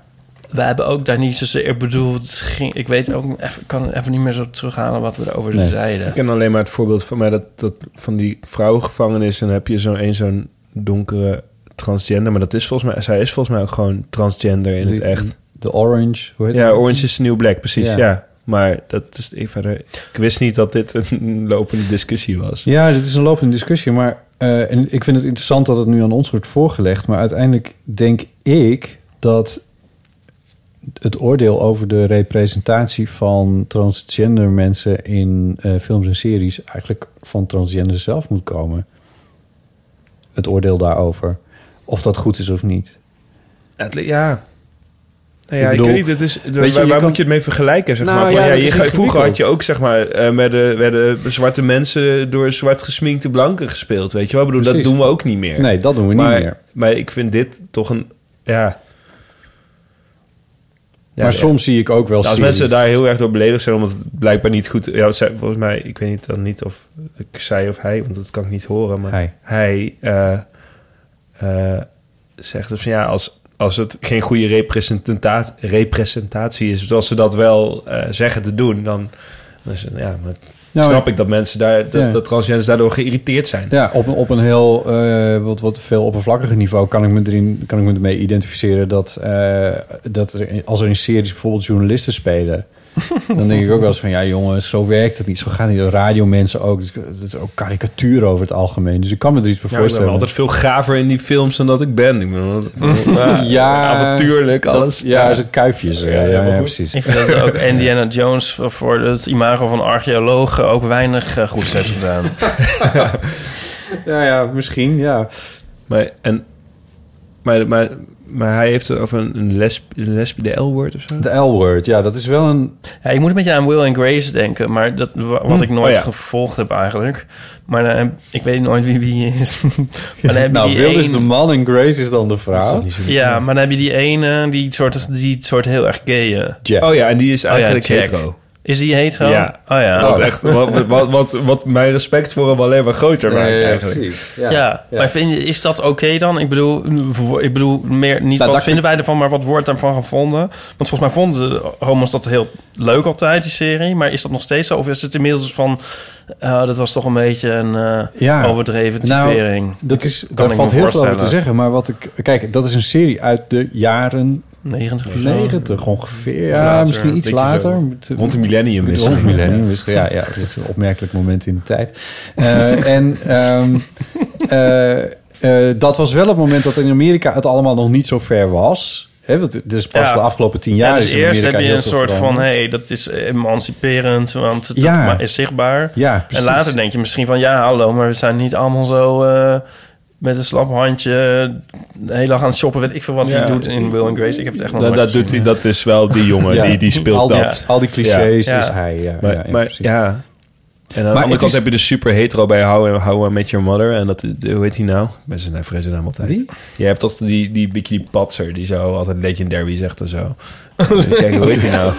G: we hebben ook daar niet zozeer... Ik bedoel, het ging, ik weet ook, even, kan even niet meer zo terughalen wat we daarover zeiden.
E: Ik ken alleen maar het voorbeeld van mij dat, dat van die vrouwengevangenis. En dan heb je zo'n een zo'n donkere transgender. Maar dat is volgens mij, zij is volgens mij ook gewoon transgender in
F: De-
E: het echt.
F: De Orange, hoe heet
E: Ja,
F: het?
E: Orange is the New Black, precies.
F: Ja.
E: Ja. Maar dat is ik verder. Ik wist niet dat dit een lopende discussie was.
F: Ja, dit is een lopende discussie. Maar eh, en ik vind het interessant dat het nu aan ons wordt voorgelegd. Maar uiteindelijk denk ik dat het oordeel over de representatie van transgender mensen in eh, films en series eigenlijk van transgender zelf moet komen. Het oordeel daarover. Of dat goed is of niet.
E: Het li- ja. Nou ja,
F: Ik
E: ik,
F: bedoel,
E: weet niet, dit is,
F: weet
E: waar
F: je, je
E: waar
F: kan-
E: moet je het mee vergelijken? Zeg
F: Nou
E: maar? Van,
F: ja,
E: ja,
F: dat
E: je
F: is
E: ga- vroeger
F: ingewikkeld.
E: had je ook, zeg maar, eh, werden, werden zwarte mensen door zwart gesminkte blanken gespeeld. Weet je wel? Ik bedoel,
F: Precies.
E: dat doen we ook niet meer.
F: Nee, dat doen we niet
E: Maar-
F: meer.
E: Maar ik vind dit toch een. Ja. Ja,
F: maar
E: ja. Nou,
F: soms zie ik ook wel
E: Als
F: series.
E: mensen daar heel erg door beledigd zijn, omdat het blijkbaar niet goed... Ja, zij- volgens mij, ik weet niet, dan niet of ik zij of hij, want dat kan ik niet horen. Maar
F: Hij.
E: hij, eh, eh, zegt dus van ja, als, als het geen goede representata- representatie is... zoals ze dat wel eh, zeggen te doen, dan Dus eh, ja, maar
F: Nou,
E: snap ik dat mensen daar, dat,
F: Ja.
E: dat transgenders daardoor geïrriteerd zijn.
F: Ja, op, een- op een heel eh, wat, wat veel oppervlakkiger niveau kan ik me, erin, kan ik me ermee identificeren dat, eh, dat er, in- als er in series bijvoorbeeld journalisten spelen. Dan denk ik ook wel eens van, ja jongens, zo werkt het niet. Zo gaan die radiomensen ook. Dus Het is ook karikatuur over het algemeen. Dus ik kan me er iets bij
E: Ja, ik ben
F: voorstellen.
E: me altijd veel gaver in die films dan dat ik ben. Ik ben altijd- avontuurlijk,
F: dat-
E: alles.
F: ja, is het kuifjes. eh, Ja, ja,
G: maar goed.
F: precies.
G: Ik vind dat ook Indiana Jones voor- voor het imago van archeoloog ook weinig eh, goeds heeft gedaan.
F: ja, ja, misschien, ja.
E: Maar, en, maar, maar, maar hij heeft het over een, een lesb, een lesb- de L-word of zo?
F: De L-word, ja, dat is wel een...
G: Ja, ik moet een beetje aan Will and Grace denken, maar dat, wa- wat
F: Hm.
G: ik nooit
F: Oh, ja.
G: gevolgd heb eigenlijk. Maar dan heb- ik weet nooit wie wie is. Maar dan heb je
F: nou,
G: die
F: Will is
G: één-
F: de man en Grace is dan de vrouw.
G: Ja, maar dan heb je die ene die het soort, die het soort heel erg gay. eh,
F: Jack.
E: Oh ja, en die is eigenlijk
G: Jack.
E: hetero.
G: Is die hetero?
E: Ja.
G: Oh ja.
E: Wat, echt, wat, wat, wat, wat mijn respect voor hem alleen maar groter maakt
F: Ja, ja,
E: eigenlijk.
F: precies.
G: Ja, maar vind je, is dat oké dan? Ik bedoel, ik bedoel meer niet wat
E: dat-
G: vinden wij ervan, maar wat wordt daarvan gevonden? Want volgens mij vonden de homo's dat heel leuk altijd, die serie. Maar is dat nog steeds zo? Of is het inmiddels van, eh, dat was toch een beetje een eh, overdreven typering?
F: Nou, dat is,
G: Kan ik
F: daar
G: me
F: valt heel veel over
G: voorstellen.
F: te zeggen. Maar wat ik. Kijk, dat is een serie uit de jaren.
G: 90 of zo.
F: 90 ongeveer.
G: Of
F: Ja,
G: later,
F: misschien iets
G: een beetje
F: later.
G: zo.
F: Moet-
E: Rond de millennium
F: Rond
E: misschien.
F: de millennium misschien, Ja, ja, dat is een opmerkelijk moment in de tijd. Eh, en ehm, eh, eh, dat was wel het moment dat in Amerika het allemaal nog niet zo ver was. Hè, want het is pas
G: Ja.
F: de afgelopen tien
G: Ja,
F: jaar.
G: dus
F: is in
G: eerst
F: Amerika
G: heb je
F: heel
G: een
F: veel
G: soort van,
F: veranderd.
G: hé, hey, dat is emanciperend, want het
F: Ja.
G: maar is zichtbaar.
F: Ja,
G: en
F: precies.
G: later denk je misschien van, ja, hallo, maar we zijn niet allemaal zo eh, met een slap handje de hele dag aan het shoppen. Weet ik veel wat
E: Ja.
G: hij doet in Will and Grace. Ik heb het echt nog
E: Dat,
G: nooit
E: dat, doet
G: gezien.
E: hij, dat is wel die jongen,
G: Ja.
E: die, die speelt
G: Al die-
E: dat.
G: al die clichés is
F: hij, ja,
E: maar,
F: ja, ja,
E: maar-
F: precies.
E: ja. En aan
F: Maar
E: de andere
F: het
E: kant
F: is-
E: heb je de super hetero bij How, How I Met Your Mother. En dat, hoe heet hij nou? Met zijn vrezen naam altijd.
F: Wie?
E: Je hebt toch die, die beetje die patser die zo altijd legendary zegt en zo. Kijk, hoe heet hij nou?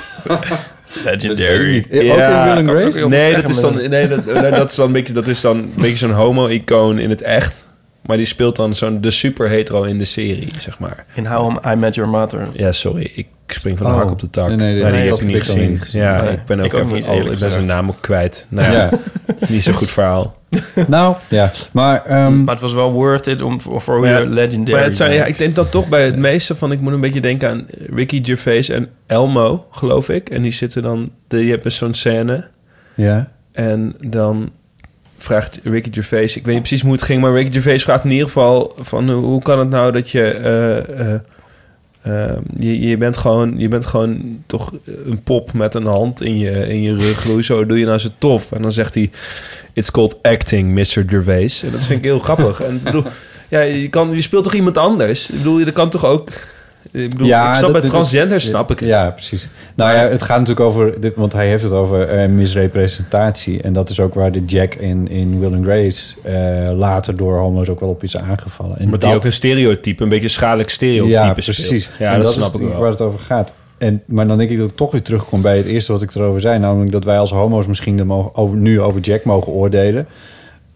G: Legendary.
E: kan ik Eh, ook heel Nee, dat is dan, nee, dat, nee, dat is dan een beetje, dat is dan een beetje zo'n homo-icoon in het echt. Maar die speelt dan zo'n de super hetero in de serie, zeg maar.
G: In How I Met Your Mother.
F: Um,
E: Ja, sorry, ik spring van de
G: Oh.
E: hak op de tak.
G: Nee, nee, nee,
E: Maar die
G: nee,
E: heb
G: dat
E: je
G: heb
E: niet
G: ik dan
E: gezien.
G: niet gezien.
E: Ja,
G: Nee.
E: ik ben ook,
G: Ik ook
E: even,
G: niet,
E: al-
G: eerlijk
E: ik ben zijn
G: gezegd.
E: naam ook kwijt. Nou ja,
F: Ja.
E: niet zo'n goed verhaal.
F: Nou, ja. Maar, ehm,
G: maar het was wel worth it om voor voor hoe
E: Ja,
G: je Oh, legendary
E: Maar het zijn,
G: bent.
E: ja, ik denk dat toch bij het meeste van... Ik moet een beetje denken aan Ricky Gervais en Elmo, geloof ik. En die zitten dan... Die hebben dus zo'n scène.
F: Ja.
E: En dan vraagt Ricky Gervais... Ik weet niet precies hoe het ging, maar Ricky Gervais vraagt in ieder geval... van hoe- hoe kan het nou dat je... eh, eh, eh, je, je, bent gewoon, je bent gewoon toch een pop met een hand in je, in je rug. Hoezo doe je nou zo tof? En dan zegt hij... It's called acting, Mr. Gervais. En dat vind ik heel grappig. En ik bedoel, ja, je, kan, je speelt toch iemand anders? Ik bedoel, je kan toch ook... Ik bedoel, ik snap bij transgender, snap ik.
F: Ja, precies. Nou ja, het gaat natuurlijk over... Dit, want hij heeft het over eh, misrepresentatie. En dat is ook waar de Jack in, in Will and Grace... eh, later door homo's ook wel op is aangevallen. En
E: Maar die ook een stereotype, een beetje schadelijk stereotype
F: Ja,
E: speelt.
F: precies.
E: Ja,
F: En
E: dat,
F: is
E: snap ik
F: waar
E: wel.
F: het over gaat. En, maar dan denk ik dat ik toch weer terugkom bij het eerste wat ik erover zei. Namelijk dat wij als homo's misschien er mogen, over, nu over Jack mogen oordelen.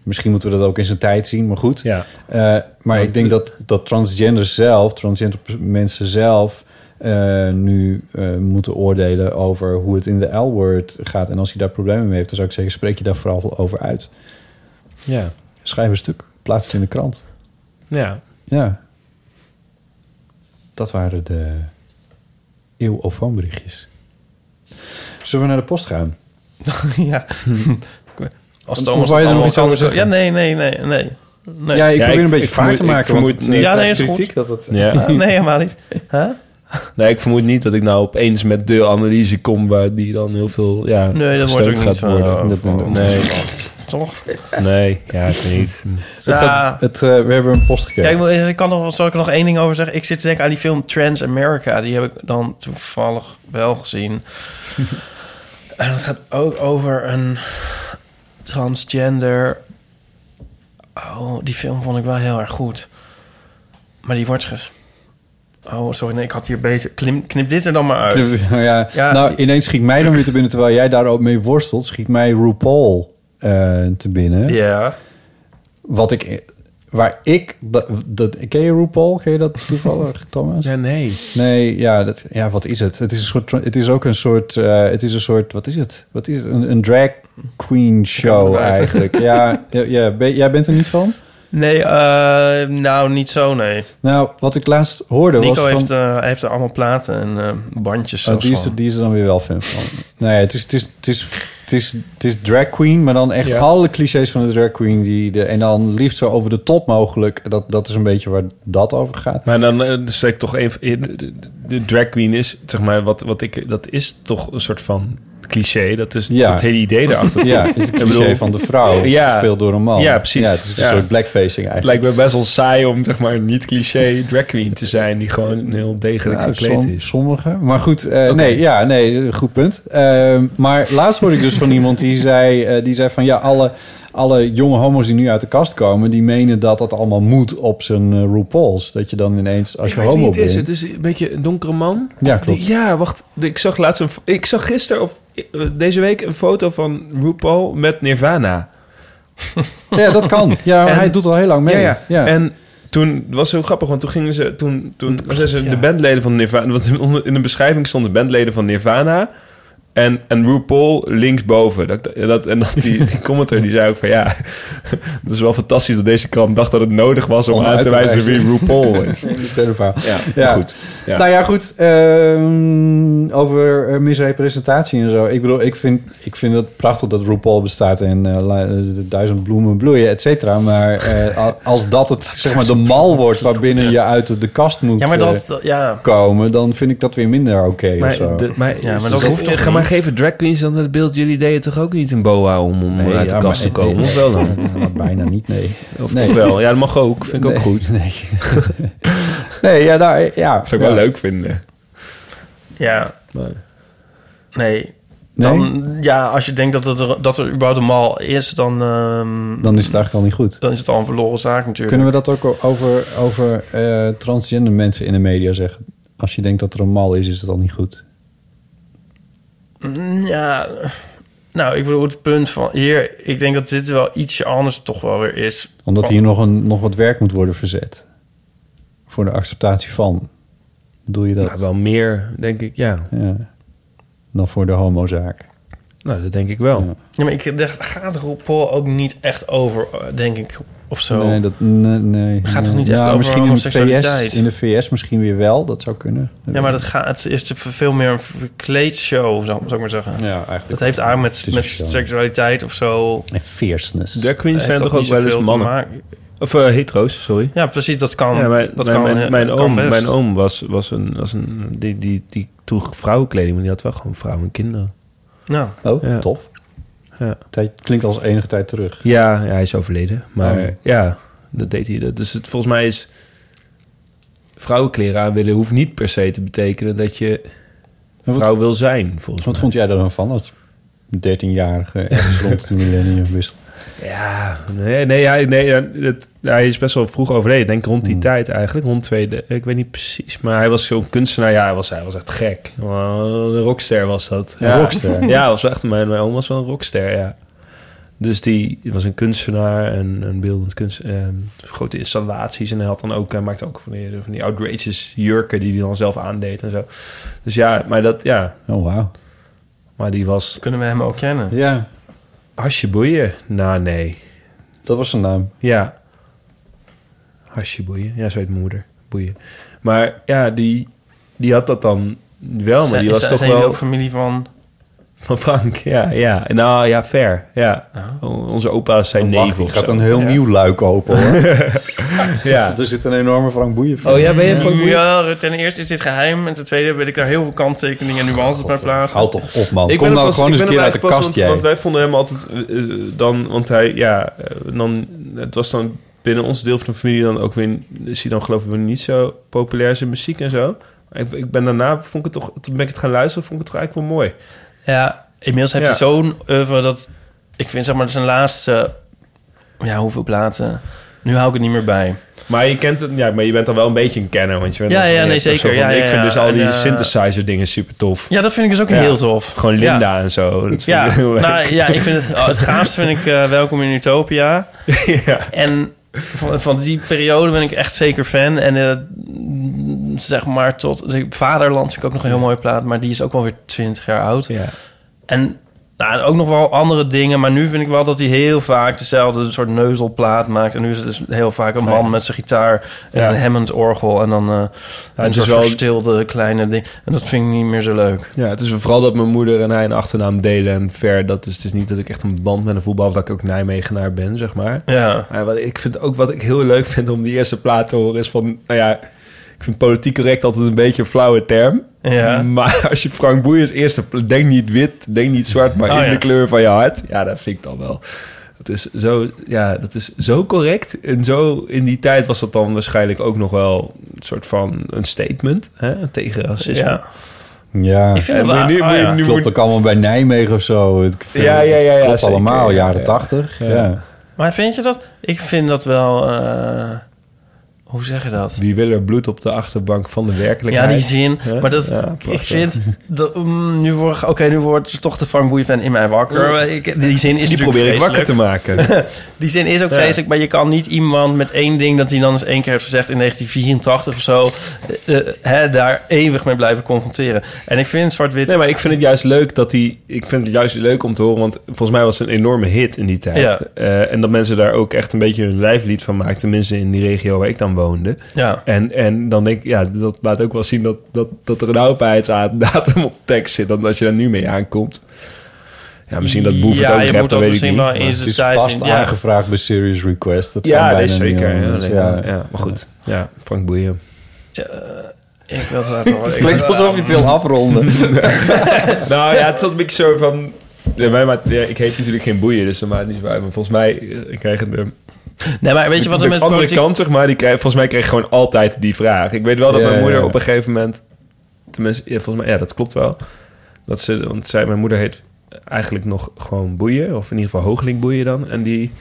F: Misschien moeten we dat ook in zijn tijd zien, maar goed.
E: Ja.
F: Eh, maar ik denk dat, dat transgender zelf, transgender pers- mensen zelf... eh, nu eh, moeten oordelen over hoe het in de L-word gaat. En als je daar problemen mee heeft, dan zou ik zeggen... spreek je daar vooral over uit.
E: Ja.
F: Schrijf een stuk, plaats het in de krant.
E: Ja.
F: Ja. Dat waren de eeuwofoonberichtjes. Zullen we naar de post gaan?
G: ja. Als
F: Of
G: Thomas
F: wou je
G: dat
F: er nog
G: allemaal
F: iets over
G: kan-
F: zeggen?
G: Ja, nee, nee, nee, nee. nee.
F: Ja, ik Ja, probeer ik- een beetje ik vaart te vermoed- maken, ik want
E: vermoed het- niet
G: ja, nee,
E: dat
G: is goed.
E: kritiek dat het- Ja.
G: Ja. Ah, nee, helemaal niet. Huh?
E: Nee, ik vermoed niet dat ik nou opeens met de analyse kom... waar die dan heel veel ja,
G: Nee, dat
E: gesteund
G: wordt ook niet
E: gaat
G: van,
E: worden.
G: eh, van-
E: nee.
G: Toch?
E: nee, ja, ik weet niet.
G: Ja.
F: het, eh, we hebben een post
G: Ja, ik,
F: gekregen.
G: wil- ik kan nog, zal ik er nog één ding over zeggen? Ik zit te denken aan die film Trans America. Die heb ik dan toevallig wel gezien. en dat gaat ook over een transgender. Oh, die film vond ik wel heel erg goed. Maar die wordt ges... Oh, sorry, nee, ik had hier beter... Klim, knip dit er dan maar uit.
F: Nou ja, nou, ineens schiet mij dan weer te binnen. Terwijl jij daar ook mee worstelt, schiet mij RuPaul eh, te binnen.
G: Ja.
F: Wat ik waar ik... Dat, dat, ken je RuPaul? Ken je dat toevallig, Thomas? Ja,
E: nee.
F: Nee, ja, dat, ja wat is het? Het is, een soort, het is ook een soort... eh, het is een soort... Wat is het? Wat is het? Een, een drag queen show
G: erbij.
F: eigenlijk. ja, ja, ja, ben- jij bent er niet van?
G: Nee, eh, nou niet zo, nee.
F: Nou, wat ik laatst hoorde
G: Nico
F: was van...
G: heeft, eh, hij heeft er allemaal platen en eh, bandjes
F: Oh,
G: zelfs
F: die, is
G: van.
F: er, die is er dan weer wel fan van. Nee, het is, het is, het is, het is, het is drag queen, maar dan echt alle clichés van de drag queen. Die de, en dan liefst zo over de top mogelijk. Dat, dat is een beetje waar dat over gaat.
E: Maar dan eh, dus zeg ik toch even... de- de- De drag queen is, zeg maar, wat, wat ik... Dat is toch een soort van cliché. Dat is
F: Ja.
E: het hele idee daarachter.
F: Ja,
E: toch?
F: het is het
E: Ik
F: cliché van de vrouw, gespeeld door een man.
E: Ja, precies.
F: Ja, het is een soort blackfacing eigenlijk.
E: Lijkt me best wel saai om, zeg maar, niet cliché drag queen te zijn... die gewoon heel degelijk
F: Nou,
E: gekleed
F: som-
E: is.
F: Sommige. Maar goed, eh, nee, ja, nee, goed punt. Ehm, maar laatst hoorde ik dus van iemand die zei, eh, die zei van ja, alle, alle jonge homo's die nu uit de kast komen, die menen dat dat allemaal moet op zijn eh, RuPaul's. Dat je dan ineens, als
E: Ik
F: je
E: weet wie
F: homo
E: het is.
F: bent...
E: Het is een beetje een donkere man.
F: Ja, klopt.
E: Die- ja, wacht. Ik zag laatst een... fo- Ik zag gisteren of eh, deze week een foto van RuPaul met Nirvana.
F: Ja, dat kan. Ja, maar
E: En-
F: hij doet al heel lang mee.
E: Ja, ja. En toen het was heel grappig, want toen gingen ze... Toen, toen zeiden ze de bandleden van Nirvana... Want onder- in de beschrijving stonden bandleden van Nirvana... En, en RuPaul linksboven. Dat, dat, en dat die, die commentator die zei ook van... Ja, het is wel fantastisch dat deze krant dacht dat het nodig was... om, aan te wijzen wie RuPaul is.
F: Dit hele verhaal.
E: Ja, goed. Ja.
F: Nou ja, goed. ehm, over eh, misrepresentatie en zo. Ik bedoel, ik vind, ik vind het prachtig dat RuPaul bestaat en eh, la- de duizend bloemen bloeien, et cetera. Maar eh, a- als dat het, zeg maar, de mal wordt waarbinnen je uit de, de kast moet
G: Ja, maar dat-
F: eh,
G: dat- ja.
F: komen, dan vind ik dat weer minder oké of
E: Maar,
F: zo.
E: de- maar,
G: Ja, maar
E: Dus dat
G: dat
E: hoeft
G: hoeft
E: toch
G: toch
E: Ga maar
G: niet?
E: geven drag queens dan het beeld. Jullie deden toch ook niet een boa om, om
F: Nee,
E: uit de
F: ja,
E: kast te
F: maar-
E: komen?
F: nee,
E: of wel dan?
F: nee, maar bijna niet, nee.
E: Of
F: Nee.
E: of wel? Ja, dat mag ook. Vind ik ook
F: Nee,
E: goed.
F: Nee. nee, ja, nou, ja.
E: Zou ik wel
F: Ja.
E: leuk vinden.
G: Ja.
E: Nee.
G: Dan, ja, als je denkt dat, het er, dat er überhaupt een mal is, dan... ehm,
F: Dan is het eigenlijk al niet goed.
G: Dan is het al een verloren zaak natuurlijk.
F: Kunnen we dat ook o- over, over eh, transgender mensen in de media zeggen? Als je denkt dat er een mal is, is dat al niet goed.
G: Mm, Ja, nou, ik bedoel, het punt van hier... Ik denk dat dit wel ietsje anders toch wel weer is.
F: Omdat
G: Van-
F: hier nog, een, nog wat werk moet worden verzet. Voor de acceptatie van. Bedoel je dat?
E: Nou, wel meer, denk ik, ja.
F: Dan voor de homozaak.
E: Nou, dat denk ik wel.
G: Ja, maar ik, daar gaat RuPaul ook niet echt over, eh, denk ik, of zo.
F: Nee, dat, nee, nee.
G: Het gaat
F: nee.
G: toch niet echt
F: Nou,
G: over
F: misschien in de,
G: homoseksualiteit?
F: VS, in de VS misschien weer wel. Dat zou kunnen.
G: Ja, maar dat gaat, het is te- veel meer een verkleedshow, zou zou ik maar zeggen.
F: Ja, eigenlijk.
G: Dat heeft aan met,
F: Het is
G: met
F: verschil.
G: seksualiteit of zo.
F: En fierceness.
E: Drag queens
G: Heeft
E: zijn
G: dat
E: Dus toch ook
G: niet zoveel
E: wel eens
G: te
E: mannen?
G: maken?
E: Of eh, hetero's, sorry.
G: Ja, precies, dat kan.
E: Ja, mijn,
G: dat
E: mijn,
G: kan, eh,
E: mijn, mijn
G: kan
E: oom,
G: best.
E: mijn oom was, was een... Was een die, die, die droeg vrouwenkleding, maar die had wel gewoon vrouwen en kinderen.
G: Nou.
F: Oh,
E: Ja.
F: tof.
E: Ja.
F: Tijd, klinkt als enige tijd terug.
E: Ja, ja, hij is overleden. Maar
F: Oh.
E: ja, dat deed hij. Dat- Dus het, volgens mij is vrouwenkleren aan willen... hoeft niet per se te betekenen dat je
F: wat-
E: vrouw wil zijn, volgens
F: Dus Wat vond jij daar dan van als 13-jarige ergens rond de millenniumwissel?
E: Ja, nee, nee, hij, nee het- hij is best wel vroeg overleden. Ik denk rond
F: Hmm.
E: die tijd eigenlijk, rond tweede. Ik weet niet precies, maar hij was zo'n kunstenaar. Ja, hij was, hij was echt gek. Wel Een rockster was dat.
F: Een
E: ja.
F: rockster?
E: Ja, was wel echt, mijn, mijn oom was wel een rockster, ja. Dus die was een kunstenaar en een beeldend kunst, eh, grote installaties. En hij had dan ook, hij maakte ook van die, van die outrageous jurken die hij dan zelf aandeed en zo. Dus ja, maar dat, ja.
F: Oh, wauw.
E: Maar die was...
G: Kunnen we hem ook kennen?
F: Ja.
E: Asjeboeien? Nou, nee.
F: Dat was
E: eh,
F: zijn naam.
E: Ja. Hasje boeien. Ja, zo heet mijn moeder. Boeien. Maar ja, die, die had dat dan wel. Maar
G: Zijn-
E: die was
G: zijn-
E: toch
G: zijn
E: wel...
G: jullie ook familie van...
E: Van Frank, ja, ja. Nou ja, fair. Ja. O- Onze opa's zijn neef
F: Die
E: of
F: gaat
E: zo.
F: een heel
E: Ja.
F: nieuw luik open, hoor.
E: Ja.
F: Er zit een enorme Frank Boeien
E: Oh, ja, ben je Frank Boeien?
G: Ja, ten eerste is dit geheim. En ten tweede wil ik daar heel veel kanttekeningen
E: Ah,
G: en nuances bij
E: eh,
G: plaatsen.
F: Houd toch op, man.
E: Ik
F: Kom
E: ben
F: nou
E: er pas-
F: gewoon
E: ik ben
F: eens een keer
E: er
F: uit
E: eigenlijk
F: de
E: pas,
F: kast,
E: want,
F: jij.
E: want wij vonden hem altijd eh, eh, dan... Want hij, ja, eh, dan, het was dan binnen ons deel van de familie dan ook weer... Is hij dan geloof ik weer niet zo populair zijn muziek en zo. Maar ik, ik ben daarna, vond ik het toch... Toen ben ik het gaan luisteren, vond ik het toch eigenlijk wel mooi.
G: Ja, inmiddels heeft
E: Ja.
G: hij zo'n oeuvre dat... Ik vind zeg maar zijn laatste... Ja, hoeveel platen? Nu hou ik het niet meer bij.
E: Maar je kent het, ja, maar je bent dan wel een beetje een kenner, want je bent
G: Ja,
E: dan-
G: ja,
E: je
G: nee,
E: hebt dan
G: zeker.
E: zo van-
G: Ja,
E: ik
G: ja,
E: vind
G: ja.
E: dus al die
G: En, eh,
E: synthesizer dingen super tof.
G: Ja, dat vind ik dus ook
E: Ja.
G: heel tof.
E: Gewoon Linda en zo. Dat
G: ja,
E: vind ik heel leuk.
G: nou, ja, ik vind het, oh, het gaafste vind ik eh, Welkom in Utopia.
E: Ja.
G: En Van, van die periode ben ik echt zeker fan. En eh, mm, zeg maar tot... Vaderland vind ik ook nog een heel mooie plaat. Maar die is ook wel weer 20 jaar oud. En nou, en ook nog wel andere dingen. Maar nu vind ik wel dat hij heel vaak dezelfde soort neuzelplaat maakt. En nu is het dus heel vaak een man
E: Ja.
G: met zijn gitaar... en
E: Ja.
G: een Hammond-orgel. En dan eh een
E: het is
G: soort
E: wel-
G: verstilde kleine ding. En dat vind ik niet meer zo leuk.
E: Ja, het is vooral dat mijn moeder en hij een achternaam delen en ver. Dat is dus niet dat ik echt een band met een voetbal, of dat ik ook Nijmegenaar ben, zeg maar.
G: Ja.
E: Maar wat ik vind ook wat ik heel leuk vind om die eerste plaat te horen is van, nou ja, ik vind politiek correct altijd een beetje een flauwe term.
G: Ja.
E: Maar als je Frank Boeijens eerste, pla- denk niet wit, denk niet zwart, maar
G: Oh,
E: in
G: ja.
E: de kleur van je hart. Ja, dat vind ik dan wel. Dat is zo, ja, dat is zo correct. En zo in die tijd was dat dan waarschijnlijk ook nog wel een soort van een statement hè, tegen racisme.
G: Ja.
F: Ja,
E: Ik vind het wel- oh, ja.
F: klopt
E: moet-
F: ook allemaal bij Nijmegen of zo. Het, ik vind
E: Ja,
F: het-
E: ja,
F: het
E: ja, ja,
F: klopt
E: zeker,
F: allemaal,
E: ja,
F: jaren
E: ja.
F: tachtig. Ja.
E: Ja.
G: Maar vind je dat? Ik vind dat wel... eh, hoe zeg je dat?
E: Wie wil er bloed op de achterbank van de
G: Ja,
E: werkelijkheid?
G: die zin.
E: Hè?
G: Maar dat,
E: Ja,
G: ik
E: prachtig.
G: vind... Dat, mm, nu wordt, oké, nu wordt toch de Frank Boeien fan in mij wakker. Ik, die zin is
E: Die
G: natuurlijk
E: probeer ik wakker te
G: vreselijk.
E: maken.
G: die zin is ook
E: Ja.
G: vreselijk, maar je kan niet iemand met één ding... dat hij dan eens één keer heeft gezegd in 1984 of zo... eh, eh, hè, daar eeuwig mee blijven confronteren. En ik vind zwart-wit...
E: Nee, maar ik vind het juist leuk dat die. Ik vind het juist leuk om te horen, want volgens mij was het een enorme hit in die tijd.
G: Ja.
E: Eh, en dat mensen daar ook echt een beetje hun lijflied van maakten, tenminste in die regio waar ik dan woonde.
G: Ja.
E: En, en dan denk ik, ja, dat laat ook wel zien dat, dat, dat er een houdbaarheidsdatum op tekst zit, dan als je daar nu mee aankomt. Ja, misschien dat boef het
G: Ja,
E: ook
G: je
E: rept,
G: moet
E: dat
G: ook
E: weet ik
G: misschien
E: niet.
G: wel
E: maar-
G: in
F: Het is vast aangevraagd bij Serious Request. Dat kan
E: Ja,
F: bijna
E: nee, zeker.
F: niet
E: Ja,
F: anders.
E: nee,
F: ja.
E: ja, ja, maar goed. Ja, Frank Boeien.
G: Ik wil het wel- ik wil-
F: afronden.
E: nou ja, het zat een beetje zo van... Ja, wij maakt- ja, ik heet natuurlijk geen boeien, dus dat maakt niet uit. Maar volgens mij eh, krijgen de...
G: Nee, maar weet je wat er
E: de
G: met
E: andere
G: politiek-
E: kant, zeg maar, die krijgen, volgens mij kreeg gewoon altijd die vraag. Ik weet wel dat
F: Ja,
E: mijn moeder
F: ja.
E: op een gegeven moment... Tenminste, ja, volgens mij, ja, dat klopt wel. Dat ze, want zij, mijn moeder heet eigenlijk nog gewoon boeien. Of in ieder geval hoogling boeien dan. En die...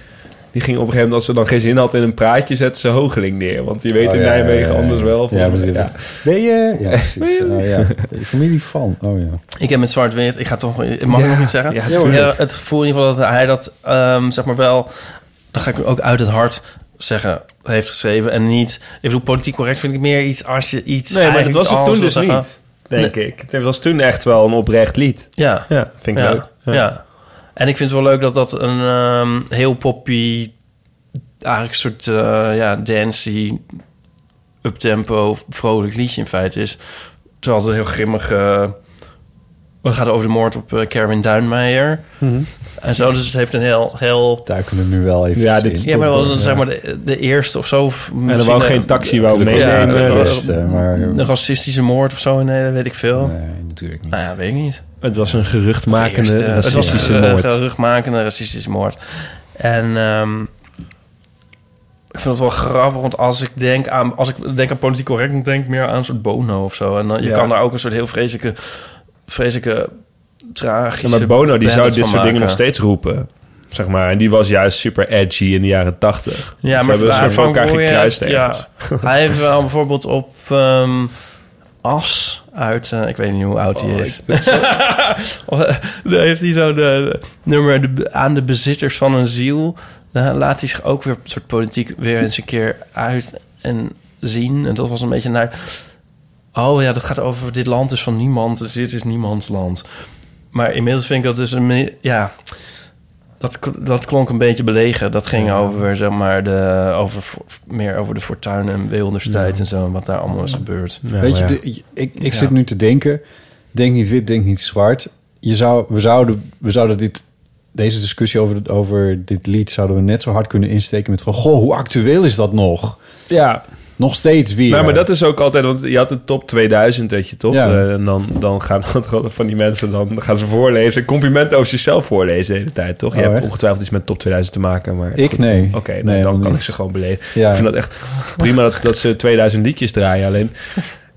E: Die ging op een gegeven moment, als ze dan geen zin had in een praatje, zette ze hoogling neer. Want je weet
F: Oh,
E: in
F: ja, ja,
E: Nijmegen
F: ja, ja.
E: anders wel.
F: Ja,
E: volgens mij.
F: precies. Dus Ben je? Ja, precies. Oh, ja. Ben je Familie van. Oh ja.
G: Ik heb met zwart-wit, ik ga toch, mag ik
F: Ja,
G: nog niet zeggen?
F: ja, tuurlijk.
G: het gevoel in ieder geval dat hij dat, ehm, zeg maar wel, dan ga ik ook uit het hart zeggen, heeft geschreven en niet, ik bedoel, politiek correct vind ik meer iets als je iets
E: Nee, maar het
G: eigenlijk
E: was het
G: anders
E: toen dus
G: wil zeggen.
E: niet, denk ik. Het was toen echt wel een oprecht lied.
G: Ja.
E: Ja, vind ik
G: Ja.
E: leuk.
G: Ja. En ik vind het wel leuk dat dat een ehm, heel poppy, eigenlijk een soort eh, ja, dancey, uptempo, vrolijk liedje in feite is. Terwijl het een heel grimmig... eh, het gaat over de moord op eh, Kerwin Duinmeijer.
F: Mhm.
G: En zo, dus het heeft een heel... heel
F: Duiken we nu wel even
G: ja,
F: dit
G: dit, ja, maar dat was een, zeg maar de, de eerste of zo. Of
E: En er wou geen taxi wou dus,
G: mee.
E: meenemen. eh,
G: Een racistische moord of zo, en nee, dat weet ik veel.
F: Nee, natuurlijk niet.
G: Nou ja, weet ik niet.
E: Het was een
G: Of de
E: geruchtmakende
G: eerste.
E: racistische
G: het was een
E: moord.
G: geruchtmakende racistische moord. En ehm, ik vind het wel grappig, want als ik denk aan, als ik denk aan politiek correct, dan denk ik meer aan een soort Bono of zo. En dan, je
E: Ja.
G: kan daar ook een soort heel vreselijke, vreselijke tragische.
E: Ja, maar Bono die zou
G: ballad
E: dit
G: van
E: soort dingen
G: maken.
E: nog steeds roepen. Zeg maar. En die was juist super edgy in de jaren tachtig.
G: Ja,
E: Ze
G: maar
E: hebben een soort van
G: Frank
E: elkaar
G: Boeien-
E: gekruist ergens.
G: ja, Hij heeft wel bijvoorbeeld op ehm, As uit, eh, ik weet niet hoe oud
E: Oh,
G: hij is. Daar heeft hij zo de, de nummer de be- aan de bezitters van een ziel. Daar laat hij zich ook weer soort politiek weer eens een keer uit en zien. En dat was een beetje naar. Oh ja, dat gaat over dit land is van niemand, dus dit is niemands land. Maar inmiddels vind ik dat dus een. me- Ja, dat, kl- dat klonk een beetje belegen. Dat ging over, zeg maar, de, over, vo- meer over de fortuin en weelderstijd en zo. En wat daar allemaal is gebeurd.
F: Weet je, de- je- ik, ik
G: Ja.
F: zit nu te denken... denk niet wit, denk niet zwart. Je zou, we, zouden, we zouden dit, deze discussie over, het- over dit lied... zouden we net zo hard kunnen insteken met van... goh, hoe actueel is dat nog?
E: Ja.
F: Nog steeds weer.
E: Nou, maar dat is ook altijd, want je had de top 2000, weet je toch?
F: Ja.
E: Eh, en dan, dan gaan van die mensen, dan gaan ze voorlezen. Complimenten over zichzelf voorlezen de hele tijd, toch? je
F: Oh,
E: hebt
F: echt?
E: ongetwijfeld iets met top 2000 te maken, maar...
F: Ik? Nee.
E: Oké,
F: Nee,
E: dan, dan
F: helemaal
E: kan
F: niet.
M: Eh.
E: ik ze gewoon beleven.
F: Ja.
E: Ik vind dat echt prima dat, dat ze 2000 liedjes draaien, alleen...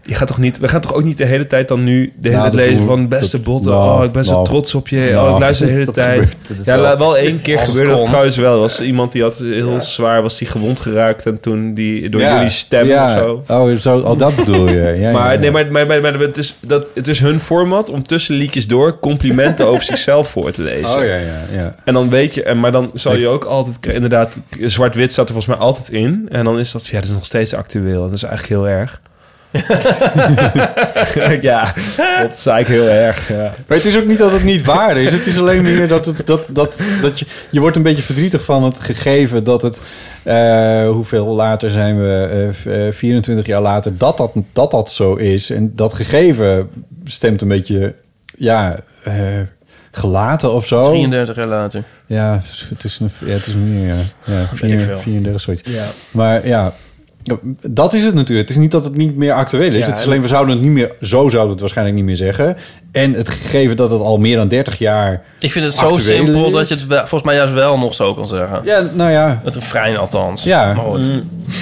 E: Je gaat toch niet, we gaan toch ook niet de hele tijd dan nu de hele
M: Nou, dat
E: tijd lezen
M: doen we-
E: van beste
M: dat-
E: botten.
M: nou,
E: oh, ik ben zo
M: nou,
E: trots op je. oh,
M: nou,
E: ik luister de hele
M: dat
E: tijd.
M: gebeurt- dat is
E: ja,
M: wel-
E: la- wel één keer
M: Als het
E: gebeurde dat
M: kon.
E: trouwens wel. Er was iemand die had heel zwaar was die gewond geraakt en toen die door
F: Ja.
E: jullie stem
F: Ja.
E: of zo.
F: Oh, zo, oh, dat bedoel je. Ja,
E: maar,
F: ja, ja.
E: Nee, maar, maar, maar, maar het, is, dat, het is hun format om tussen liedjes door complimenten over zichzelf voor te lezen.
F: Oh, ja, ja, ja.
E: En dan weet je, en, maar dan zal je ook altijd, k- inderdaad, k- zwart-wit staat er volgens mij altijd in. En dan is dat, ja, dat is nog steeds actueel. Dat is eigenlijk heel erg. ja, dat zei ik heel erg. Ja.
F: Maar het is ook niet dat het niet waar is. Het is alleen meer dat, het, dat, dat, dat je... Je wordt een beetje verdrietig van het gegeven dat het... eh, hoeveel later zijn we? eh, v- eh, 24 jaar later. Dat dat, dat dat zo is. En dat gegeven stemt een beetje... Ja, eh, gelaten of zo.
G: 33 jaar later.
F: Ja, het is, een, ja, het is meer, ja. ja
G: Weet ik
F: 4,
G: veel.
F: 34, zoiets.
G: Ja.
F: Maar ja, dat is het natuurlijk. Het is niet dat het niet meer actueel is.
M: Ja,
F: het is
M: en
F: alleen,
M: het-
F: we zouden het niet meer, zo zouden we het waarschijnlijk niet meer zeggen. En het gegeven dat het al meer dan 30 jaar
G: Ik vind het zo
F: actueel
G: simpel
F: is.
G: dat je het wel- volgens mij juist wel nog zo kan zeggen.
F: Ja, nou ja.
G: Het refrein althans.
F: Ja. Mm.
G: Maar goed.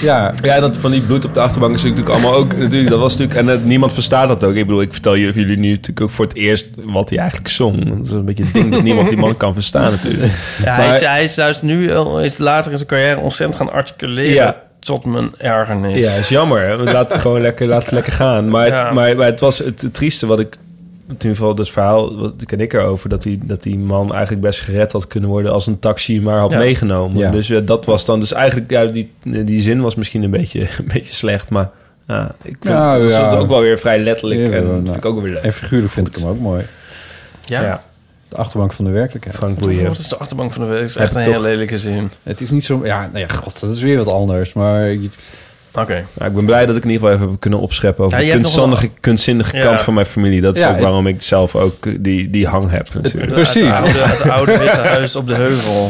F: Ja.
E: ja, dat van die bloed op de achterbank is natuurlijk allemaal ook... Natuurlijk, dat was natuurlijk, en eh, niemand verstaat dat ook. Ik bedoel, ik vertel jullie, jullie nu natuurlijk ook voor het eerst wat hij eigenlijk zong. Dat is een beetje het ding dat niemand die man kan verstaan natuurlijk.
G: Ja, hij,
E: Maar-
G: is, hij is juist nu, al- hij is later in zijn carrière, ontzettend gaan articuleren.
E: Ja.
G: Tot mijn ergernis.
E: Ja, is jammer. hè? Want Laat het gewoon lekker, laat het lekker gaan. Maar,
G: Ja.
E: maar, maar het was het, het trieste wat ik... In ieder geval dat verhaal, wat ken ik erover... Dat die, dat die man eigenlijk best gered had kunnen worden... als een taxi maar had
M: Ja.
E: meegenomen.
M: Ja.
E: Dus eh, dat was dan... Dus eigenlijk, ja, die, die zin was misschien een beetje, een beetje slecht. Maar ja, ik vind
F: Nou,
E: het
F: ja.
E: ook wel weer vrij letterlijk. en dat
F: nou,
E: vind ik ook wel weer leuk.
F: En figuurlijk vind ik hem ook mooi.
G: Ja.
F: De achterbank van de werkelijkheid. Frank
G: Wat is de achterbank van de wereld? is
F: Heb
G: echt een
F: toch-
G: heel lelijke zin.
F: Het is niet zo... Ja, nou ja, god, dat is weer wat anders. Maar...
G: Oké.
E: Ja, Nou, ik ben blij dat ik in ieder geval even heb kunnen opscheppen... over
F: Ja,
E: de
F: je hebt nog
E: kunstzinnige,
F: wel-
E: kunstzinnige
F: Ja.
E: kant van mijn familie. Dat is
F: Ja,
E: ook
F: het-
E: waarom ik zelf ook eh, die, die hang heb natuurlijk.
G: Het oude, het oude witte huis op de heuvel.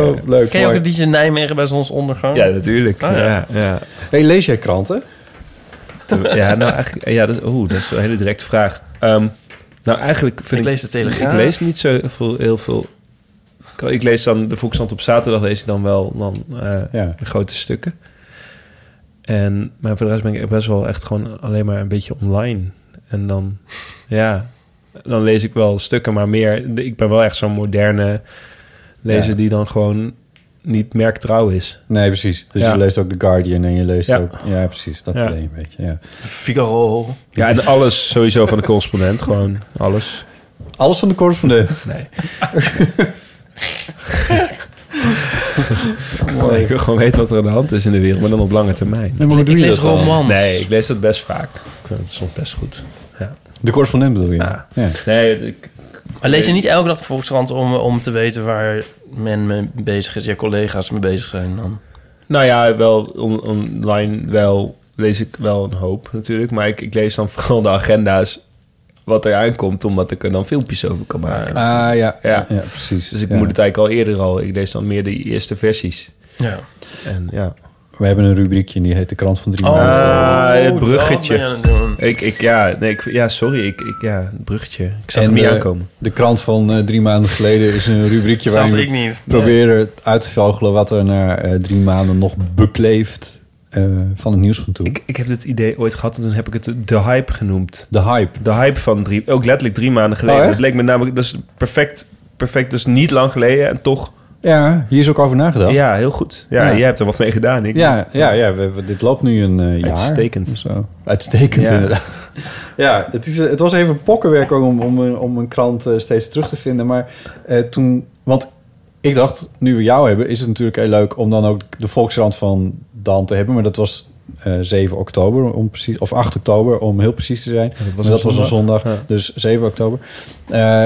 F: oh, leuk.
G: Ken je ook
F: mooi.
G: een DJ Nijmegen bij zonsondergang?
E: Ja, natuurlijk.
G: Oh, ja.
E: ja. Ja,
F: Hey, lees jij kranten?
E: ja, nou eigenlijk... Ja, dat, is- oeh, dat is een hele directe vraag. Ehm, nou, eigenlijk vind ik...
G: lees de Telegraaf.
E: Ik lees niet zo heel veel... Heel veel ik- ik lees dan de Volkskrant op zaterdag, lees ik dan wel dan, eh, de grote stukken. En, maar voor de rest ben ik best wel echt gewoon alleen maar een beetje online. En dan, ja, dan lees ik wel stukken, maar meer... Ik ben wel echt zo'n moderne lezer
F: Ja.
E: die dan gewoon niet merktrouw is.
F: Nee, precies. Dus
E: Ja.
F: je leest ook The Guardian en je leest
E: Ja.
F: ook... Ja, precies. Dat
E: Ja.
F: alleen een beetje, ja.
G: Figaro.
E: Ja, en alles sowieso van de correspondent. Gewoon alles.
F: Alles van de correspondent?
E: Nee. Nee, ik wil gewoon weten wat er aan de hand is in de wereld, maar dan op lange termijn.
F: Nee, maar hoe doe Ik je lees dat dan? romans.
E: Nee, ik lees dat best vaak. Ik vind het soms best goed. Ja.
F: De correspondent bedoel je? Ja.
E: Nee, ik,
G: Maar lees je niet elke dag de Volkskrant om, om te weten waar men mee bezig is, je collega's mee bezig zijn dan?
E: Nou ja, wel on- online wel lees ik wel een hoop natuurlijk. Maar ik, ik lees dan vooral de agenda's wat er aankomt, omdat ik er dan filmpjes over kan maken.
F: Ah, ja.
E: Ja.
F: Ja, precies.
E: Dus ik
F: Ja.
E: moet het eigenlijk al eerder al. Ik lees dan meer de eerste versies.
G: Ja.
E: En ja.
F: We hebben een rubriekje en die heet de krant van drie maanden.
E: Ah,
F: Eh,
E: het bruggetje.
G: Oh, dat ben je aan het doen.
E: Ik, ik, ja, nee, ik, ja, sorry. Ik, ik, ja, het bruggetje. Ik zag
F: En,
E: het niet
F: eh,
E: aankomen.
F: De krant van eh, drie maanden geleden is een rubriekje
E: Zelfs
F: waarin
E: ik niet.
F: proberen uit te vogelen wat er na eh, drie maanden nog bekleeft eh, van het nieuws van toen.
E: Ik heb dit idee ooit gehad en toen heb ik het de hype genoemd.
F: De hype.
E: De hype van drie, ook letterlijk drie maanden geleden.
F: Oh, echt?
E: het leek me namelijk, dat is perfect, perfect, dus niet lang geleden en toch.
F: Ja, hier is ook over nagedacht.
E: Ja, heel goed. Ja,
F: Ja.
E: jij hebt er wat mee gedaan. Ik
F: ja,
E: niet.
F: ja, ja we, we- dit loopt nu een eh, jaar.
E: Uitstekend.
F: of Zo. Uitstekend,
E: Ja.
F: inderdaad. Ja, het, is, eh, het was even pokkenwerk ook om, om, een- om een krant eh, steeds terug te vinden. Maar eh, toen... Want ik dacht, nu we jou hebben, is het natuurlijk heel leuk... om dan ook de Volkskrant van dan te hebben. Maar dat was eh, 7 oktober, om precies, of 8 oktober, om heel precies te zijn.
E: dat was
F: Maar
E: een
F: dat was een
E: zondag.
F: zondag, dus 7 oktober. Eh,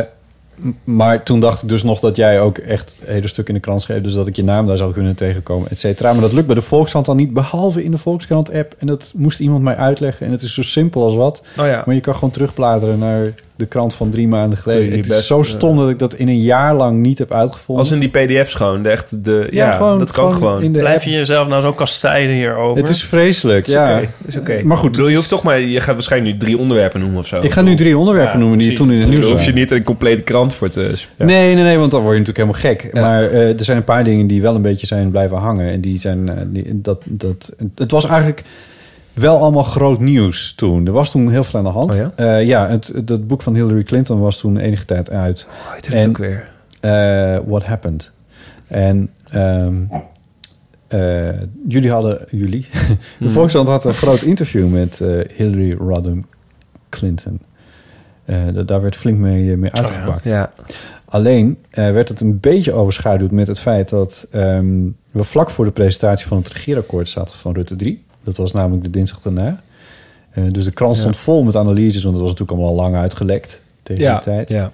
F: m- maar toen dacht ik dus nog dat jij ook echt hele stuk in de krant schreef. Dus dat ik je naam daar zou kunnen tegenkomen, et cetera. Maar dat lukt bij de Volkskrant dan niet, behalve in de Volkskrant-app. En dat moest iemand mij uitleggen. En het is zo simpel als wat.
E: Oh ja.
F: Maar je kan gewoon terugbladeren naar de krant van drie maanden
E: Kun
F: geleden.
E: je
F: Het is
E: best,
F: zo
E: eh,
F: stom dat ik dat in een jaar lang niet heb uitgevonden.
E: Als in die PDF's gewoon. De echt de, ja,
F: Ja, gewoon-
E: dat kan
F: gewoon
E: gewoon.
F: in de
G: Blijf je jezelf nou zo kastijden hierover?
F: Het is vreselijk,
E: Is
F: ja.
E: oké, Is oké.
F: Maar goed, dus-
E: Ik bedoel, je hoeft toch maar, je gaat waarschijnlijk nu drie onderwerpen noemen of zo.
F: Ik ga nu drie onderwerpen noemen die toen in het nieuws
E: Daar hoef je
F: waren.
E: niet een complete krant voor te... Ja.
F: Nee, nee, nee, want dan word je natuurlijk helemaal gek. Maar eh, er zijn een paar dingen die wel een beetje zijn blijven hangen. En die zijn. eh, die, dat, dat, het was eigenlijk. wel allemaal groot nieuws toen. Er was toen heel veel aan de hand. ja, ja het, het- dat boek van Hillary Clinton was toen enige tijd uit. Oh,
E: heette het ook weer?
F: Eh, What Happened. En ehm, eh, jullie hadden... Jullie? De
E: Mm.
F: Volkskrant had een groot interview met eh, Hillary Rodham Clinton. Eh, da- daar werd flink mee, eh, mee uitgepakt.
E: Oh ja.
F: Alleen eh, werd het een beetje overschaduwd met het feit dat ehm, we vlak voor de presentatie van het regeerakkoord zaten van Rutte 3. Dat was namelijk de dinsdag daarna. Eh, dus de krant
E: Ja.
F: stond vol met analyses, want dat was natuurlijk allemaal al lang uitgelekt tegen
E: Ja,
F: die tijd.
E: ja.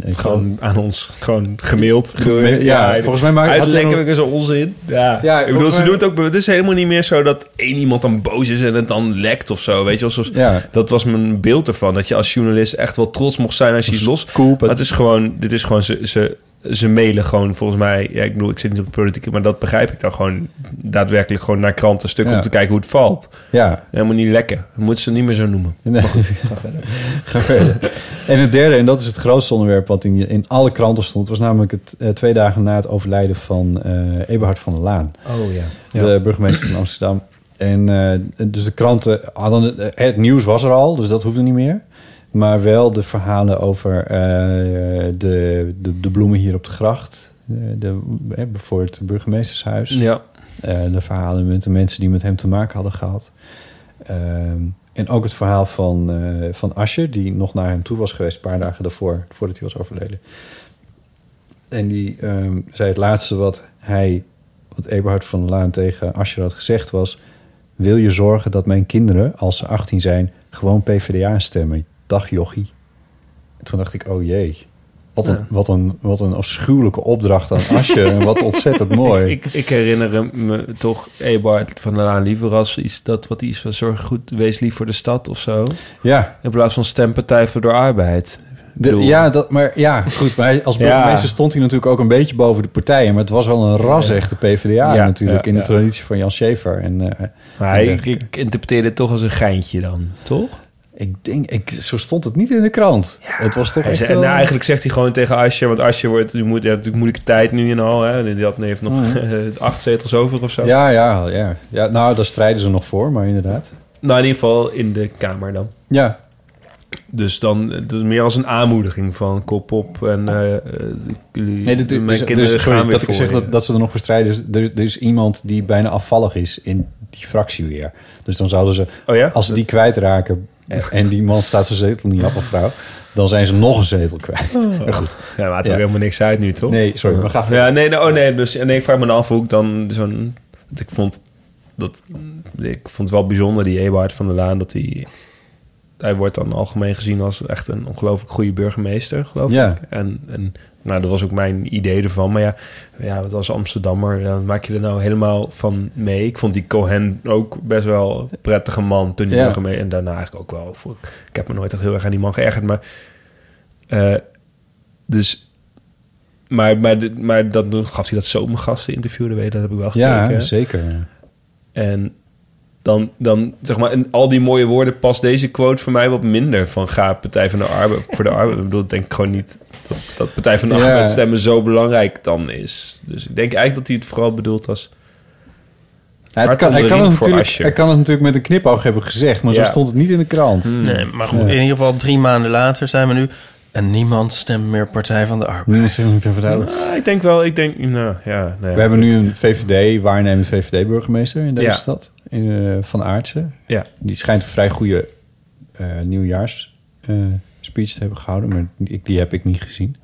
F: Ik
E: Gewoon aan ons, gewoon gemaild.
F: Ge- ja, volgens mij maakt-
E: Uitlekkelijk is er onzin. Ja,
F: Ja,
E: ik bedoel,
F: volgens
E: ze
F: mij-
E: doen het ook. Het is helemaal niet meer zo dat één iemand dan boos is en het dan lekt of zo. Weet je, alsof,
F: Ja.
E: dat was mijn beeld ervan. Dat je als journalist echt wel trots mocht zijn als je iets los.
F: Cool,
E: maar het is gewoon, dit is gewoon ze. ze ze mailen gewoon volgens mij, ja, ik bedoel, ik zit niet op de politiek, maar dat begrijp ik dan gewoon daadwerkelijk gewoon naar krantenstukken
F: Ja.
E: om te kijken hoe het valt.
F: Ja.
E: Helemaal niet lekker. Dat moeten ze niet meer zo noemen.
F: Nee.
E: Maar goed,
F: ga verder. Ga verder. En het derde, en dat is het grootste onderwerp wat in, in alle kranten stond, was namelijk het eh, twee dagen na het overlijden van eh Eberhard van der Laan.
E: Oh, ja.
F: De
E: Ja.
F: burgemeester van Amsterdam. En eh, dus de kranten hadden het, eh, het nieuws was er al, dus dat hoefde niet meer. Maar wel de verhalen over eh, de, de, de bloemen hier op de gracht. De, de, eh, voor het burgemeestershuis.
E: Ja.
F: Eh, de verhalen met de mensen die met hem te maken hadden gehad. Ehm, en ook het verhaal van, eh, van Asje, die nog naar hem toe was geweest... een paar dagen daarvoor, voordat hij was overleden. En die ehm, zei het laatste wat hij, wat Eberhard van der Laan tegen Asscher had gezegd was... wil je zorgen dat mijn kinderen, als ze 18 zijn, gewoon PvdA stemmen? Dag jochie. En toen dacht ik, oh jee. Wat een,
E: Ja.
F: wat een, wat een afschuwelijke opdracht aan Asscher. en wat ontzettend mooi.
E: Ik, ik, ik herinner me toch Ebert van der Laan liever als iets dat wat iets van zorg goed wees lief voor de stad of zo.
F: Ja.
E: In plaats van stempartij voor de arbeid. Ik
F: De-
E: bedoel-
F: ja, dat, maar ja, goed. Maar als
E: Ja.
F: burgemeester stond hij natuurlijk ook een beetje boven de partijen. Maar het was wel een ras
E: Ja.
F: echte PvdA
E: Ja,
F: natuurlijk.
E: ja,
F: in de
E: ja.
F: traditie van Jan Schaefer. En, eh,
E: Maar
F: en
E: hij- ik,
F: dergelijke.
E: ik interpreteerde het toch als een geintje dan, toch?
F: Ik denk, ik, zo stond het niet in de krant. het was toch
E: Hij
F: echt
E: zei- en
F: wel-
E: nou, eigenlijk zegt hij gewoon tegen Asje, want Asje wordt, die moet, ja, natuurlijk moeilijke tijd nu en al. Hè. Die had, die heeft nog acht zetels over of zo.
F: Ja, ja, ja, ja. Nou, daar strijden ze nog voor, maar inderdaad.
E: Nou, in ieder geval in de Kamer dan.
F: Ja.
E: Dus dan eh, dus meer als een aanmoediging van kop op en eh, eh, jullie,
F: Nee, dit,
E: mijn
F: dus,
E: kinderen
F: dus,
E: gaan
F: sorry,
E: weer
F: dat ik
E: voor
F: zeg
E: je.
F: dat, dat ze er nog voor strijden. is, Er, er is iemand die bijna afvallig is in die fractie weer. Dus dan zouden ze,
E: Oh
F: als ze die kwijtraken... en- en die man staat zijn zetel niet af, of vrouw... dan zijn ze nog een zetel kwijt.
E: Oh.
F: Maar goed.
E: Ja, maakt ook helemaal niks uit nu, toch?
F: Nee, sorry, maar ga verder.
E: Ja, nee, nou, oh nee, dus, nee, ik vraag me dan af hoe ik dan zo'n... want Ik vond, dat, ik vond het wel bijzonder, die Eberhard van der Laan, dat hij... Hij wordt dan algemeen gezien als echt een ongelooflijk goede burgemeester, geloof
F: Ja.
E: ik. En, en nou, dat was ook mijn idee ervan. Maar ja, ja wat als Amsterdammer, ja, maak je er nou helemaal van mee? Ik vond die Cohen ook best wel een prettige man toen hij
F: Ja.
E: burgemeester... En daarna eigenlijk ook wel. voor- Ik heb me nooit echt heel erg aan die man geërgerd, maar... eh, dus maar, maar, dit- maar dat, toen gaf hij dat zomergasten-interview, dat, weet je, dat heb ik wel
F: Ja, dus-
E: gekeken.
F: zeker.
E: En dan, dan zeg maar, in al die mooie woorden past deze quote voor mij wat minder. Van ga Partij van de Arbeid voor de Arbeid. Ik bedoel, ik denk gewoon niet dat, dat Partij van de
F: Ja.
E: Arbeid stemmen zo belangrijk dan is. Dus ik denk eigenlijk dat hij het vooral bedoelt als...
F: Ja, het
E: hart
F: kan,
E: onder
F: hij,
E: de
F: kan het
E: riem voor
F: natuurlijk,
E: Asscher.
F: hij kan het natuurlijk met een knipoog hebben gezegd, maar
G: Ja.
F: zo stond het niet in de krant.
E: Hmm.
G: Nee, maar goed,
F: Ja.
G: in ieder geval drie maanden later zijn we nu... En niemand stemt meer Partij van de Arbeid.
F: Niemand stemt meer Partij van de
E: Nou, ik denk wel, ik denk... Nou, ja, nee.
F: We hebben nu een VVD, waarnemend VVD-burgemeester in deze
E: Ja.
F: stad, in, eh, Van Aartsen.
E: Ja.
F: Die schijnt een vrij goede eh, nieuwjaarsspeech te hebben gehouden, maar die, die heb ik niet gezien.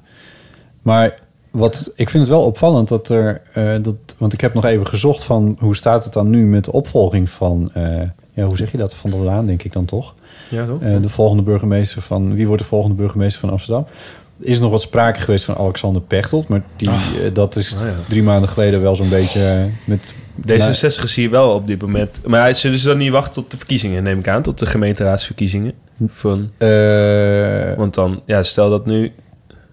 F: Maar wat, ik vind het wel opvallend dat er, eh, dat, want ik heb nog even gezocht van hoe staat het dan nu met de opvolging van, eh, ja, hoe zeg je dat, Van der Laan denk ik dan toch?
E: Ja, toch?
F: Eh, de volgende burgemeester van, wie wordt de volgende burgemeester van Amsterdam? Er is nog wat sprake geweest van Alexander Pechtold, maar die, eh, dat is
E: Oh ja.
F: drie maanden geleden wel zo'n beetje eh, met...
E: D66 zie je wel op dit moment. Maar hij- zullen ze dan niet wachten tot de verkiezingen, neem ik aan? Tot de gemeenteraadsverkiezingen?
F: Hm.
E: Van,
F: eh,
E: want dan, ja, stel dat nu...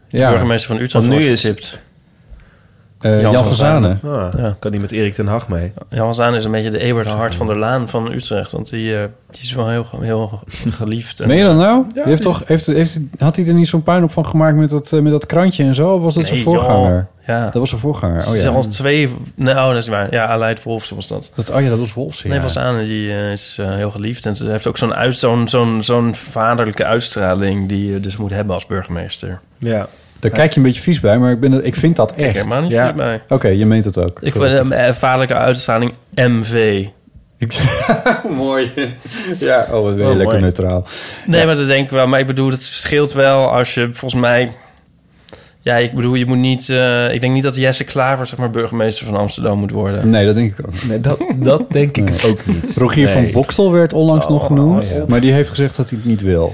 F: De Ja.
G: burgemeester van Utrecht wordt
E: getipt.
F: Eh, Jan van Zanen.
G: Ja.
E: Ah, Kan die met Erik ten Hag mee?
G: Jan van Zaan is een beetje de Ebert Hart van der Laan van Utrecht. Want die, eh, die is wel heel, heel geliefd. En-
F: Meen je dat nou?
G: Ja,
F: Die heeft toch, heeft, heeft, had hij er niet zo'n puinhoop van gemaakt met dat, eh, met dat krantje en zo? Of was dat
G: Nee,
F: zijn voorganger?
G: joh. Ja.
F: Dat was zijn voorganger.
G: Ze
F: Oh,
G: zijn
F: ja.
G: al twee... Nou, dat is waar. Ja, Aleid Wolfsen was dat.
F: Dat, oh ja, dat was Wolfsen,
G: Nee,
F: ja.
G: was aan. Die eh, is eh, heel geliefd. En ze heeft ook zo'n uit- zo'n zo'n zo'n vaderlijke uitstraling... die je dus moet hebben als burgemeester.
F: Ja. Daar kijk je een beetje vies bij, maar ik, ben, het- ik vind dat echt.
G: helemaal niet vies bij.
F: Oké, je meent het ook.
G: Ik vind hem eh, vaderlijke uitstraling MV.
F: Mooi. ja, oh, wat ben je
G: Oh,
F: lekker
G: mooi.
F: neutraal.
G: Nee, maar dat denk ik wel. Maar ik bedoel, het verschilt wel als je volgens mij... Ja, ik bedoel, je moet niet... eh, ik denk niet dat Jesse Klaver, zeg maar, burgemeester van Amsterdam moet worden.
F: Nee, dat denk ik ook.
G: Nee, dat, dat denk ik ook niet.
F: Rogier van Boksel werd onlangs nog genoemd,
G: Oh, ja.
F: maar die heeft gezegd dat hij het niet wil.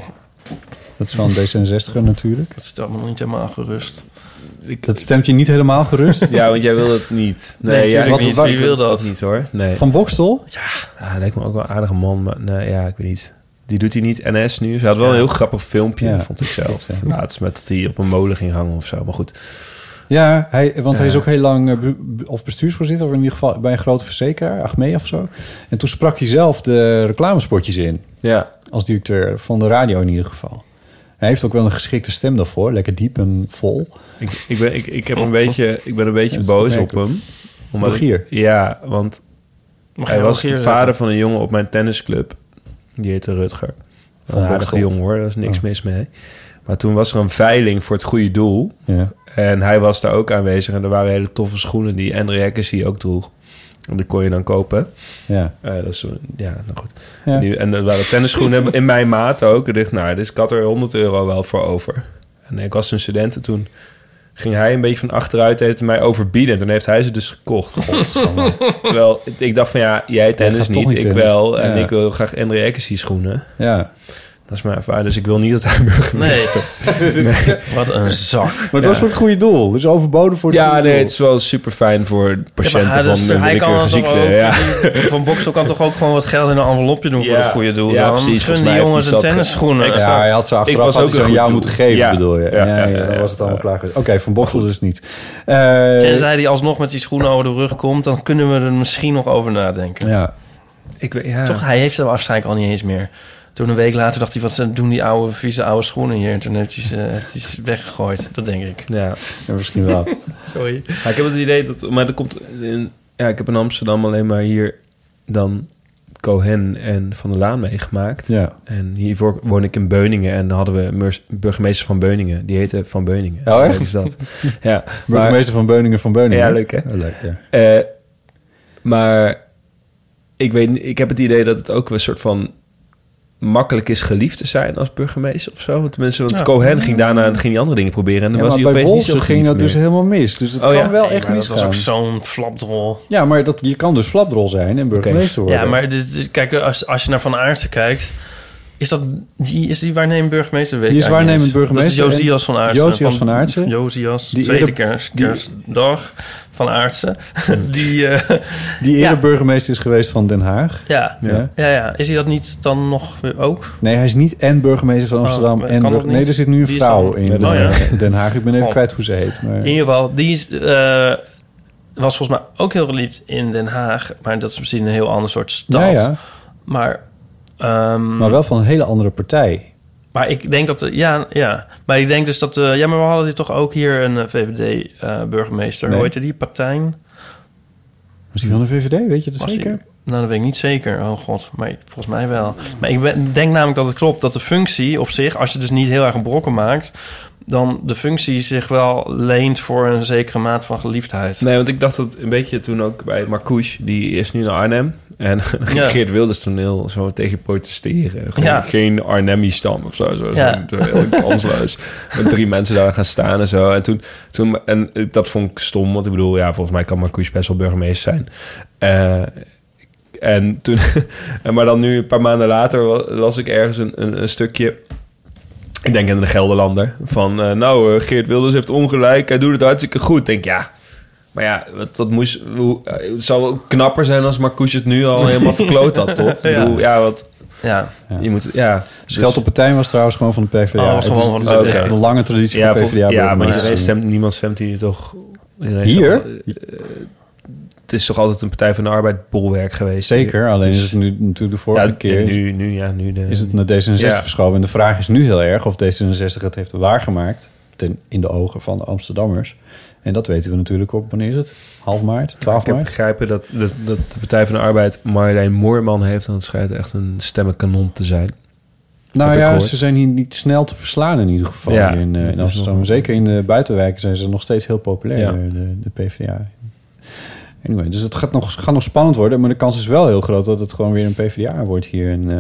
F: Dat is wel een D66er natuurlijk.
G: Dat stelt me nog niet helemaal gerust.
F: Dat stemt je niet helemaal gerust.
E: Ja, want jij wil het niet.
G: Nee, natuurlijk niet. Wie wil dat?
E: niet hoor. Nee.
F: Van Bokstel?
E: Ja, ah, hij lijkt me ook wel een aardige man. Maar nee, ja, ik weet niet. Die doet hij niet NS nu. Ze had wel een heel grappig filmpje,
F: Ja,
E: vond ik zelf. Laatst met dat hij op een molen ging hangen of zo. Maar goed.
F: Ja, hij, want hij is
E: Ja.
F: ook heel lang eh, bu- bu- of bestuursvoorzitter, of in ieder geval bij een grote verzekeraar, Achmea of zo. En toen sprak hij zelf de reclamespotjes in.
E: Ja.
F: Als directeur van de radio in ieder geval. Hij heeft ook wel een geschikte stem daarvoor, lekker diep en vol.
E: Ik, ik, ben, ik, ik, heb een beetje, ik ben een beetje
F: Oh, Dat is
E: boos op
F: opmerkelijk.
E: hem. Omdat ik-
F: Rogier?
E: ja, want
G: Mag
E: hij
G: je
E: was
G: Rogier
E: de
G: zeggen?
E: vader van een eh, jongen op mijn tennisclub. Die heette Rutger.
F: Van
E: Een aardige
F: Bokstel.
E: jongen hoor, daar is niks
F: Oh.
E: mis mee. Maar toen was er een veiling voor het goede doel.
F: Ja.
E: En hij was daar ook aanwezig. En er waren hele toffe schoenen die André Hekkersie ook droeg. En die kon je dan kopen.
F: Ja.
E: Eh, dat is, zo- ja, nou goed.
F: Ja.
E: En die- en er waren tennisschoenen in mijn maat ook. En ik dacht, nou, dus ik had er 100 euro wel voor over. En ik was een student en toen ging hij een beetje van achteruit deed het mij overbieden. En toen heeft hij ze dus gekocht.
F: Godsamme.
E: Terwijl ik- ik dacht van, ja, jij tennis
F: gaat toch
E: niet,
F: niet
E: ik
F: tennis.
E: wel. En
F: Ja.
E: ik wil graag André Hekkersie schoenen.
F: Ja.
E: Dat is mijn ervaring. Dus ik wil niet dat hij burgemeester...
G: Nee. Wat een zak.
F: Maar het was voor het goede doel, dus overboden voor het
E: Ja,
F: goede
E: nee,
F: doel.
E: het is wel super fijn voor patiënten
G: Ja, maar hij- dus
E: van een
G: hij kan
E: willekeurige
G: dan toch
E: ziekte.
G: ook-
E: Ja.
G: Van Boksel kan toch ook gewoon wat geld in een envelopje doen voor
E: Ja.
G: het goede doel.
E: Ja,
G: dan?
E: precies.
G: Gun
E: Volgens
G: die
E: mij heeft
G: jongens
E: hij
G: een
E: zat ge-
G: tennisschoenen.
E: Ik
F: Ja, hij had ze achteraf
E: was
F: had
E: ook een
F: hij ze aan
E: goed
F: jou
E: doel.
F: moeten geven,
E: Ja.
F: bedoel je. Ja,
E: Ja, ja,
F: ja,
E: ja,
F: dan
E: ja.
F: was het allemaal klaar geweest. Oké, Van Boksel dus niet.
G: Tenzij
F: Eh
G: die alsnog met die schoenen over de rug komt, dan kunnen we er misschien nog over nadenken.
F: ja.
E: Ik, weet- ja.
G: Toch, hij heeft ze waarschijnlijk al niet eens meer. Toen een week later dacht hij, wat ze- doen die oude, vieze oude schoenen hier? En toen heeft hij ze, heeft hij ze weggegooid, dat denk ik.
E: Ja,
F: misschien wel.
G: Sorry.
E: Ja, ik heb het idee dat... Maar er komt... In, ja, ik heb in Amsterdam alleen maar hier dan Cohen en Van der Laan meegemaakt.
F: Ja.
E: En hiervoor woon ik in Beuningen. En dan hadden we een mers- burgemeester van Beuningen. Die heette Van Beuningen.
F: Oh, echt?
E: Zo heette dat. ja.
F: Burgemeester van Beuningen van Beuningen.
E: Ja, leuk hè?
F: Ja, leuk, ja.
E: Eh, maar ik, weet, niet- ik heb het idee dat het ook een soort van makkelijk is geliefd te zijn als burgemeester of zo. Want Tenminste, want
F: Ja.
E: Cohen ging daarna ging die andere dingen proberen. En dan
F: Ja,
E: was
F: maar
E: hij
F: bij
E: opeens niet zo
F: Wolfsen ging dat
E: geliefd
F: dus
E: meer.
F: helemaal mis. Dus het
E: Oh,
F: kan
E: ja.
F: wel
E: Nee,
F: echt
G: maar dat
F: misgaan.
G: was ook zo'n flapdrol.
F: Ja, maar dat, je kan dus flapdrol zijn en burgemeester worden.
G: Ja, maar dit- dit- kijk, als, als je naar Van Aartsen kijkt... Is, dat, die, is die waarnemend burgemeester? Weet
F: Die is
G: ik eigenlijk
F: waarnemend
G: niet.
F: burgemeester
G: Dat is
F: en-
G: Josias van Aartsen.
F: Josias van Aartsen.
G: Josias,
F: Die
G: tweede
F: eerder-
G: kerst,
F: die- Hmm.
G: kerstdag van Aartsen. die, eh,
F: Die eerder
G: ja.
F: burgemeester is geweest van Den Haag.
G: Ja. Ja.
F: Ja.
G: Ja, Is hij dat niet dan nog weer ook?
F: Nee, hij is niet en burgemeester van
G: Oh,
F: Amsterdam
G: kan
F: en...
G: dat
F: burge- Nee,
G: niet?
F: er zit nu een
G: Wie is
F: vrouw
G: dan?
F: in
G: Oh,
F: Den,
G: ja.
F: Den Haag. Ik ben even
G: Oh.
F: kwijt hoe ze heet. Maar...
G: In ieder geval, die is, eh, was volgens mij ook heel geliefd in Den Haag. Maar dat is misschien een heel ander soort stad.
F: Ja, ja.
G: Maar, ehm,
F: Maar wel van een hele andere partij.
G: Maar ik denk dat... de- Ja, ja. Maar ik denk dus dat... eh, ja, maar we hadden hier toch ook hier een eh, VVD-burgemeester.
F: Nee.
G: Hoe heette die? Partijn?
F: Was die van de VVD? Weet je dat
G: Was die-
F: zeker?
G: nou, dat weet ik niet zeker. Oh god, maar volgens mij wel. Maar ik ben- denk namelijk dat het klopt dat de functie op zich... als je dus niet heel erg een brokken maakt... dan de functie zich wel leent voor een zekere mate van geliefdheid.
E: Nee, want ik dacht dat een beetje toen ook bij Marcouche, die is nu naar Arnhem. En dan ging
G: Ja.
E: Geert Wilders toen heel zo tegen protesteren. Gewoon
G: Ja.
E: Geen Arnhemmie-stam of zo. zo.
G: Ja.
E: zo heel kansloos. Met drie mensen daar gaan staan en zo. En, toen, toen, en dat vond ik stom, want ik bedoel, ja, volgens mij kan Marcouche best wel burgemeester zijn. Eh, en toen, en maar dan nu, een paar maanden later, wa- las ik ergens een, een, een stukje. Ik denk in de Gelderlander. Van eh, nou, eh, Geert Wilders heeft ongelijk. Hij doet het hartstikke goed. Ik denk ja. Maar ja, wat, dat moest, hoe, eh, het zou wel knapper zijn als Marcouche het nu al helemaal verkloot had, toch?
G: Ja.
E: Ik bedoel, ja, wat.
G: Ja.
E: Je moet, ja.
F: Scheld op Partij was trouwens gewoon van de PvdA.
E: Dus- Oh, was
F: het is,
E: gewoon
F: het is
E: van de-
F: echt
E: oké.
F: een lange traditie
E: Ja,
F: van
E: vol-
F: PvdA.
E: ja, maar
F: burgemeester.
E: iedereen stemt, niemand stemt hier toch. iedereen
F: Hier?
E: stemt- eh, het is toch altijd een Partij van de Arbeid bolwerk geweest.
F: Zeker, alleen
E: Dus-
F: is het nu natuurlijk de vorige
E: Ja,
F: keer.
E: nu- nu, ja, nu de-
F: is het naar D66
E: Ja.
F: verschoven. En de vraag is nu heel erg of D66 het heeft waargemaakt. ten, in de ogen van de Amsterdammers. En dat weten we natuurlijk op, wanneer is het? Half maart, 12
E: Ik heb
F: maart?
E: begrepen dat, dat, dat de Partij van de Arbeid Marjolein Moorman heeft... en het schijnt echt een stemmenkanon te zijn.
F: Nou
E: Heb ik
F: ja,
E: gehoord.
F: ze zijn hier niet snel te verslaan in ieder geval
E: Ja,
F: in, eh,
E: dat
F: in
E: is
F: Amsterdam.
E: wel-
F: Zeker in de buitenwijken zijn ze nog steeds heel populair,
E: Ja.
F: eh, de, de PvdA. Anyway, dus het gaat nog, gaat nog spannend worden. Maar de kans is wel heel groot dat het gewoon weer een PvdA wordt hier in, eh,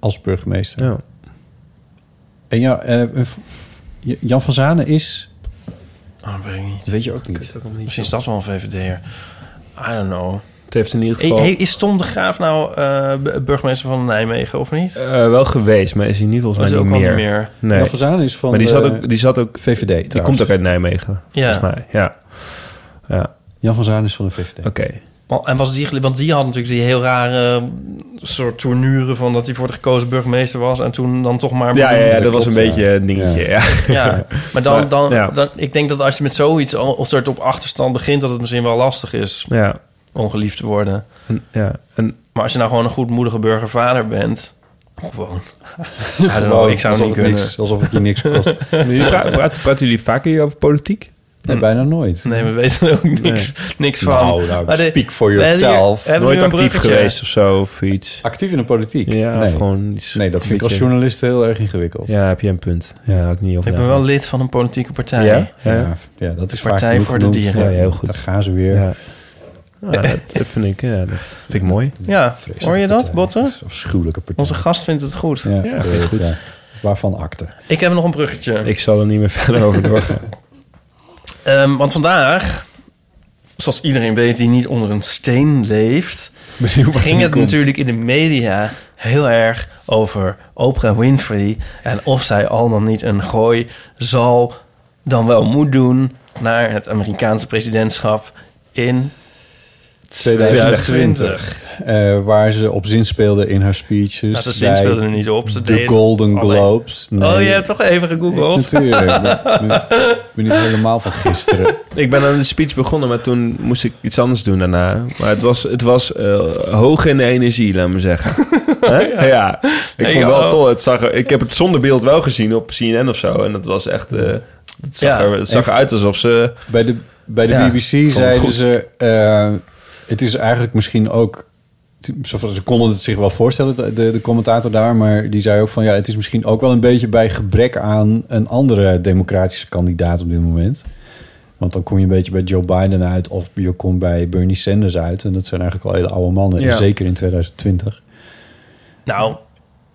F: als burgemeester. En ja, eh, v- v- Jan van Zanen is...
G: Ah, dat weet ik niet.
F: Dat weet je ook niet.
G: Misschien is dat wel een VVD'er. I don't know.
E: Het heeft in ieder
G: Hey,
E: geval...
G: hey, is Tom de Graaf nou eh, bu- burgemeester van Nijmegen of niet?
E: Eh, wel geweest, maar is hij niet volgens
G: Is
E: mij
G: ook
E: niet
G: al
E: meer.
G: niet meer.
E: Nee.
F: Jan van Zanen is van
E: Maar die
F: de
E: zat ook... Die, zat ook,
F: VVD
E: die
F: trouwens.
E: komt ook uit Nijmegen,
G: Ja.
E: volgens mij. Ja. ja.
F: Jan van Zanen is van de VVD.
E: Oké.
G: Oh, En was die, want die had natuurlijk die heel rare eh, soort tournuren van dat hij voor de gekozen burgemeester was en toen dan toch maar.
E: Ja, ja, ja, dat was een
G: Klopt,
E: beetje een dingetje. Ja.
G: Ja, maar dan,
E: Maar,
G: dan,
E: ja.
G: dan, ik denk dat als je met zoiets al een soort op achterstand begint, dat het misschien wel lastig is
E: Ja.
G: om geliefd te worden.
E: En, ja. En,
G: Maar als je nou gewoon een goedmoedige burgervader bent, gewoon. I don't know,
F: Gewoon,
G: ik zou
F: alsof
G: het niet
F: het
G: kunnen.
F: niks- alsof het je niks kost.
E: Pra- praat- Praten jullie vaker hier over politiek?
F: Nee, bijna nooit.
G: Nee,
E: Hmm.
G: we weten er ook niks, niks van.
F: Nou, nou,
G: Maar de-
F: speak for
G: we hebben hier-
F: yourself.
G: we hebben
E: Nooit
G: nu een
E: actief
G: bruggetje.
E: geweest of zo, of iets.
F: Actief in de politiek?
E: Ja,
F: nee.
E: of gewoon iets.
F: nee, dat vind ik
E: beetje-
F: als journalist heel erg ingewikkeld.
E: Ja, heb je een punt. Ja, had ik niet op.
G: Ik ben wel lid van een politieke partij.
E: Ja?
F: Ja, ja, dat is
G: Partij
F: vaak genoeg
G: voor de
F: genoemd.
G: dieren.
E: Ja, heel
F: Daar
E: goed.
F: gaan ze weer.
E: Ja. Ja, dat, dat vind ik, ja, dat vind ik mooi.
G: Ja, hoor je dat, Botten?
F: Afschuwelijke eh, partij.
G: Onze gast vindt het goed.
F: Ja,
E: Ja,
F: weet,
E: goed.
F: ja. Waarvan akte?
G: Ik heb nog een bruggetje.
E: Ik zal er niet meer verder over doorgaan.
G: Ehm, want vandaag, zoals iedereen weet die niet onder een steen leeft, ging het natuurlijk in de media heel erg over Oprah Winfrey en of zij al dan niet een gooi zal dan wel moet doen naar het Amerikaanse presidentschap in 2020.
F: Eh, waar ze op zin speelde in haar speeches.
G: Nou, ze zin speelde er niet op. Ze
F: De
G: deed
F: Golden
G: alleen-
F: Globes. Nee.
G: Oh, je hebt toch even gegoogeld?
F: Natuurlijk. Ik ben, ben- ben niet helemaal van gisteren.
E: Ik ben aan de speech begonnen, maar toen moest ik iets anders doen daarna. Maar het was, het was eh, hoog in de energie, laat me zeggen. Hè? ja. Ik
G: Nee,
E: vond wel
G: oh.
E: tof. Het zag er- ik heb het zonder beeld wel gezien op CNN of zo. En dat was echt... eh, het zag,
G: Ja.
E: er, het zag
F: En-
E: eruit alsof ze...
F: Bij de, bij de
E: Ja,
F: BBC
E: het
F: zeiden
E: goed.
F: ze... eh, het is eigenlijk misschien ook... Ze ze konden het zich wel voorstellen, de, de de commentator daar... maar die zei ook van... ja, het is misschien ook wel een beetje bij gebrek aan... een andere democratische kandidaat op dit moment. Want dan kom je een beetje bij Joe Biden uit... of je komt bij Bernie Sanders uit. En dat zijn eigenlijk al hele oude mannen.
E: Ja.
F: En zeker in 2020.
G: Nou,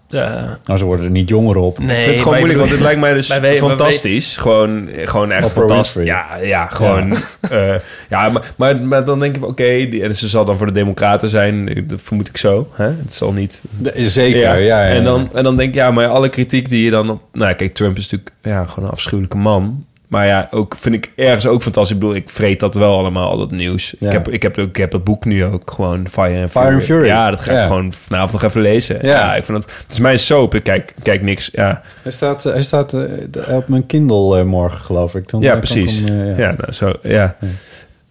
G: eh,
F: Nou, ze worden er niet jonger op.
G: nee.
E: ik vind het
G: maar
E: gewoon moeilijk, want
G: bedoel-
E: dit lijkt mij dus
G: wij weten- wij
E: fantastisch. Gewoon, gewoon echt
F: Oprah
E: fantastisch. Ja,
F: Winfrey.
E: ja, gewoon. eh, ja, maar, maar, maar dan denk ik, oké, die- en ze zal dan voor de Democraten zijn, eh, dat vermoed ik zo. Hè? Het zal niet...
F: De- zeker, ja. ja,
E: En, dan, en dan denk ik, ja, maar alle kritiek die je dan op... Nou, ja, kijk, Trump is natuurlijk ja, gewoon een afschuwelijke man. Maar ja, ook, vind ik ergens ook fantastisch. Ik bedoel, ik vreet dat wel allemaal, al dat nieuws.
F: Ja.
E: Ik, heb, ik, heb, ook- ik heb dat boek nu ook gewoon, Fire and
F: Fire
E: Fury.
F: and Fury.
E: Ja, dat ga
F: Ja.
E: ik gewoon vanavond nog even lezen. Ja,
F: Ja.
E: ik vind dat... Het is mijn soap, ik kijk, kijk niks. Ja,
F: Hij staat, hij staat eh, op mijn Kindle eh, morgen, geloof ik. Dan
E: ja
F: kan ik
E: precies.
F: hem, eh, Ah,
E: ja, nou, zo, ja.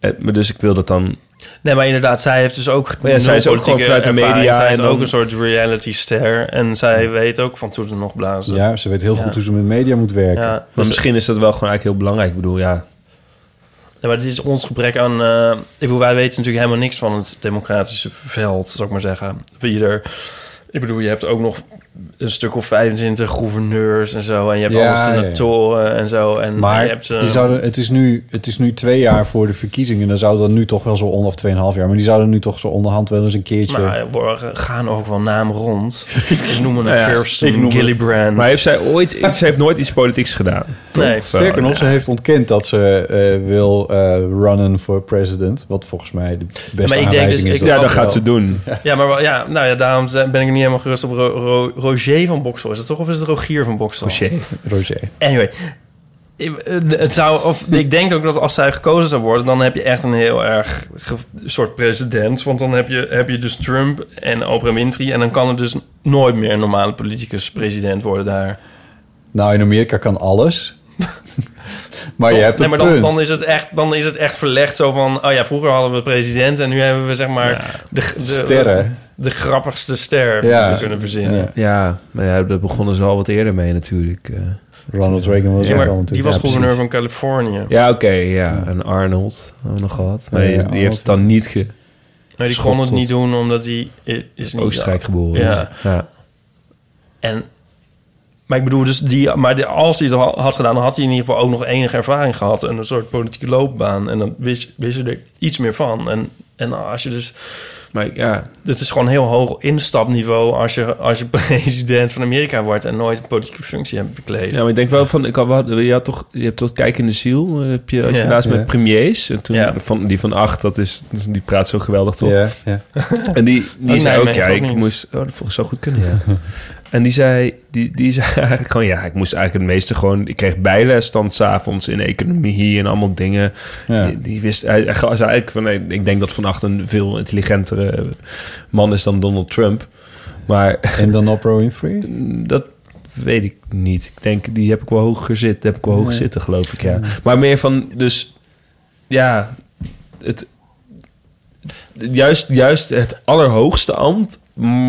E: Eh, Maar dus ik wil dat dan...
G: Nee, maar inderdaad, zij heeft dus ook.
E: Maar ja, zij
G: nul
E: is ook gewoon
G: politieke
E: vanuit de
G: ervaring.
E: media
G: Zij is
E: en
G: ook
E: dan-
G: een soort reality-ster. En zij weet ook van toen nog blazen.
F: Ja, ze weet heel
G: Ja.
F: goed hoe ze met media moet werken.
G: Ja.
E: Maar misschien is dat wel gewoon eigenlijk heel belangrijk. Ik bedoel, ja...
G: Ja, maar dit is ons gebrek aan... eh, ik bedoel, wij weten natuurlijk helemaal niks van het democratische veld, zou ik maar zeggen. Wie er, ik bedoel, je hebt ook nog een stuk of 25 gouverneurs en zo. En je hebt
F: Ja,
G: alle
F: ja, ja.
G: senatoren en zo. En
F: Maar
G: je hebt, eh,
F: die zouden, het, is nu, het is nu twee jaar voor de verkiezingen. Dan zouden dan nu toch wel zo onder, of tweeënhalf jaar. Maar die zouden nu toch zo onderhand wel eens een keertje...
G: maar eh, er worden- gaan ook wel namen rond. ik noem een
E: Nou ja, ik noem
G: Kirsten
E: het.
G: Gillibrand.
E: Maar heeft zij ooit... Ze heeft nooit iets politieks gedaan.
G: nee,
F: Sterker nog, ze heeft ontkend dat ze eh, wil eh, runnen voor president. Wat volgens mij de
G: ik
F: beste
G: denk
F: aanwijzing
G: dus-
F: is.
G: ik-
E: Ja,
F: dat
E: dat gaat
F: wel-
E: ze doen.
G: Ja, maar wel- ja, nou ja, daarom ben ik er niet helemaal gerust op. Ro- Ro- Roger van Boksel is dat toch? Of is het Rogier van Boksel?
E: Roger.
F: Roger.
G: Anyway. Ik- eh, Het zou, of, ik denk ook dat als zij gekozen zou worden... dan heb je echt een heel erg ge- soort president. Want dan heb je, heb je dus Trump en Oprah Winfrey... en dan kan er dus nooit meer een normale politicus president worden daar.
F: Nou, in Amerika kan alles. Maar je hebt
G: nee,
F: een
G: maar
F: punt.
G: dan, dan, is het echt, dan is het echt verlegd zo van... Oh ja, vroeger hadden we president en nu hebben we zeg maar... de, de,
F: sterren.
G: De, grappigste ster die we kunnen verzinnen.
E: Ja, Ja, maar ja, daar begonnen ze al wat eerder mee natuurlijk. eh.
F: Ronald Reagan was
E: Ja,
F: ook
E: maar
F: al een
G: Die
E: Ja,
G: was
E: precies.
G: gouverneur van Californië.
E: Ja, oké, ja. En Arnold hebben we nog gehad. Maar
G: Ja,
E: die, die
G: Arnold.
E: heeft het dan niet ge...
G: Maar die kon
E: geschopt
G: het
E: tot
G: niet doen omdat hij i- is niet...
E: Oostenrijk geboren is.
G: Ja.
E: Ja.
G: En, maar ik bedoel, dus die, maar die- als hij het al had gedaan... dan had hij in ieder geval ook nog enige ervaring gehad... en een soort politieke loopbaan. En dan wist, wist je er iets meer van. En, en als je dus...
E: Maar ja...
G: Het is gewoon heel hoog instapniveau... als je, als je president van Amerika wordt... en nooit een politieke functie hebt bekleed.
E: Ja, maar ik denk wel van, ik had, wel- je, had toch, je hebt toch Kijk in de Ziel, eh, heb je, had je
G: Ja.
E: laatst
G: Ja.
E: met premiers. En toen van, die van acht, dat is, dat is- die praat zo geweldig toch?
F: Ja, ja.
E: En die, die
G: Oh,
E: zei ook,
G: Nijmegen
E: ja,
G: ook
E: ik
G: niet.
E: moest... Oh, dat volgens zo goed kunnen, ja. en die zei, die, die zei eigenlijk gewoon, ja, ik moest eigenlijk het meeste gewoon... Ik kreeg bijles dan s'avonds in economie en allemaal dingen.
F: Ja.
E: Die, die wist, hij, hij zei eigenlijk van, nee, ik denk dat Van Acht een veel intelligentere man is dan Donald Trump. Maar...
F: En dan Oprah Winfrey?
E: Dat weet ik niet. Ik denk, die heb ik wel hoger zitten. Heb ik wel hoog
F: Nee.
E: zitten, geloof ik, ja.
F: Ja.
E: Maar meer van, dus... Ja, het... Juist, juist het allerhoogste ambt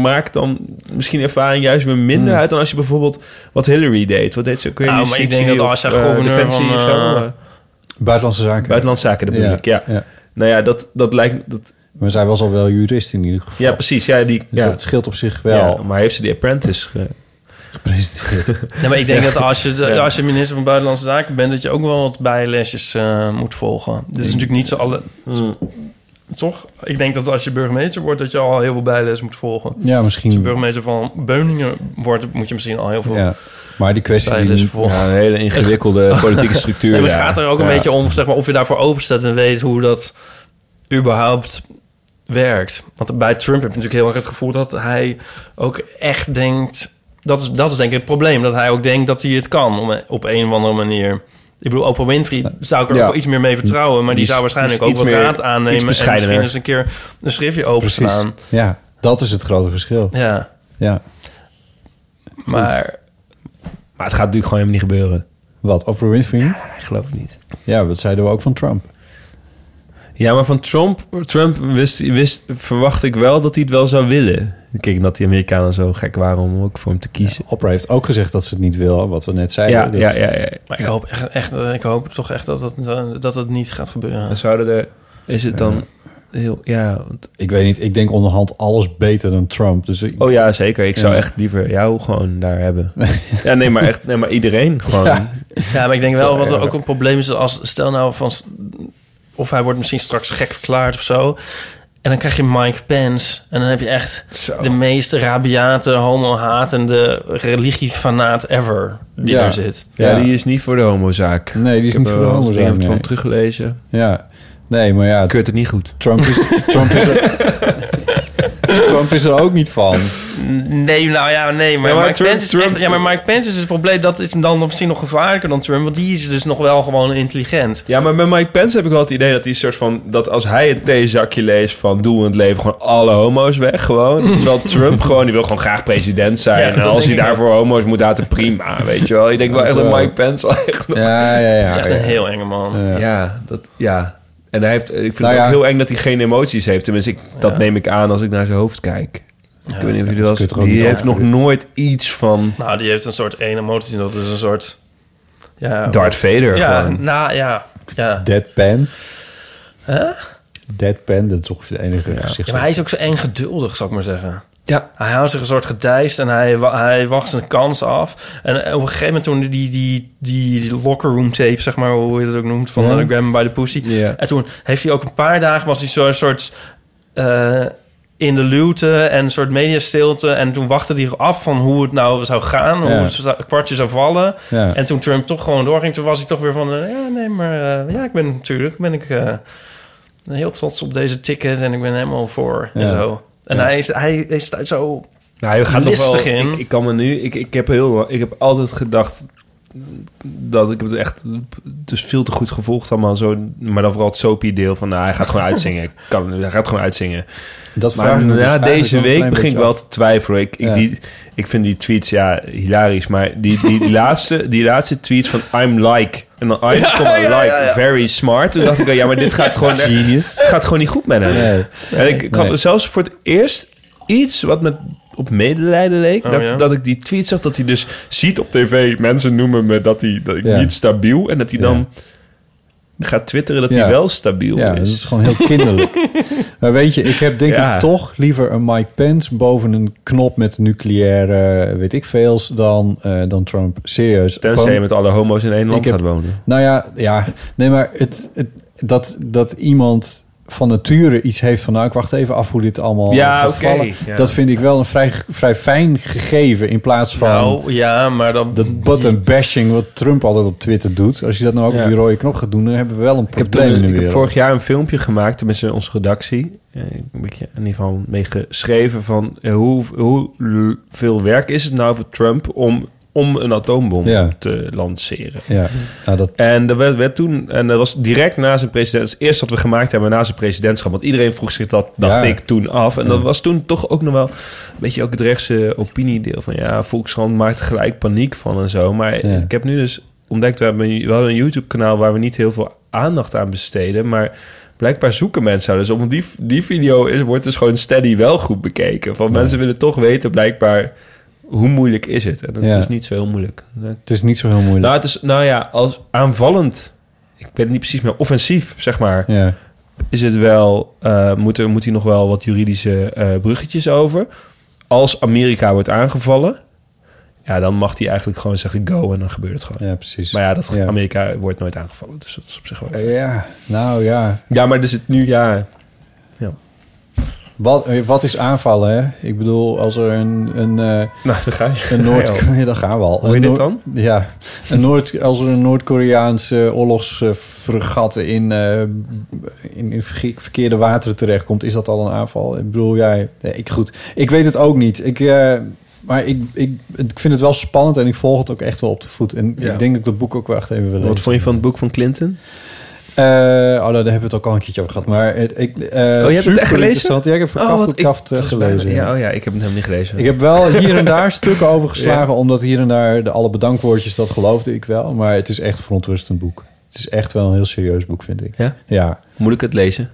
E: maakt dan misschien ervaring juist weer minder
G: Hmm.
E: uit dan als je bijvoorbeeld wat Hillary deed. Wat deed ze ook weer?
G: Nou, maar ik denk
E: Justitie
G: dat
E: of,
G: als je
E: eh,
G: gouverneur
E: Defensie
G: van,
E: of
G: eh,
E: zo, eh,
F: Buitenlandse zaken.
E: Buitenlandse zaken, dat bedoel ik, ja. Nou ja, dat, dat lijkt... Dat,
F: Maar zij was al wel jurist in ieder geval.
E: ja, precies. Ja, die,
F: Dus
E: ja.
F: dat scheelt op zich wel.
E: Ja, maar heeft ze die Apprentice ge-
F: gepresenteerd?
G: Nee, maar ik denk dat als je, de-
E: Ja.
G: als je minister van Buitenlandse Zaken bent... dat je ook wel wat bijlesjes eh, moet volgen.
E: Mm.
G: Dit is natuurlijk niet zo alle... Toch? Ik denk dat als je burgemeester wordt... dat je al heel veel bijles moet volgen.
F: Ja, misschien.
E: Mm.
G: Als je burgemeester van Beuningen wordt... moet je misschien al heel veel...
F: Ja. Maar die kwestie die
G: bijles
F: nu-
G: volgen.
F: Ja, een hele ingewikkelde politieke structuur,
G: Nee, maar
F: ja.
G: het gaat er ook een
F: Ja.
G: beetje om... Zeg maar, of je daarvoor open staat en weet hoe dat überhaupt werkt. Want bij Trump heb je natuurlijk heel erg het gevoel... dat hij ook echt denkt... Dat is, dat is denk ik het probleem. Dat hij ook denkt dat hij het kan om- op een of andere manier. Ik bedoel, Oprah Winfrey zou ik er
E: Ja.
G: ook wel iets meer mee vertrouwen. Maar
E: Die
G: die,
E: is-
G: zou waarschijnlijk
E: die
G: ook
E: is
G: wat
E: iets meer-
G: raad aannemen.
E: iets
G: En misschien
E: bescheidener.
G: eens een keer een schriftje openslaan.
F: Ja, dat is het grote verschil.
G: Ja.
F: Ja.
G: Maar...
E: Maar het gaat natuurlijk gewoon helemaal niet gebeuren.
F: Wat, Oprah Winfrey niet?
E: Ja, ik geloof het niet.
F: Ja, dat zeiden we ook van Trump.
E: Ja, maar van Trump, Trump wist, wist, verwacht ik wel dat hij het wel zou willen. Kijk, dat die Amerikanen zo gek waren om ook voor hem te kiezen.
F: Oprah heeft ook gezegd dat ze het niet wil, wat we net zeiden. Dus
E: Ja, dus-
F: Dat-
E: ja, ja, ja.
G: Maar ik hoop, echt, echt, ik hoop toch echt dat het, eh, dat het niet gaat gebeuren.
E: Dan zouden er... Is het dan heel... Ja, want-
F: Ik weet niet, ik denk onderhand alles beter dan Trump. Dus ik,
E: Oh ja, zeker. Ik zou
F: Ja.
E: echt liever jou gewoon daar hebben. ja, nee, maar echt... Nee, maar iedereen gewoon.
G: Ja. Ja, maar ik denk wel wat er
E: Ja.
G: ook een probleem is als stel nou van of hij wordt misschien straks gek verklaard of zo. En dan krijg je Mike Pence. En dan heb je echt de meest rabiate, homo-hatende religiefanaat ever die daar zit.
E: Ja, die is niet voor de homozaak.
F: Nee, die is
E: Ik
F: niet
E: heb
F: voor de
E: wel eens
F: homozaak,
E: dingen van
F: nee.
E: hem teruggelezen.
F: Ja, nee, maar ja... Ik
E: het niet goed.
F: Trump is, Trump, is er, Trump is er ook niet van.
G: Nee, nou ja, nee. Maar,
F: Ja, maar
G: Mike
F: Trump-
G: Pence is echt- ja, maar Mike Pence is het probleem. Dat is dan misschien nog gevaarlijker dan Trump. Want die is dus nog wel gewoon intelligent.
E: Ja, maar bij Mike Pence heb ik wel het idee dat hij een soort van... dat als hij het theezakje leest van doel in het leven... gewoon alle homo's weg gewoon. Terwijl Trump gewoon, die wil gewoon graag president zijn.
F: Ja, dat
E: en als hij
F: denk ik
E: daarvoor homo's moet laten, prima, weet je wel. Ik denk wel echt dat
F: Zo.
E: Mike Pence wel echt... nog-
F: Ja, ja, ja.
G: Dat is echt een heel enge man.
E: Ja, dat, ja. En hij heeft, ik vind
F: Nou
E: het
F: ja.
E: ook heel eng dat hij geen emoties heeft. Tenminste, ik, dat neem ik aan als ik naar zijn hoofd kijk. Ik weet niet of je dat...
F: kun je toch ook
E: Die
F: niet
E: heeft nog
F: opvoeden.
E: nooit iets van...
G: Nou, die heeft een soort ene emotie. Dat is een soort... Ja,
E: Darth Vader
G: Ja,
E: gewoon.
G: nou ja. ja.
F: Deadpan.
G: Huh?
F: Deadpan, dat is ongeveer de enige gezicht.
G: Ja, maar hij is ook zo eng geduldig, zou ik maar zeggen.
E: Ja.
G: Hij houdt zich een soort gedijst en hij, wa- hij wacht zijn kans af. En eh, op een gegeven moment toen die, die, die, die locker room tape, zeg maar, hoe je dat ook noemt, van
E: Ja.
G: de Graham by the Pussy. En toen heeft hij ook een paar dagen, was hij zo'n soort... eh, in de luwte en een soort mediastilte. En toen wachtte hij af van hoe het nou zou gaan. Hoe
F: Ja.
G: het zou- het kwartje zou vallen.
F: Ja.
G: En toen Trump toch gewoon doorging, toen was hij toch weer van... eh, ja, nee, maar eh, ja, ik ben natuurlijk... ben ik eh, heel trots op deze ticket en ik ben helemaal voor
E: Ja.
G: en zo. En
E: Ja.
G: hij, is, hij is daar zo
E: Nou, je gaat nog wel.
G: listig in.
E: Ik, ik kan me nu. Ik, ik heb heel. Ik heb altijd gedacht dat ik heb het echt dus veel te goed gevolgd allemaal zo maar dan vooral het soapy deel van nou, hij gaat gewoon uitzingen Ik kan hij gaat gewoon uitzingen
F: dat
E: maar
F: vraag ik me dus
E: ja,
F: eigenlijk
E: deze
F: wel een
E: week
F: klein
E: begin ik
F: beetje
E: wel
F: af.
E: te twijfelen ik, ik,
F: Ja.
E: die, ik vind die tweets ja hilarisch maar die, die, laatste die laatste tweet van I'm like
G: En dan I become
E: Ja, ja,
G: like
E: ja, ja.
G: very smart. Toen dacht ik, ja, maar dit gaat gewoon,
E: Genius.
G: Het gaat gewoon niet goed met hem.
E: Nee.
G: En ik, ik had
E: Nee.
G: zelfs voor het eerst iets wat met op medelijden leek.
E: Oh,
G: dat,
E: ja?
G: dat ik die tweet zag, dat hij dus ziet op tv... mensen noemen me dat, hij, dat ik
E: Ja.
G: niet stabiel... en dat hij
E: Ja.
G: dan gaat twitteren dat
F: Ja.
G: hij wel stabiel
F: Ja,
G: is.
F: dat is gewoon heel kinderlijk. maar weet je, ik heb denk
G: Ja.
F: ik toch liever een Mike Pence boven een knop met nucleaire weet ik veels dan, eh, dan Trump. Serieus.
G: Tenzij
F: Gewoon-
G: je met alle homo's in één land
F: Ik heb-
G: gaat wonen.
F: Nou ja, ja. nee, maar het, het, dat, dat iemand van nature iets heeft van... nou, ik wacht even af hoe dit allemaal
K: Ja,
F: gaat
K: oké,
F: vallen.
K: ja.
F: Dat vind ik wel een vrij, vrij fijn gegeven in plaats van...
K: Nou, ja, maar dan...
F: dat button bashing wat Trump altijd op Twitter doet. Als je dat nou ook op die rode knop gaat doen, dan hebben we wel een
G: Ik heb,
F: probleem
G: toen-
F: in de
G: ik heb
F: wereld.
G: vorig jaar een filmpje gemaakt, tenminste onze redactie. eh, Een beetje in ieder geval mee geschreven van eh, hoe, hoe l- veel werk is het nou voor Trump om, om een atoombom
F: Ja.
G: te lanceren.
F: Ja, nou dat...
G: En er werd, werd toen, en dat was direct na zijn president, het eerste wat we gemaakt hebben na zijn presidentschap, want iedereen vroeg zich dat, dacht
E: Ja.
G: ik toen af. En dat
E: Ja.
G: was toen toch ook nog wel een beetje ook het rechtse opiniedeel van ja, Volkskrant maakt er gelijk paniek van en zo. Maar
E: Ja.
G: ik heb nu dus ontdekt, we, hebben, een- we hadden een YouTube-kanaal waar we niet heel veel aandacht aan besteden, maar blijkbaar zoeken mensen daar dus om. Want die, die video is, wordt dus gewoon steady wel goed bekeken. Van mensen willen toch weten blijkbaar hoe moeilijk is het. En dat
F: Ja.
G: is niet zo heel moeilijk.
F: Het is niet zo heel moeilijk.
G: Nou, het is, nou ja, als aanvallend, ik weet het niet precies meer, offensief, zeg maar.
F: Ja.
G: Is het wel, eh, moet, er, moet hier nog wel wat juridische eh, bruggetjes over. Als Amerika wordt aangevallen, ja, dan mag hij eigenlijk gewoon zeggen go en dan gebeurt het gewoon.
F: Ja, Eh, precies.
G: Maar ja, dat, Amerika wordt nooit aangevallen, dus dat is op zich wel.
F: Ja, nou ja.
G: Ja, maar er zit nu, ja...
F: Wat, eh, wat is aanvallen, hè? Ik bedoel, als er een... een nou,
G: dan ga je.
F: Een Noord
G: Ga je al.
F: ja, dan gaan we al.
G: Hoor je
F: Een
G: dit
F: Noor-
G: dan?
F: Ja. Een Noord, als er een Noord-Koreaanse oorlogsfregat in, eh, in, in verge- verkeerde wateren terechtkomt... is dat al een aanval? Ik bedoel, jij... Ja, ik, goed, ik weet het ook niet. Ik... eh, maar ik, ik, ik vind het wel spannend en ik volg het ook echt wel op de voet. En
G: Ja.
F: ik denk dat ik dat boek ook wel echt even wil lezen.
G: Wat vond je van het boek van Clinton?
F: Eh, oh, nou, daar hebben we het ook al een keertje over gehad. Maar het, ik, eh,
G: oh, je hebt het
F: super
G: echt gelezen?
F: interessant. Ja, ik heb voor
G: Oh,
F: kaft
G: wat
F: tot
G: ik-
F: kaft eh,
G: volgens mij-
F: gelezen.
G: Ja, oh ja, ik heb het helemaal niet gelezen.
F: Ik heb wel hier en daar stukken over geslagen, omdat hier en daar de alle bedankwoordjes, dat geloofde ik wel. Maar het is echt een verontrustend boek. Het is echt wel een heel serieus boek, vind ik.
G: Ja?
F: Ja.
G: Moet ik het lezen?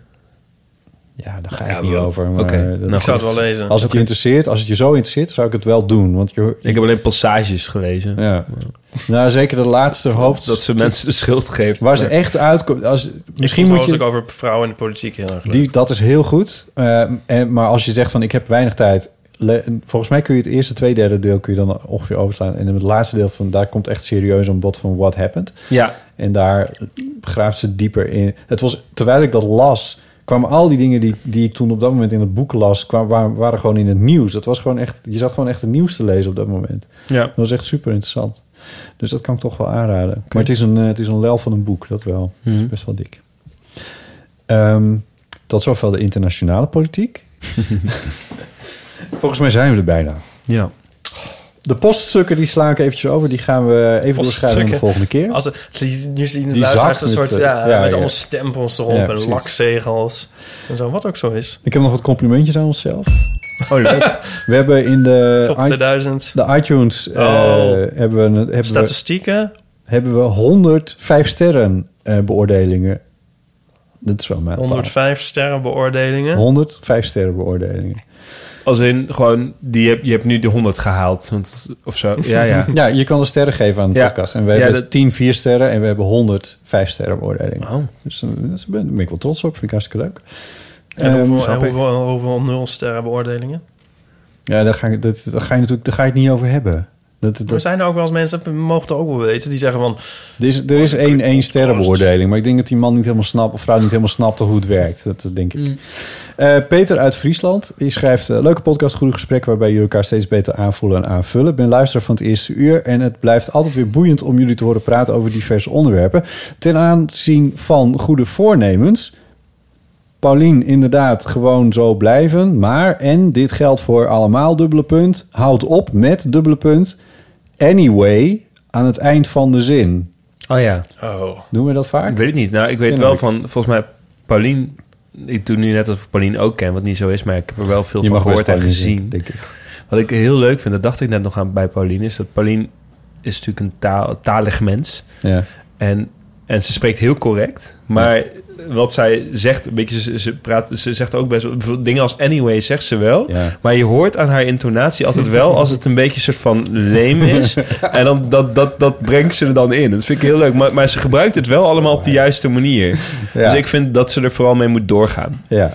F: Ja, daar ga ik
G: Ja,
F: niet
G: wel.
F: over. Maar
G: Oké.
F: dat-
G: Nou, ik zou het wel lezen.
F: Als het je
G: Oké.
F: interesseert, als het je zo interesseert, zou ik het wel doen. Want je,
G: Ik heb alleen passages gelezen.
F: Ja. Nou, zeker de laatste hoofd.
G: Dat ze mensen de schuld geeft.
F: Waar ze
G: Maar-
F: echt uitkomt. Als, misschien
K: ik
F: moet je.
K: ook over vrouwen in de politiek heel erg leuk.
F: Die, dat is heel goed. Eh, en, maar als je zegt van ik heb weinig tijd. le- volgens mij kun je het eerste twee derde deel kun je dan ongeveer overslaan. En het laatste deel van daar komt echt serieus aan bod van what happened.
G: Ja.
F: En daar graaft ze dieper in. Het was, terwijl ik dat las, kwamen al die dingen die, die ik toen op dat moment in het boek las, kwamen, waren, waren gewoon in het nieuws. Dat was gewoon echt, je zat gewoon echt het nieuws te lezen op dat moment.
G: Ja.
F: Dat was echt super interessant. Dus dat kan ik toch wel aanraden. Maar het is, een, eh, het is een lel van een boek, dat wel. Dat
K: Mhm.
F: is best wel dik. Ehm, tot zover de internationale politiek. Volgens mij zijn we er bijna.
G: Ja.
F: De poststukken die sla ik eventjes over. Die gaan we even doorschrijven aan de
K: Poststukken.
F: volgende keer.
K: Als het, nu zien de
F: Die
K: luisteraars
F: zak
K: een
F: met,
K: soort...
F: eh,
K: ja,
F: ja,
K: met
F: ja.
K: allemaal stempels erop
F: Ja,
K: en
F: precies.
K: lakzegels. En zo, wat ook zo is.
F: Ik heb nog wat complimentjes aan onszelf.
G: Oh,
F: leuk. We hebben in de,
K: Top
F: Eh, i-
K: 2000.
F: de iTunes eh,
K: Oh.
F: hebben we, een- hebben
K: Statistieken?
F: We, hebben we 105 sterren eh, beoordelingen. Dat is wel mijn
K: 105 sterren beoordelingen.
F: 105 sterren beoordelingen.
G: Als in gewoon, die heb, je hebt nu de 100 gehaald. Want, of zo. Ja, ja.
F: ja, je kan de sterren geven aan de
G: Ja.
F: podcast. En we
G: Ja,
F: hebben
G: dat-
F: 10 vier sterren en we hebben 105 sterren
K: Oh.
F: beoordelingen.
G: Oh.
F: Dus eh, dat is- daar ben ik wel trots op. Vind ik hartstikke leuk.
K: En
F: Ehm,
K: hoeveel, en hoeveel, hoeveel nul sterren beoordelingen?
F: Ja, daar ga, ik, dat, daar ga je natuurlijk daar ga je het niet over hebben. Dat, dat,
K: Er zijn ook wel eens mensen, dat mogen het ook wel weten, die zeggen van...
F: Er is, er is één, één sterrenbeoordeling, maar ik denk dat die man niet helemaal snapt, of vrouw niet helemaal snapte hoe het werkt. Dat dat denk ik. Eh, Peter uit Friesland, die schrijft... eh, leuke podcast, goede gesprek waarbij jullie elkaar steeds beter aanvoelen en aanvullen. Ik ben luisteraar van het eerste uur en het blijft altijd weer boeiend om jullie te horen praten over diverse onderwerpen. Ten aanzien van goede voornemens... Paulien, inderdaad, gewoon zo blijven. Maar, en dit geldt voor allemaal, dubbele punt. Houd op met, dubbele punt. Anyway, aan het eind van de zin.
G: Oh ja.
K: Oh.
F: Doen we dat vaak?
G: Ik weet het niet. Nou, ik weet
F: Ken
G: wel
F: ik.
G: van, volgens mij, Paulien... Ik doe nu net alsof ik Paulien ook ken, wat niet zo is. Maar ik heb er wel veel
F: Je
G: van
F: mag
G: gehoord
F: best
G: en
F: Paulien
G: gezien.
F: zeggen, denk ik.
G: Wat ik heel leuk vind, dat dacht ik net nog aan bij Paulien... is dat Paulien is natuurlijk een taal, talig mens.
F: Ja.
G: En En ze spreekt heel correct. Maar wat zij zegt, een beetje, ze, ze, praat, ze zegt ook best wel... bijvoorbeeld Dingen als anyway zegt ze wel. Maar je hoort aan haar intonatie altijd wel... als het een beetje een soort van leem is. en dan, dat, dat, dat brengt ze er dan in. Dat vind ik heel leuk. Maar, maar ze gebruikt het wel allemaal op de juiste manier. Dus ik vind dat ze er vooral mee moet doorgaan.
F: Ja.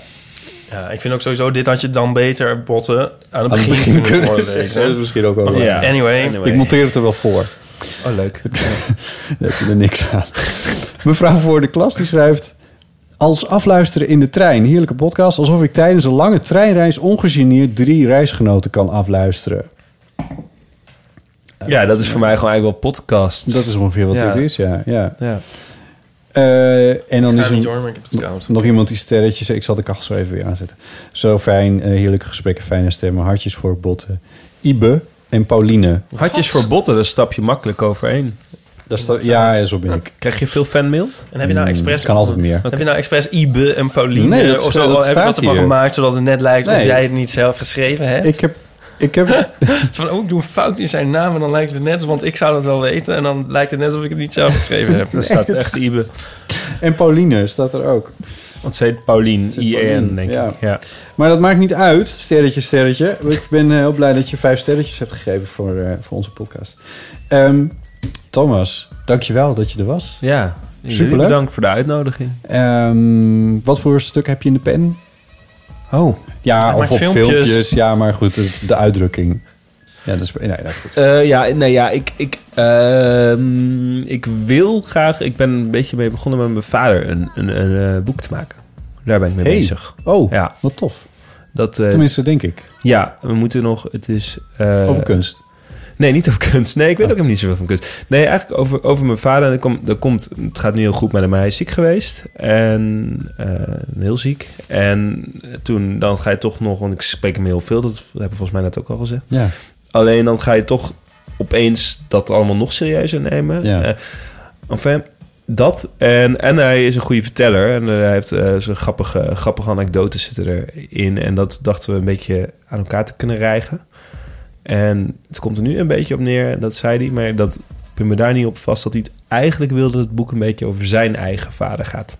K: Ja, ik vind ook sowieso, dit had je dan beter botten aan het
F: Aan het
K: begin,
F: begin kunnen
K: voorlezen.
F: zeggen. Dat is misschien ook wel
K: Maar goed,
F: waar.
K: anyway,
F: Ik monteer het er wel voor.
K: Oh, leuk.
F: Daar heb je er niks aan. Mevrouw voor de klas die schrijft... Als afluisteren in de trein. Heerlijke podcast. Alsof ik tijdens een lange treinreis ongegeneerd drie reisgenoten kan afluisteren.
G: Ja, dat is voor mij gewoon eigenlijk wel podcast.
F: Dat is ongeveer wat dit is, ja. ja.
G: Ja.
F: Eh, en dan
K: Ik ga
F: is er
K: niet hoor, maar ik heb het koud.
F: nog iemand die sterretjes... Ik zal de kachel zo even weer aanzetten. Zo fijn, eh, heerlijke gesprekken, fijne stemmen, hartjes voor botten. Ibe en Pauline.
G: Hartjes voor botten, daar stap je makkelijk overheen.
F: Dat is ja, zo ben ik.
G: Krijg je veel fanmail?
K: En heb je
G: Mm,
K: nou expres...
F: Hmm, kan altijd meer.
K: Heb je nou expres Ibe en Pauline? eh,
F: Nee, dat-
K: of zo,
F: dat
K: heb je
F: staat
K: dat ervan
F: hier.
K: gemaakt, zodat het net lijkt of
F: Nee.
K: jij het niet zelf geschreven hebt?
F: Ik heb... Ik heb
K: Zo van, oh, ik doe een fout in zijn naam en dan lijkt het net, want ik zou dat wel weten. En dan lijkt het net alsof ik het niet zelf geschreven heb.
F: Nee, staat het- echt
G: Ibe.
F: En Pauline staat er ook.
G: Want ze heet Pauline, I-E-N, denk
F: ja.
G: ik. Ja.
F: Maar dat maakt niet uit, sterretje, sterretje. Ik ben eh, heel blij dat je vijf sterretjes hebt gegeven voor, eh, voor onze podcast. Ehm Thomas, dankjewel dat je er was.
G: Ja,
F: Superleuk.
G: Bedankt voor de uitnodiging.
F: Ehm, wat voor stuk heb je in de pen? Oh. Ja,
G: Hij
F: of
G: maakt
F: op filmpjes.
G: filmpjes.
F: Ja, maar goed, het is de uitdrukking. Ja, dat is... Nee, nee, goed.
G: Eh, ja, nee, ja, ik, ik, ehm, ik wil graag... Ik ben een beetje mee begonnen met mijn vader een, een, een eh, boek te maken. Daar ben ik mee
F: Hey.
G: bezig.
F: Oh,
G: ja.
F: wat tof.
G: Dat, eh,
F: Tenminste, denk ik.
G: Ja, we moeten nog... Het is... eh,
F: Over kunst. Oh.
G: Nee, niet over kunst. Nee, ik weet ook helemaal niet zoveel van kunst. Nee, eigenlijk over, over mijn vader. En dat komt, dat komt, het gaat nu heel goed met hem. maar Hij is ziek geweest. En eh, heel ziek. En toen dan ga je toch nog... Want ik spreek hem heel veel. Dat heb ik volgens mij net ook al gezegd.
F: Ja.
G: Alleen dan ga je toch opeens dat allemaal nog serieuzer nemen.
F: Ja.
G: Eh, enfin, dat. En, en hij is een goede verteller. En eh, hij heeft eh, zijn grappige, grappige anekdotes zitten erin. En dat dachten we een beetje aan elkaar te kunnen rijgen. En het komt er nu een beetje op neer, dat zei hij. Maar dat ik pin me daar niet op vast dat hij het eigenlijk wilde... dat het boek een beetje over zijn eigen vader gaat.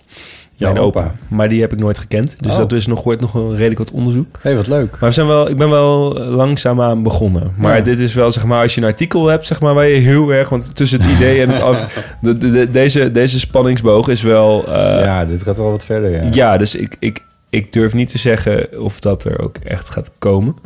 F: Jouw
G: Mijn opa.
F: opa.
G: Maar die heb ik nooit gekend. Dus
F: Oh.
G: dat is nog, wordt nog een redelijk wat onderzoek.
F: Hé, hey, wat leuk.
G: Maar we zijn wel, ik ben wel langzaam aan begonnen. Maar
F: Ja.
G: dit is wel, zeg maar, als je een artikel hebt, zeg maar, waar je heel erg... Want tussen het idee en het af... de- de- de- deze, deze spanningsboog is wel... eh,
F: Ja, dit gaat wel wat verder, ja.
G: ja. dus ik, ik, ik durf niet te zeggen of dat er ook echt gaat komen.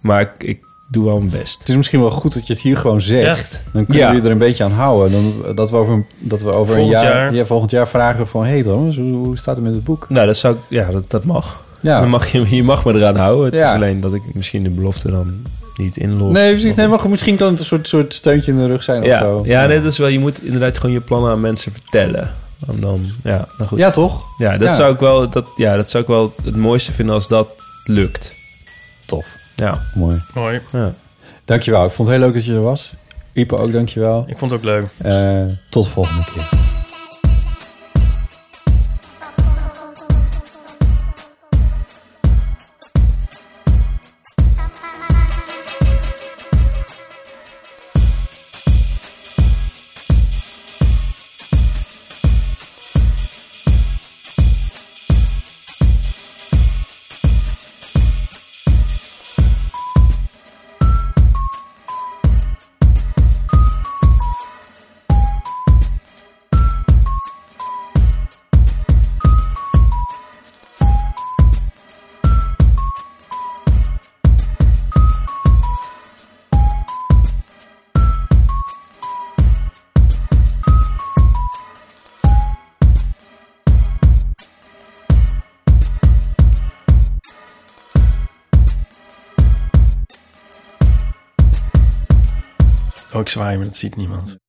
G: Maar ik, ik doe wel mijn best.
F: Het is misschien wel goed dat je het hier gewoon zegt.
G: Ja.
F: Dan kunnen
G: Ja.
F: jullie er een beetje aan houden. Dan, dat we over, een- dat we over
G: Volgend
F: een jaar,
G: jaar.
F: Ja, volgend jaar vragen van... Hé hey Thomas, hoe, hoe staat het met het boek?
G: Nou, dat zou ik- ja, dat, dat mag.
F: Ja.
G: Dan mag je, je mag me eraan houden. Het
F: Ja.
G: is alleen dat ik misschien de belofte dan niet inloop.
F: Nee, precies. Nee, maar goed, misschien kan het een soort, soort steuntje in de rug zijn of
G: ja,
F: zo.
G: ja, nee, dat is wel. Je moet inderdaad gewoon je plannen aan mensen vertellen. En dan, ja, nou goed.
F: Ja, toch?
G: Ja, dat
F: Ja.
G: zou ik wel. Dat, ja, dat zou ik wel het mooiste vinden als dat lukt.
F: Tof.
G: Ja.
F: Mooi.
K: Mooi.
G: Ja.
F: Dankjewel. Ik vond het heel leuk dat je er was. Ipe ook, dankjewel.
K: Ik vond het ook leuk.
F: Eh, tot de volgende keer.
K: Oh, ik zwaai, maar dat ziet niemand.